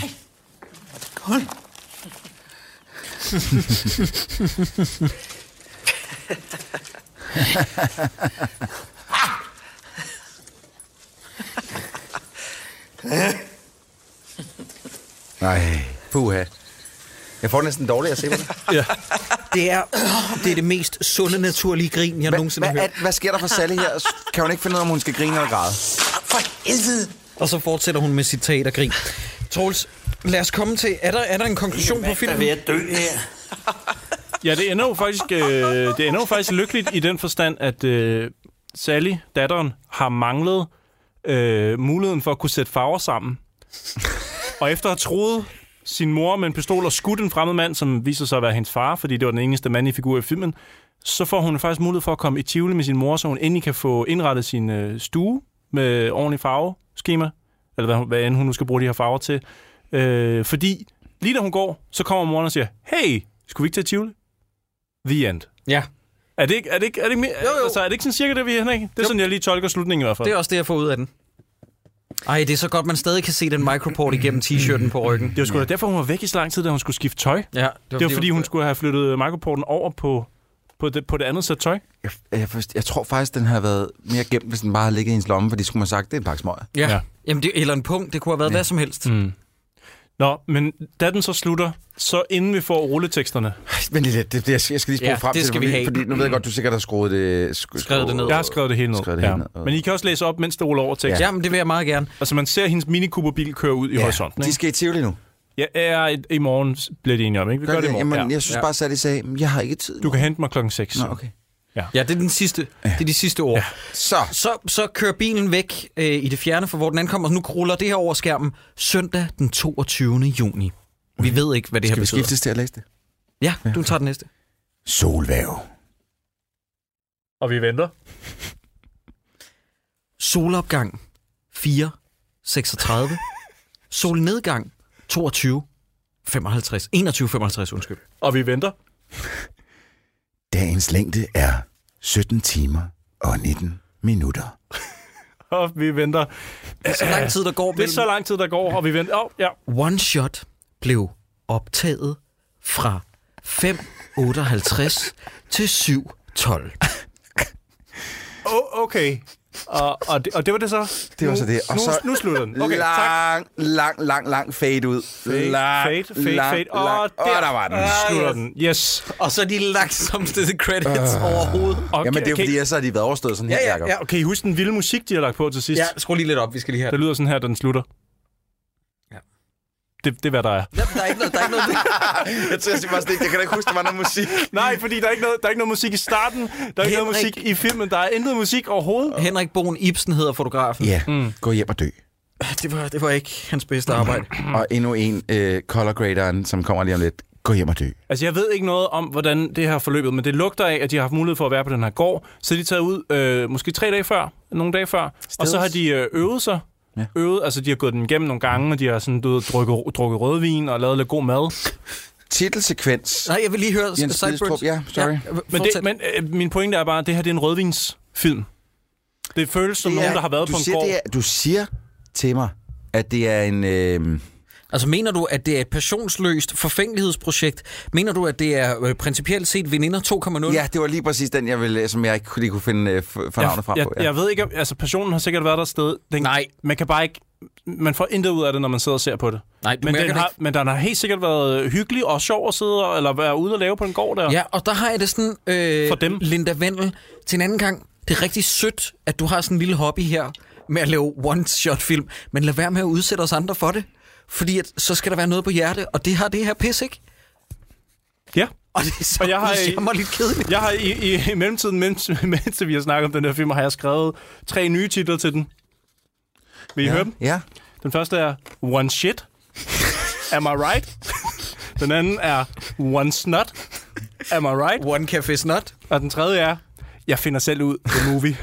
S7: Nej.
S3: Puha. Jeg får det næsten dårligt at se på det.
S1: Det er det, er det mest sunde, naturlige grin, jeg
S3: Hvad,
S1: nogensinde
S3: hvad,
S1: har hørt.
S3: er- hvad sker der for Sally her? S- Kan hun ikke finde ud af, om hun skal grine eller græde?
S6: For helvede!
S1: Og så fortsætter hun med sit teatergrin. Troels, lad os komme til... Er der, er der en konklusion på
S6: Hvad er
S1: filmen?
S6: ved at dø her?
S2: Ja, det ender jo faktisk, øh, det ender jo faktisk lykkeligt i den forstand, at øh, Sally, datteren, har manglet øh, muligheden for at kunne sætte farver sammen. Og efter at have troet sin mor med en pistol og skudt en fremmed mand, som viser sig at være hendes far, fordi det var den eneste mandlige figur i filmen, så får hun faktisk mulighed for at komme i Tivoli med sin mor, så hun endelig kan få indrettet sin øh, stue med ordentlig farveskema, eller hvad, hun- hvad end hun nu skal bruge de her farver til. Øh, fordi lige da hun går, så kommer moren og siger, hey, skulle vi ikke til Tivoli? The end.
S1: Ja,
S2: Er det ikke, er det ikke, er det ikke, jo, jo. Altså, er det ikke sådan cirka det, vi er, Henrik? Det er jo. sådan, jeg lige tolker slutningen i hvert fald.
S1: det er også det, jeg får ud af den. Ej, det er så godt, man stadig kan se den microport igennem t-shirten på ryggen.
S2: det var sgu da derfor, hun var væk i så lang tid, da hun skulle skifte tøj.
S1: Ja,
S2: Det var fordi, hun skulle have flyttet Microporten over på, på, det, på det andet sæt tøj.
S3: Jeg, jeg, forst- jeg tror faktisk, den har været mere gemt, hvis den bare har ligget i hendes lomme, fordi skulle man have sagt, det er en pakke smøger.
S1: Ja.
S2: Ja.
S1: ja. Jamen, det, eller en punkt, det kunne have været ja. hvad som helst. Mm.
S2: Nå, men da den så slutter, så inden vi får rulleteksterne.
S3: Men lidt, det, jeg, skal, jeg skal lige spole
S1: Ja,
S3: frem
S1: det
S3: til
S1: skal
S3: fordi,
S1: vi have.
S3: fordi nu ved jeg godt, du sikkert har skruet det... Sk-
S1: Skrevet det ned.
S2: Jeg har skrevet det hele ned.
S3: Skrevet det hele ned.
S2: Men I kan også læse op, mens det ruller over teksten. Ja.
S1: Jamen, det vil jeg meget gerne.
S2: Altså, man ser hendes minikuberbil køre ud i ja. horisonten.
S3: De
S2: Ikke?
S3: skal i Tivoli nu.
S2: Ja, er i, i morgen s- bliver det enige om, ikke? Vi gør, det i morgen.
S3: Jamen,
S2: ja.
S3: jeg synes
S1: Ja.
S3: bare, at de sagde, jeg har ikke tid.
S2: Du kan hente mig klokken 6.
S3: Nå, okay.
S1: Ja, det er, den sidste, det er de sidste ord. Ja.
S3: Så,
S1: Så, så kører bilen væk øh, i det fjerne fra, hvor den ankommer, og nu ruller det her over skærmen søndag den 22. juni. Mhm. Vi ved ikke, hvad det her
S3: skal vi
S1: betyder.
S3: skiftes til at læse det?
S1: Ja, du tager den næste.
S7: Solvæv.
S2: Og vi venter.
S1: Solopgang 4, 36. Solnedgang 22, 55. 21, 55, undskyld.
S2: Og vi venter.
S7: Dagens længde er 17 timer og 19 minutter.
S2: Og vi venter.
S1: Det er så lang tid, der går
S2: Det er så lang tid, der går, og vi venter. Åh, oh, ja.
S1: One Shot blev optaget fra 5.58 til 7.12.
S2: Oh, okay. Og, og, det, og det var det så?
S3: Det var så det.
S2: Og
S3: Og
S2: nu,
S3: så-
S2: nu slutter den. Okay, tak.
S3: lang, lang, lang, lang fade ud.
S2: Fade, fade, fade, fade. Og
S3: lang. Åh, der var den.
S2: Slutter den. Yes.
S1: Og så de langsomste credits uh, overhovedet.
S2: Okay,
S3: Jamen, det er jo
S2: okay.
S3: fordi, at så har de været overstået sådan her,
S1: ja,
S3: Jacob.
S1: ja.
S2: Ja, kan I huske den vilde musik, de har lagt på til sidst?
S1: Ja, skru lige lidt op, vi skal lige have
S2: Det lyder sådan her, da den slutter.
S1: Ja.
S2: Det, det er, hvad der er.
S1: Der er ikke noget, der er ikke noget.
S3: Jeg tror simpelthen ikke, jeg kan da ikke huske, der var noget musik.
S2: Nej, fordi der er, ikke noget, der er ikke noget musik i starten. Der er ikke noget
S1: Henrik.
S2: musik i filmen. Der er intet musik overhovedet.
S1: Henrik Boen Ibsen hedder fotografen.
S3: Ja,
S2: Mm.
S3: gå hjem og dø.
S1: Det var, det var ikke hans bedste arbejde.
S2: Mm.
S3: Og endnu en øh, color graderen, som kommer lige om lidt. Gå hjem og dø.
S2: Altså, jeg ved ikke noget om, hvordan det her forløbet, men det lugter af, at de har haft mulighed for at være på den her gård. Så er de taget ud øh, måske tre dage før, nogle dage før, Stils. og så har de øh, øvet sig
S3: Ja.
S2: øvet, altså de har gået den igennem nogle gange, og de har sådan, du ved, drukket, drukket rødvin og lavet lidt god mad.
S3: Titelsekvens.
S1: Nej, jeg vil lige høre
S3: Jens
S1: Sideburns.
S3: Bidstrup, ja, sorry.
S2: Men, det, men øh, min pointe er bare, at det her det er en rødvinsfilm. Det føles som
S3: Det er-
S2: nogen, der har været
S3: du
S2: på en
S3: siger,
S2: gård.
S3: det er, du siger til mig, at det er en... Øh,
S1: Altså mener du, at det er et passionsløst forfængelighedsprojekt? Mener du, at det er øh, principielt set veninder 2.0?
S3: ja, det var lige præcis den, jeg ville, som jeg ikke kunne- lige kunne finde øh, for for navnet frem
S2: jeg,
S3: på.
S2: jeg, jeg ved ikke, om- altså passionen har sikkert været der sted. Den,
S1: Nej.
S2: Man kan bare ikke, man får intet ud af det, når man sidder og ser på det.
S1: Nej, du
S2: men,
S1: mærker
S2: den
S1: det
S2: har,
S1: ikke.
S2: men den har helt sikkert været øh, hyggelig og sjov at sidde og, eller være ude og lave på en gård der.
S1: Ja, og der har jeg det sådan, øh,
S2: For dem.
S1: Linda Vendel, til en anden gang, det er rigtig sødt, at du har sådan en lille hobby her med at lave one-shot-film, men lad være med at udsætte os andre for det, fordi at, så skal der være noget på hjerte, og det har det her pis, ikke?
S2: ja.
S1: Og det er så
S2: Og jeg har- øh,
S1: jammer lidt kedeligt.
S2: Jeg har i, i, i mellemtiden, mens, mens vi har snakket om den her film, har jeg skrevet tre nye titler til den. Vil I ja. høre dem?
S3: Ja.
S2: Den første er One Shit. Am I right? Den anden er One Snot. Am I right?
S1: One Café Snot.
S2: Og den tredje er, jeg finder selv ud på movie.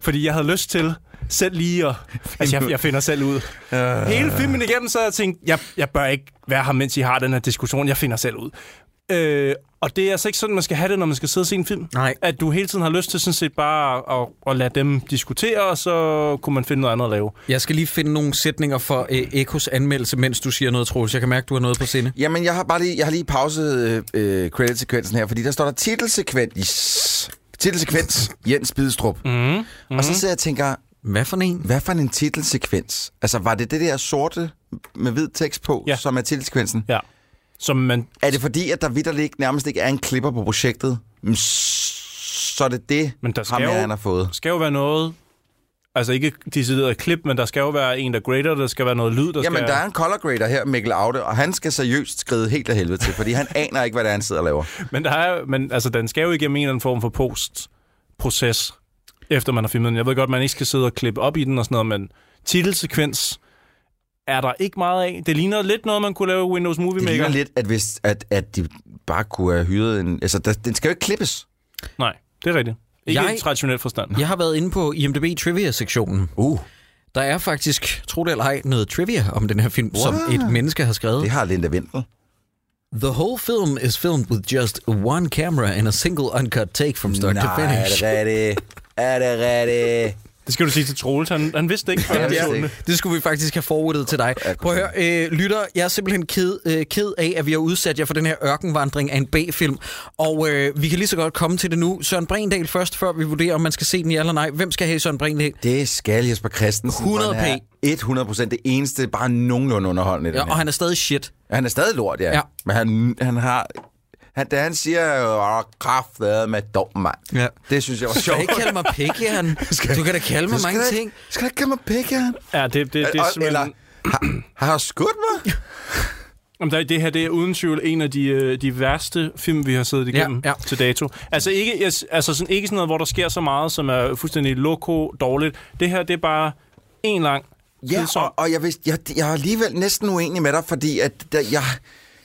S2: Fordi jeg havde lyst til selv lige at... Altså, jeg, jeg finder selv ud.
S3: Øh.
S2: Hele filmen igennem, så havde jeg tænkt, jeg, jeg bør ikke være her, mens I har den her diskussion. Jeg finder selv ud. Øh, og det er altså ikke sådan, man skal have det, når man skal sidde og se en film.
S1: Nej.
S2: At du hele tiden har lyst til sådan set bare at, at lade dem diskutere, og så kunne man finde noget andet at lave.
S1: Jeg skal lige finde nogle sætninger for øh, Ekos anmeldelse, mens du siger noget, Troels. Jeg kan mærke, du har noget på sinde.
S3: Jamen, jeg har bare lige, jeg har lige pauset øh, øh, creditsekvensen her, fordi der står der titelsekvens. Titelsekvens, Jens Bidstrup. Mm. Mm. Og så sidder jeg og tænker,
S1: Hvad for en?
S3: hvad for en titelsekvens? Altså, var det det der sorte med hvid tekst på,
S2: Ja.
S3: ja. som er titelsekvensen?
S2: Ja. Som man...
S3: Er det fordi, at der vidderligt ikke- nærmest ikke er en klipper på projektet? Mm, s- Så er det det,
S2: Men der skal
S3: ham her,
S2: jo-
S3: han har fået.
S2: skal jo være noget... Altså ikke decideret klip, men der skal jo være en, der grader, der skal være noget lyd, der
S3: Jamen,
S2: skal...
S3: der er en color grader her, Mikkel Aude, og han skal seriøst skride helt af helvede til, fordi han aner ikke, hvad det er, han sidder og laver.
S2: Men, der er, men altså, den skal jo igennem en eller anden form for post-proces, efter man har filmet den. Jeg ved godt, man ikke skal sidde og klippe op i den og sådan noget, men titelsekvens er der ikke meget af. Det ligner lidt noget, man kunne lave i Windows Movie
S3: Det
S2: Maker.
S3: ligner lidt, at, hvis, at, at de bare kunne have hyret en... Altså, der, den skal jo ikke klippes.
S2: Nej, det er rigtigt. Ikke
S1: Jeg-
S2: jeg... i traditionel forstand.
S1: Jeg har været inde på IMDb Trivia-sektionen.
S3: Uh.
S1: Der er faktisk, tro det eller ej, noget trivia om den her film, wow. som et menneske har skrevet.
S3: Det har Linda Wendel.
S1: The whole film is filmed with just one camera and a single uncut take from start to
S3: Nej, er det
S1: finish.
S3: rigtigt? Er det rigtigt?
S2: Det skal du sige til Troels. Han, han vidste ikke, før han
S3: vidste
S2: så den.
S3: ikke.
S1: Det skulle vi faktisk have forwardet til dig.
S3: Ja, godt.
S1: Prøv at høre, øh, lytter, jeg er simpelthen ked, øh, ked af, at vi har udsat jer for den her ørkenvandring af en B-film. Og øh, vi kan lige så godt komme til det nu. Søren Brindal først, før vi vurderer, om man skal se den ja eller nej. Hvem skal have Søren Brindal?
S3: Det skal Jesper Christensen.
S1: 100p.
S3: og han er 100 procent det eneste, bare nogenlunde underholdende. i
S1: Ja,
S3: den her.
S1: og han er stadig shit.
S3: han er stadig lort, ja.
S1: Ja.
S3: Men han, han har... Han, da han siger, åh, kraftedeme med dum, mand.
S1: Ja.
S3: Det synes jeg var
S1: Du
S3: sjovt.
S1: kan ikke kalde mig pikkjern. Du kan da kalde mig
S3: Så skal
S1: mange
S3: du ikke-
S1: ting.
S3: Skal du ikke kalde mig pikke, han?
S2: Ja, det, det, det, det er
S3: Eller, eller
S2: simpelthen...
S3: har, har han skudt mig?
S2: Jamen, der- Det her det er uden tvivl en af de, øh, de værste film, vi har siddet igennem
S1: Ja, ja.
S2: ja, ja. til dato. Altså ikke, jeg s- altså sådan, ikke sådan noget, hvor der sker så meget, som er fuldstændig loko dårligt. Det her, det er bare en lang
S3: Ja,
S2: tidsånd.
S3: og, og jeg, vidste, jeg, jeg er alligevel næsten uenig med dig, fordi at der, jeg,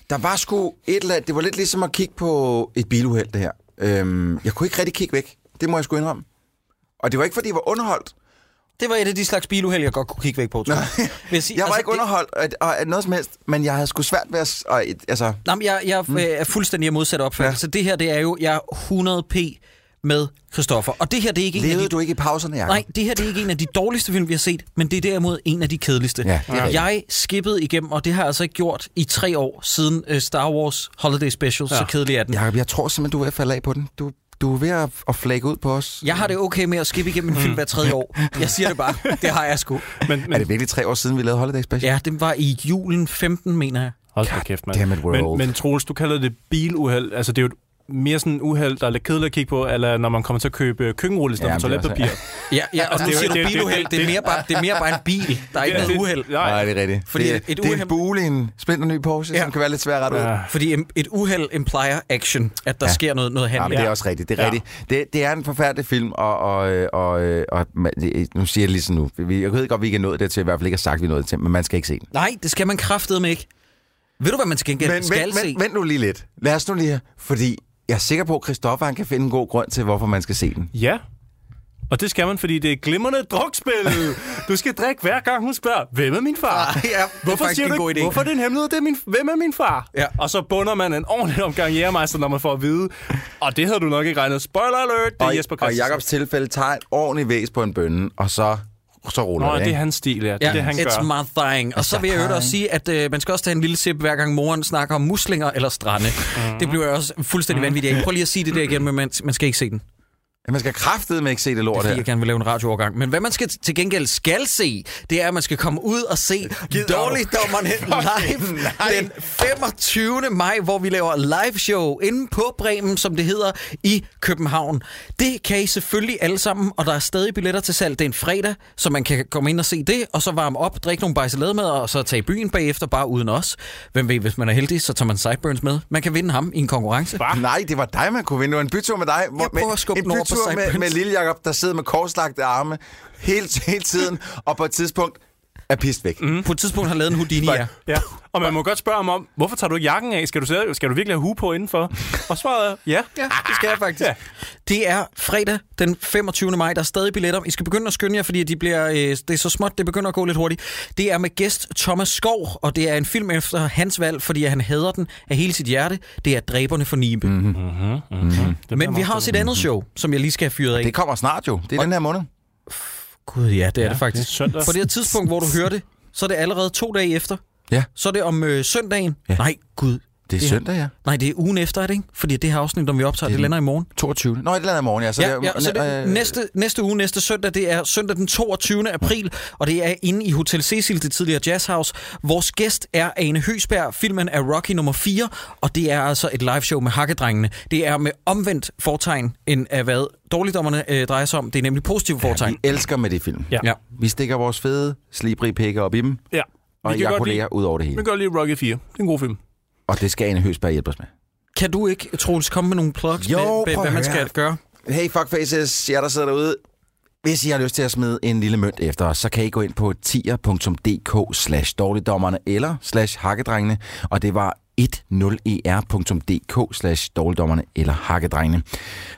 S3: der var sgu et eller andet, det var lidt ligesom at kigge på et biluheld, det her. Øhm, jeg kunne ikke rigtig kigge væk. Det må jeg sgu indrømme. Og det var ikke, fordi jeg var underholdt.
S1: Det var et af de slags biluheld, jeg godt kunne kigge væk på, tror jeg. Vil sige,
S3: Jeg var altså, ikke
S1: det-
S3: underholdt af, af, af noget som helst, men jeg havde sgu svært ved at... s- Og, et- altså,
S1: Nej, men jeg, jeg mm. er fuldstændig af modsat opfattelse. Ja. Det her, det er jo, jeg er 100p med Christoffer. Og det her, det er ikke en af
S3: levede
S1: de...
S3: du ikke i pauserne, Jacob?
S1: Nej, det her det er ikke en af de dårligste film, vi har set, men det er derimod en af de kedeligste.
S3: Ja, det er rigtigt.
S1: jeg skippede igennem, og det har jeg altså ikke gjort i tre år siden øh, Star Wars Holiday Special, ja. så
S2: Ja.
S1: kedelig er den.
S3: Jacob, jeg tror simpelthen, du er ved at falde af på den. Du, du er ved at, at flække ud på os.
S1: Jeg har det okay med at skippe igennem en film hver tredje år. Jeg siger det bare. Det har jeg sgu.
S2: Men,
S3: Er
S2: men,
S3: det virkelig tre år siden, vi lavede Holiday Special?
S1: Ja, det var i julen 15, mener jeg.
S2: hold da kæft, mand.
S3: damn it, we're
S2: men,
S3: old.
S2: men Troels, du kalder det biluheld. Altså, det er jo et- mere sådan en uheld, der er lidt kedeligt at kigge på, eller når man kommer til at købe køkkenrulle, i stedet
S3: Ja,
S2: for
S3: men det er
S2: toiletpapir.
S1: Ja, ja og nu
S2: det er jo-
S1: siger
S2: det
S1: du
S2: er- det er-
S1: biluheld. Det er mere bare, det er mere bare en bil. Der er ikke noget uheld.
S2: Nej,
S3: Nej, det er rigtigt.
S1: Fordi
S3: det,
S1: et- et
S3: det er
S1: uhem-
S3: en bule i en splinterny Porsche,
S1: Ja.
S3: ja. som kan være lidt svær at rette ud.
S1: Fordi em- et uheld implier action, at der ja. sker noget, noget
S3: Ja,
S1: handling.
S3: men det er også rigtigt. Det er,
S2: Ja.
S3: ja. rigtigt. Det, det er en forfærdelig film, og, og, øh, og, øh, og man- det- nu siger jeg det lige sådan nu. Vi- Jeg ved godt, vi ikke er nået dertil, i hvert fald ikke har sagt, at vi er nået til, men man skal ikke se den.
S1: Nej, det skal man kraftedeme ikke. Ved du, hvad man skal,
S3: Men,
S1: skal
S3: vent,
S1: se?
S3: vent, vent nu lige lidt. Lad os nu lige, fordi jeg er sikker på, at Christoffer han kan finde en god grund til, hvorfor man skal se den.
S2: Ja, Og det skal man, fordi det er et glimrende drukspil. Du skal drikke hver gang, hun spørger, hvem er min far?
S1: Ah, Ja, det er
S2: hvorfor
S1: faktisk
S2: siger
S1: en
S2: du ikke,
S1: god idé.
S2: Hvorfor er det en hemmelighed? Det er min, hvem er min far?
S1: Ja.
S2: Og så bunder man en ordentlig omgang jægermeister, når man får at vide. Og det havde du nok ikke regnet. Spoiler alert, det er Jesper
S3: og
S2: Christensen.
S3: Jakobs tilfælde tager en ordentlig væs på en bønne, og så, så ruller
S2: Nå,
S3: det,
S2: det er
S3: ikke?
S2: hans stil, ja. Det er det, han
S1: it's
S2: gør. Altså,
S1: my thing. Og så vil jeg jo også sige, at øh, man skal også tage en lille sip, hver gang moren snakker om muslinger eller strande.
S2: Mhm.
S1: Mm. Det bliver jo også fuldstændig vanvittigt. Jeg prøver lige at sige det der igen, men man, man skal ikke se den.
S3: Ja, Man skal kraftedeme ikke se det
S1: Det
S3: lort
S1: er,
S3: her.
S1: fordi jeg gerne vil lave en radioovergang. Men hvad man skal til gengæld skal se, det er, at man skal komme ud og se Dårligdommerne live den 25. maj, hvor vi laver live show inde på Bremen, som det hedder, i København. Det kan I selvfølgelig alle sammen, og der er stadig billetter til salg. Det er en fredag, så man kan komme ind og se det, og så varme op, drikke nogle bajsalade med, og så tage i byen bagefter, bare uden os. Hvem ved, hvis man er heldig, så tager man sideburns med. Man kan vinde ham i en konkurrence.
S3: Nej, det var dig, man kunne vinde. Det var en bytur med dig. Hvor,
S1: Jeg prøver
S3: med-
S1: at skubbe
S3: en
S1: den over på
S3: bytur med,
S1: sideburns.
S3: med lille Jacob, der sidder med korslagte arme hele, hele tiden, og på et tidspunkt er pist væk. Mm.
S1: På et tidspunkt har jeg lavet en Houdini, ja.
S2: Ja. Og man må godt spørge ham om, hvorfor tager du ikke jakken af? Skal du, selv- skal du virkelig have hue på indenfor? Og svaret er, ja.
S1: Ja, det skal jeg faktisk.
S2: Ja.
S1: Ja. Det er fredag den 25. maj. Der er stadig billetter. I skal begynde at skynde jer, fordi de bliver, øh, det er så småt, det begynder at gå lidt hurtigt. Det er med gæst Thomas Skov, og det er en film efter hans valg, fordi han hader den af hele sit hjerte. Det er Dræberne for Nibe. Mm-hmm. Mm-hmm. Men vi har også et andet show, som jeg lige skal have fyret af.
S3: Det kommer snart jo. Det er den her måned.
S1: Gud ja, det er ja, det faktisk.
S2: det er søndag.
S1: På det her tidspunkt, hvor du hører det, så er det allerede to dage efter.
S3: Ja.
S1: Så er det om øh, søndagen.
S3: Ja.
S1: Nej, Gud.
S3: Det er
S1: Ja.
S3: søndag, ja.
S1: Nej, det er ugen efter, er det ikke? Fordi det her afsnit, som vi optager, det,
S3: den-
S1: det lander i morgen.
S3: 22. Nå, et eller andet morgen, ja. Så
S1: Ja,
S3: det, øh,
S1: ja, så det, næste, næste uge, næste søndag, det er søndag den 22. april, og det er inde i Hotel Cecil, det tidligere Jazzhouse. Vores gæst er Ane Høsberg, filmen er Rocky nummer 4, og det er altså et liveshow med hakkedrengene. Det er med omvendt fortegn, end af hvad dårligdommerne øh, drejer sig om. Det er nemlig positive
S3: Ja,
S1: fortegn.
S3: vi elsker med det film.
S2: Ja.
S1: Ja.
S3: Vi stikker vores fede, slibrige pikker op i dem,
S2: ja.
S3: og
S2: Vi kan godt
S3: jeg
S2: lide,
S3: kolleger ud over det
S2: vi kan
S3: hele.
S2: godt lide Rocky 4. Det er en god film.
S3: Og det skal Anne Høsberg hjælpe os med.
S1: Kan du ikke, Troels, komme med nogle plugs
S3: Jo,
S1: med, med,
S3: prøv at
S1: hvad man
S3: høre.
S1: skal gøre?
S3: Hey fuckfaces, jer der sidder derude. Hvis I har lyst til at smide en lille mønt efter os, så kan I gå ind på tier.dk slash dårligdommerne eller slash hakkedrengene, og det var E 10er.dk slash dårligdommerne eller hakkedrengene.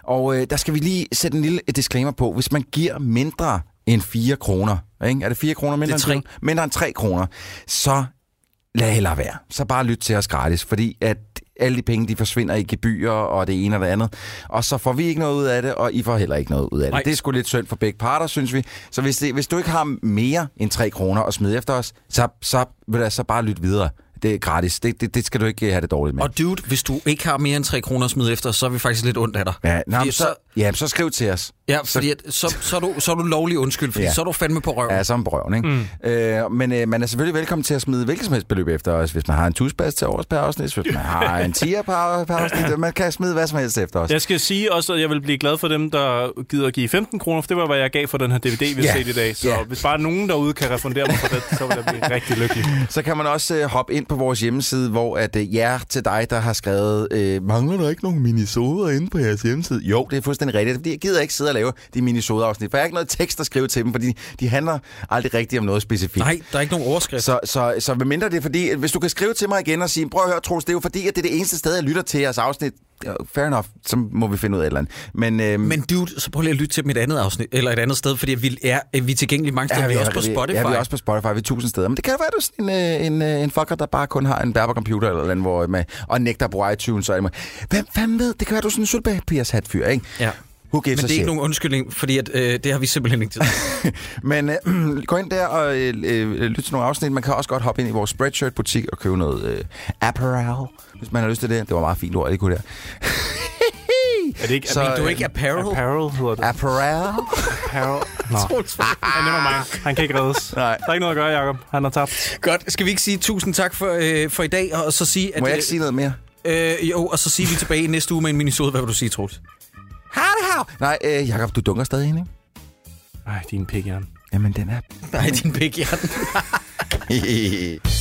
S3: Og øh, der skal vi lige sætte en lille disclaimer på. Hvis man giver mindre end 4 kroner, ikke? er det 4 kroner mindre,
S1: Det er
S3: end, mindre end 3 kroner, så lad heller være. Så bare lyt til os gratis, fordi at alle de penge, de forsvinder i gebyrer og det ene og det andet. Og så får vi ikke noget ud af det, og I får heller ikke noget ud af det.
S1: Nej.
S3: Det er sgu lidt synd for begge parter, synes vi. Så hvis, det, hvis du ikke har mere end 3 kroner at smide efter os, så, så, ved du, hvad, så bare lyt videre. Det er gratis. Det, det, det skal du ikke have det dårligt med.
S1: Og dude, hvis du ikke har mere end 3 kroner at smide efter, så er vi faktisk lidt ondt af dig.
S3: ja, nå,
S1: Fordi
S3: men så, ja, så skriv til os.
S1: Ja, fordi at, så, så, er du, så er du lovlig undskyld, fordi
S3: Ja.
S1: ja. så er du fandme på røven.
S3: Ja, som brøven, ikke? Mm. Øh, men øh, man er selvfølgelig velkommen til at smide hvilket som helst beløb efter os. Hvis man har en tusbas til års per afsnit, hvis man har en tier per, per afsnit, man kan smide hvad som helst efter os.
S2: Jeg skal sige også, at jeg vil blive glad for dem, der gider at give 15 kroner, for det var, hvad jeg gav for den her DVD, vi har
S3: Ja.
S2: set i dag. Så
S3: Ja.
S2: hvis bare nogen derude kan refundere mig for det, så vil jeg blive rigtig lykkelig.
S3: Så kan man også øh, hoppe ind på vores hjemmeside, hvor at øh, jer til dig, der har skrevet, øh, mangler der ikke nogen minisoder inde på jeres hjemmeside? Jo, det er fuldstændig rigtigt, fordi jeg gider ikke sidde og lave de minisoder-afsnit, for jeg har ikke noget tekst at skrive til dem, fordi de handler aldrig rigtigt om noget specifikt.
S1: Nej, der er ikke nogen overskrift.
S3: Så, så, så hvad mindre det er fordi, at hvis du kan skrive til mig igen og sige, prøv at høre, Troels, det er jo fordi, at det er det eneste sted, jeg lytter til jeres afsnit. Ja, Fair enough, så må vi finde ud af et eller andet. Men, øhm,
S1: Men dude, så prøv lige at lytte til dem et andet afsnit, eller et andet sted, fordi vi er, øh, vi er tilgængelige mange steder. Ja, vi er også på Spotify.
S3: Ja, vi er også på Spotify. Vi er tusind steder. Men det kan jo være, at du er sådan en, øh, en, øh, en fucker, der bare kun har en bærbar computer eller noget, andet, hvor man, og nægter at bruge iTunes. Og alt muligt. Hvem fanden ved? Det kan være, at du er sådan en sølvpapirshatfyr, ikke?
S1: Ja.
S3: Who gives
S1: Men
S3: a
S1: det er
S3: shit?
S1: ikke nogen undskyldning, fordi at, øh, det har vi simpelthen ikke tid til.
S3: Men øh, gå ind der og øh, øh, lyt til nogle afsnit. Man kan også godt hoppe ind i vores Spreadshirt-butik og købe noget øh, apparel, hvis man har lyst til det. Det var meget fint ord, det kunne der.
S2: Er det ikke,
S3: Så,
S2: er
S1: Men du er
S2: øh,
S1: ikke apparel.
S2: Apparel hedder det.
S3: Apparel?
S2: Apparel. Nå. Han er mig. Han kan ikke reddes.
S3: Nej.
S2: Der er ikke noget at gøre, Jacob. Han har tabt.
S1: Godt, skal vi ikke sige tusind tak for, øh, for i dag, og så sige, at...
S3: Må jeg ikke sige noget mere?
S1: Øh, jo, og så sige, at vi er tilbage i næste uge med en minisode. Hvad vil du sige, Troels?
S3: Har det hav! Nej, øh, Jacob, du dunker stadig ind, ikke?
S2: Ej, din pik, Jan.
S3: Jamen, den
S1: Nej, din pik, Jan.
S3: er...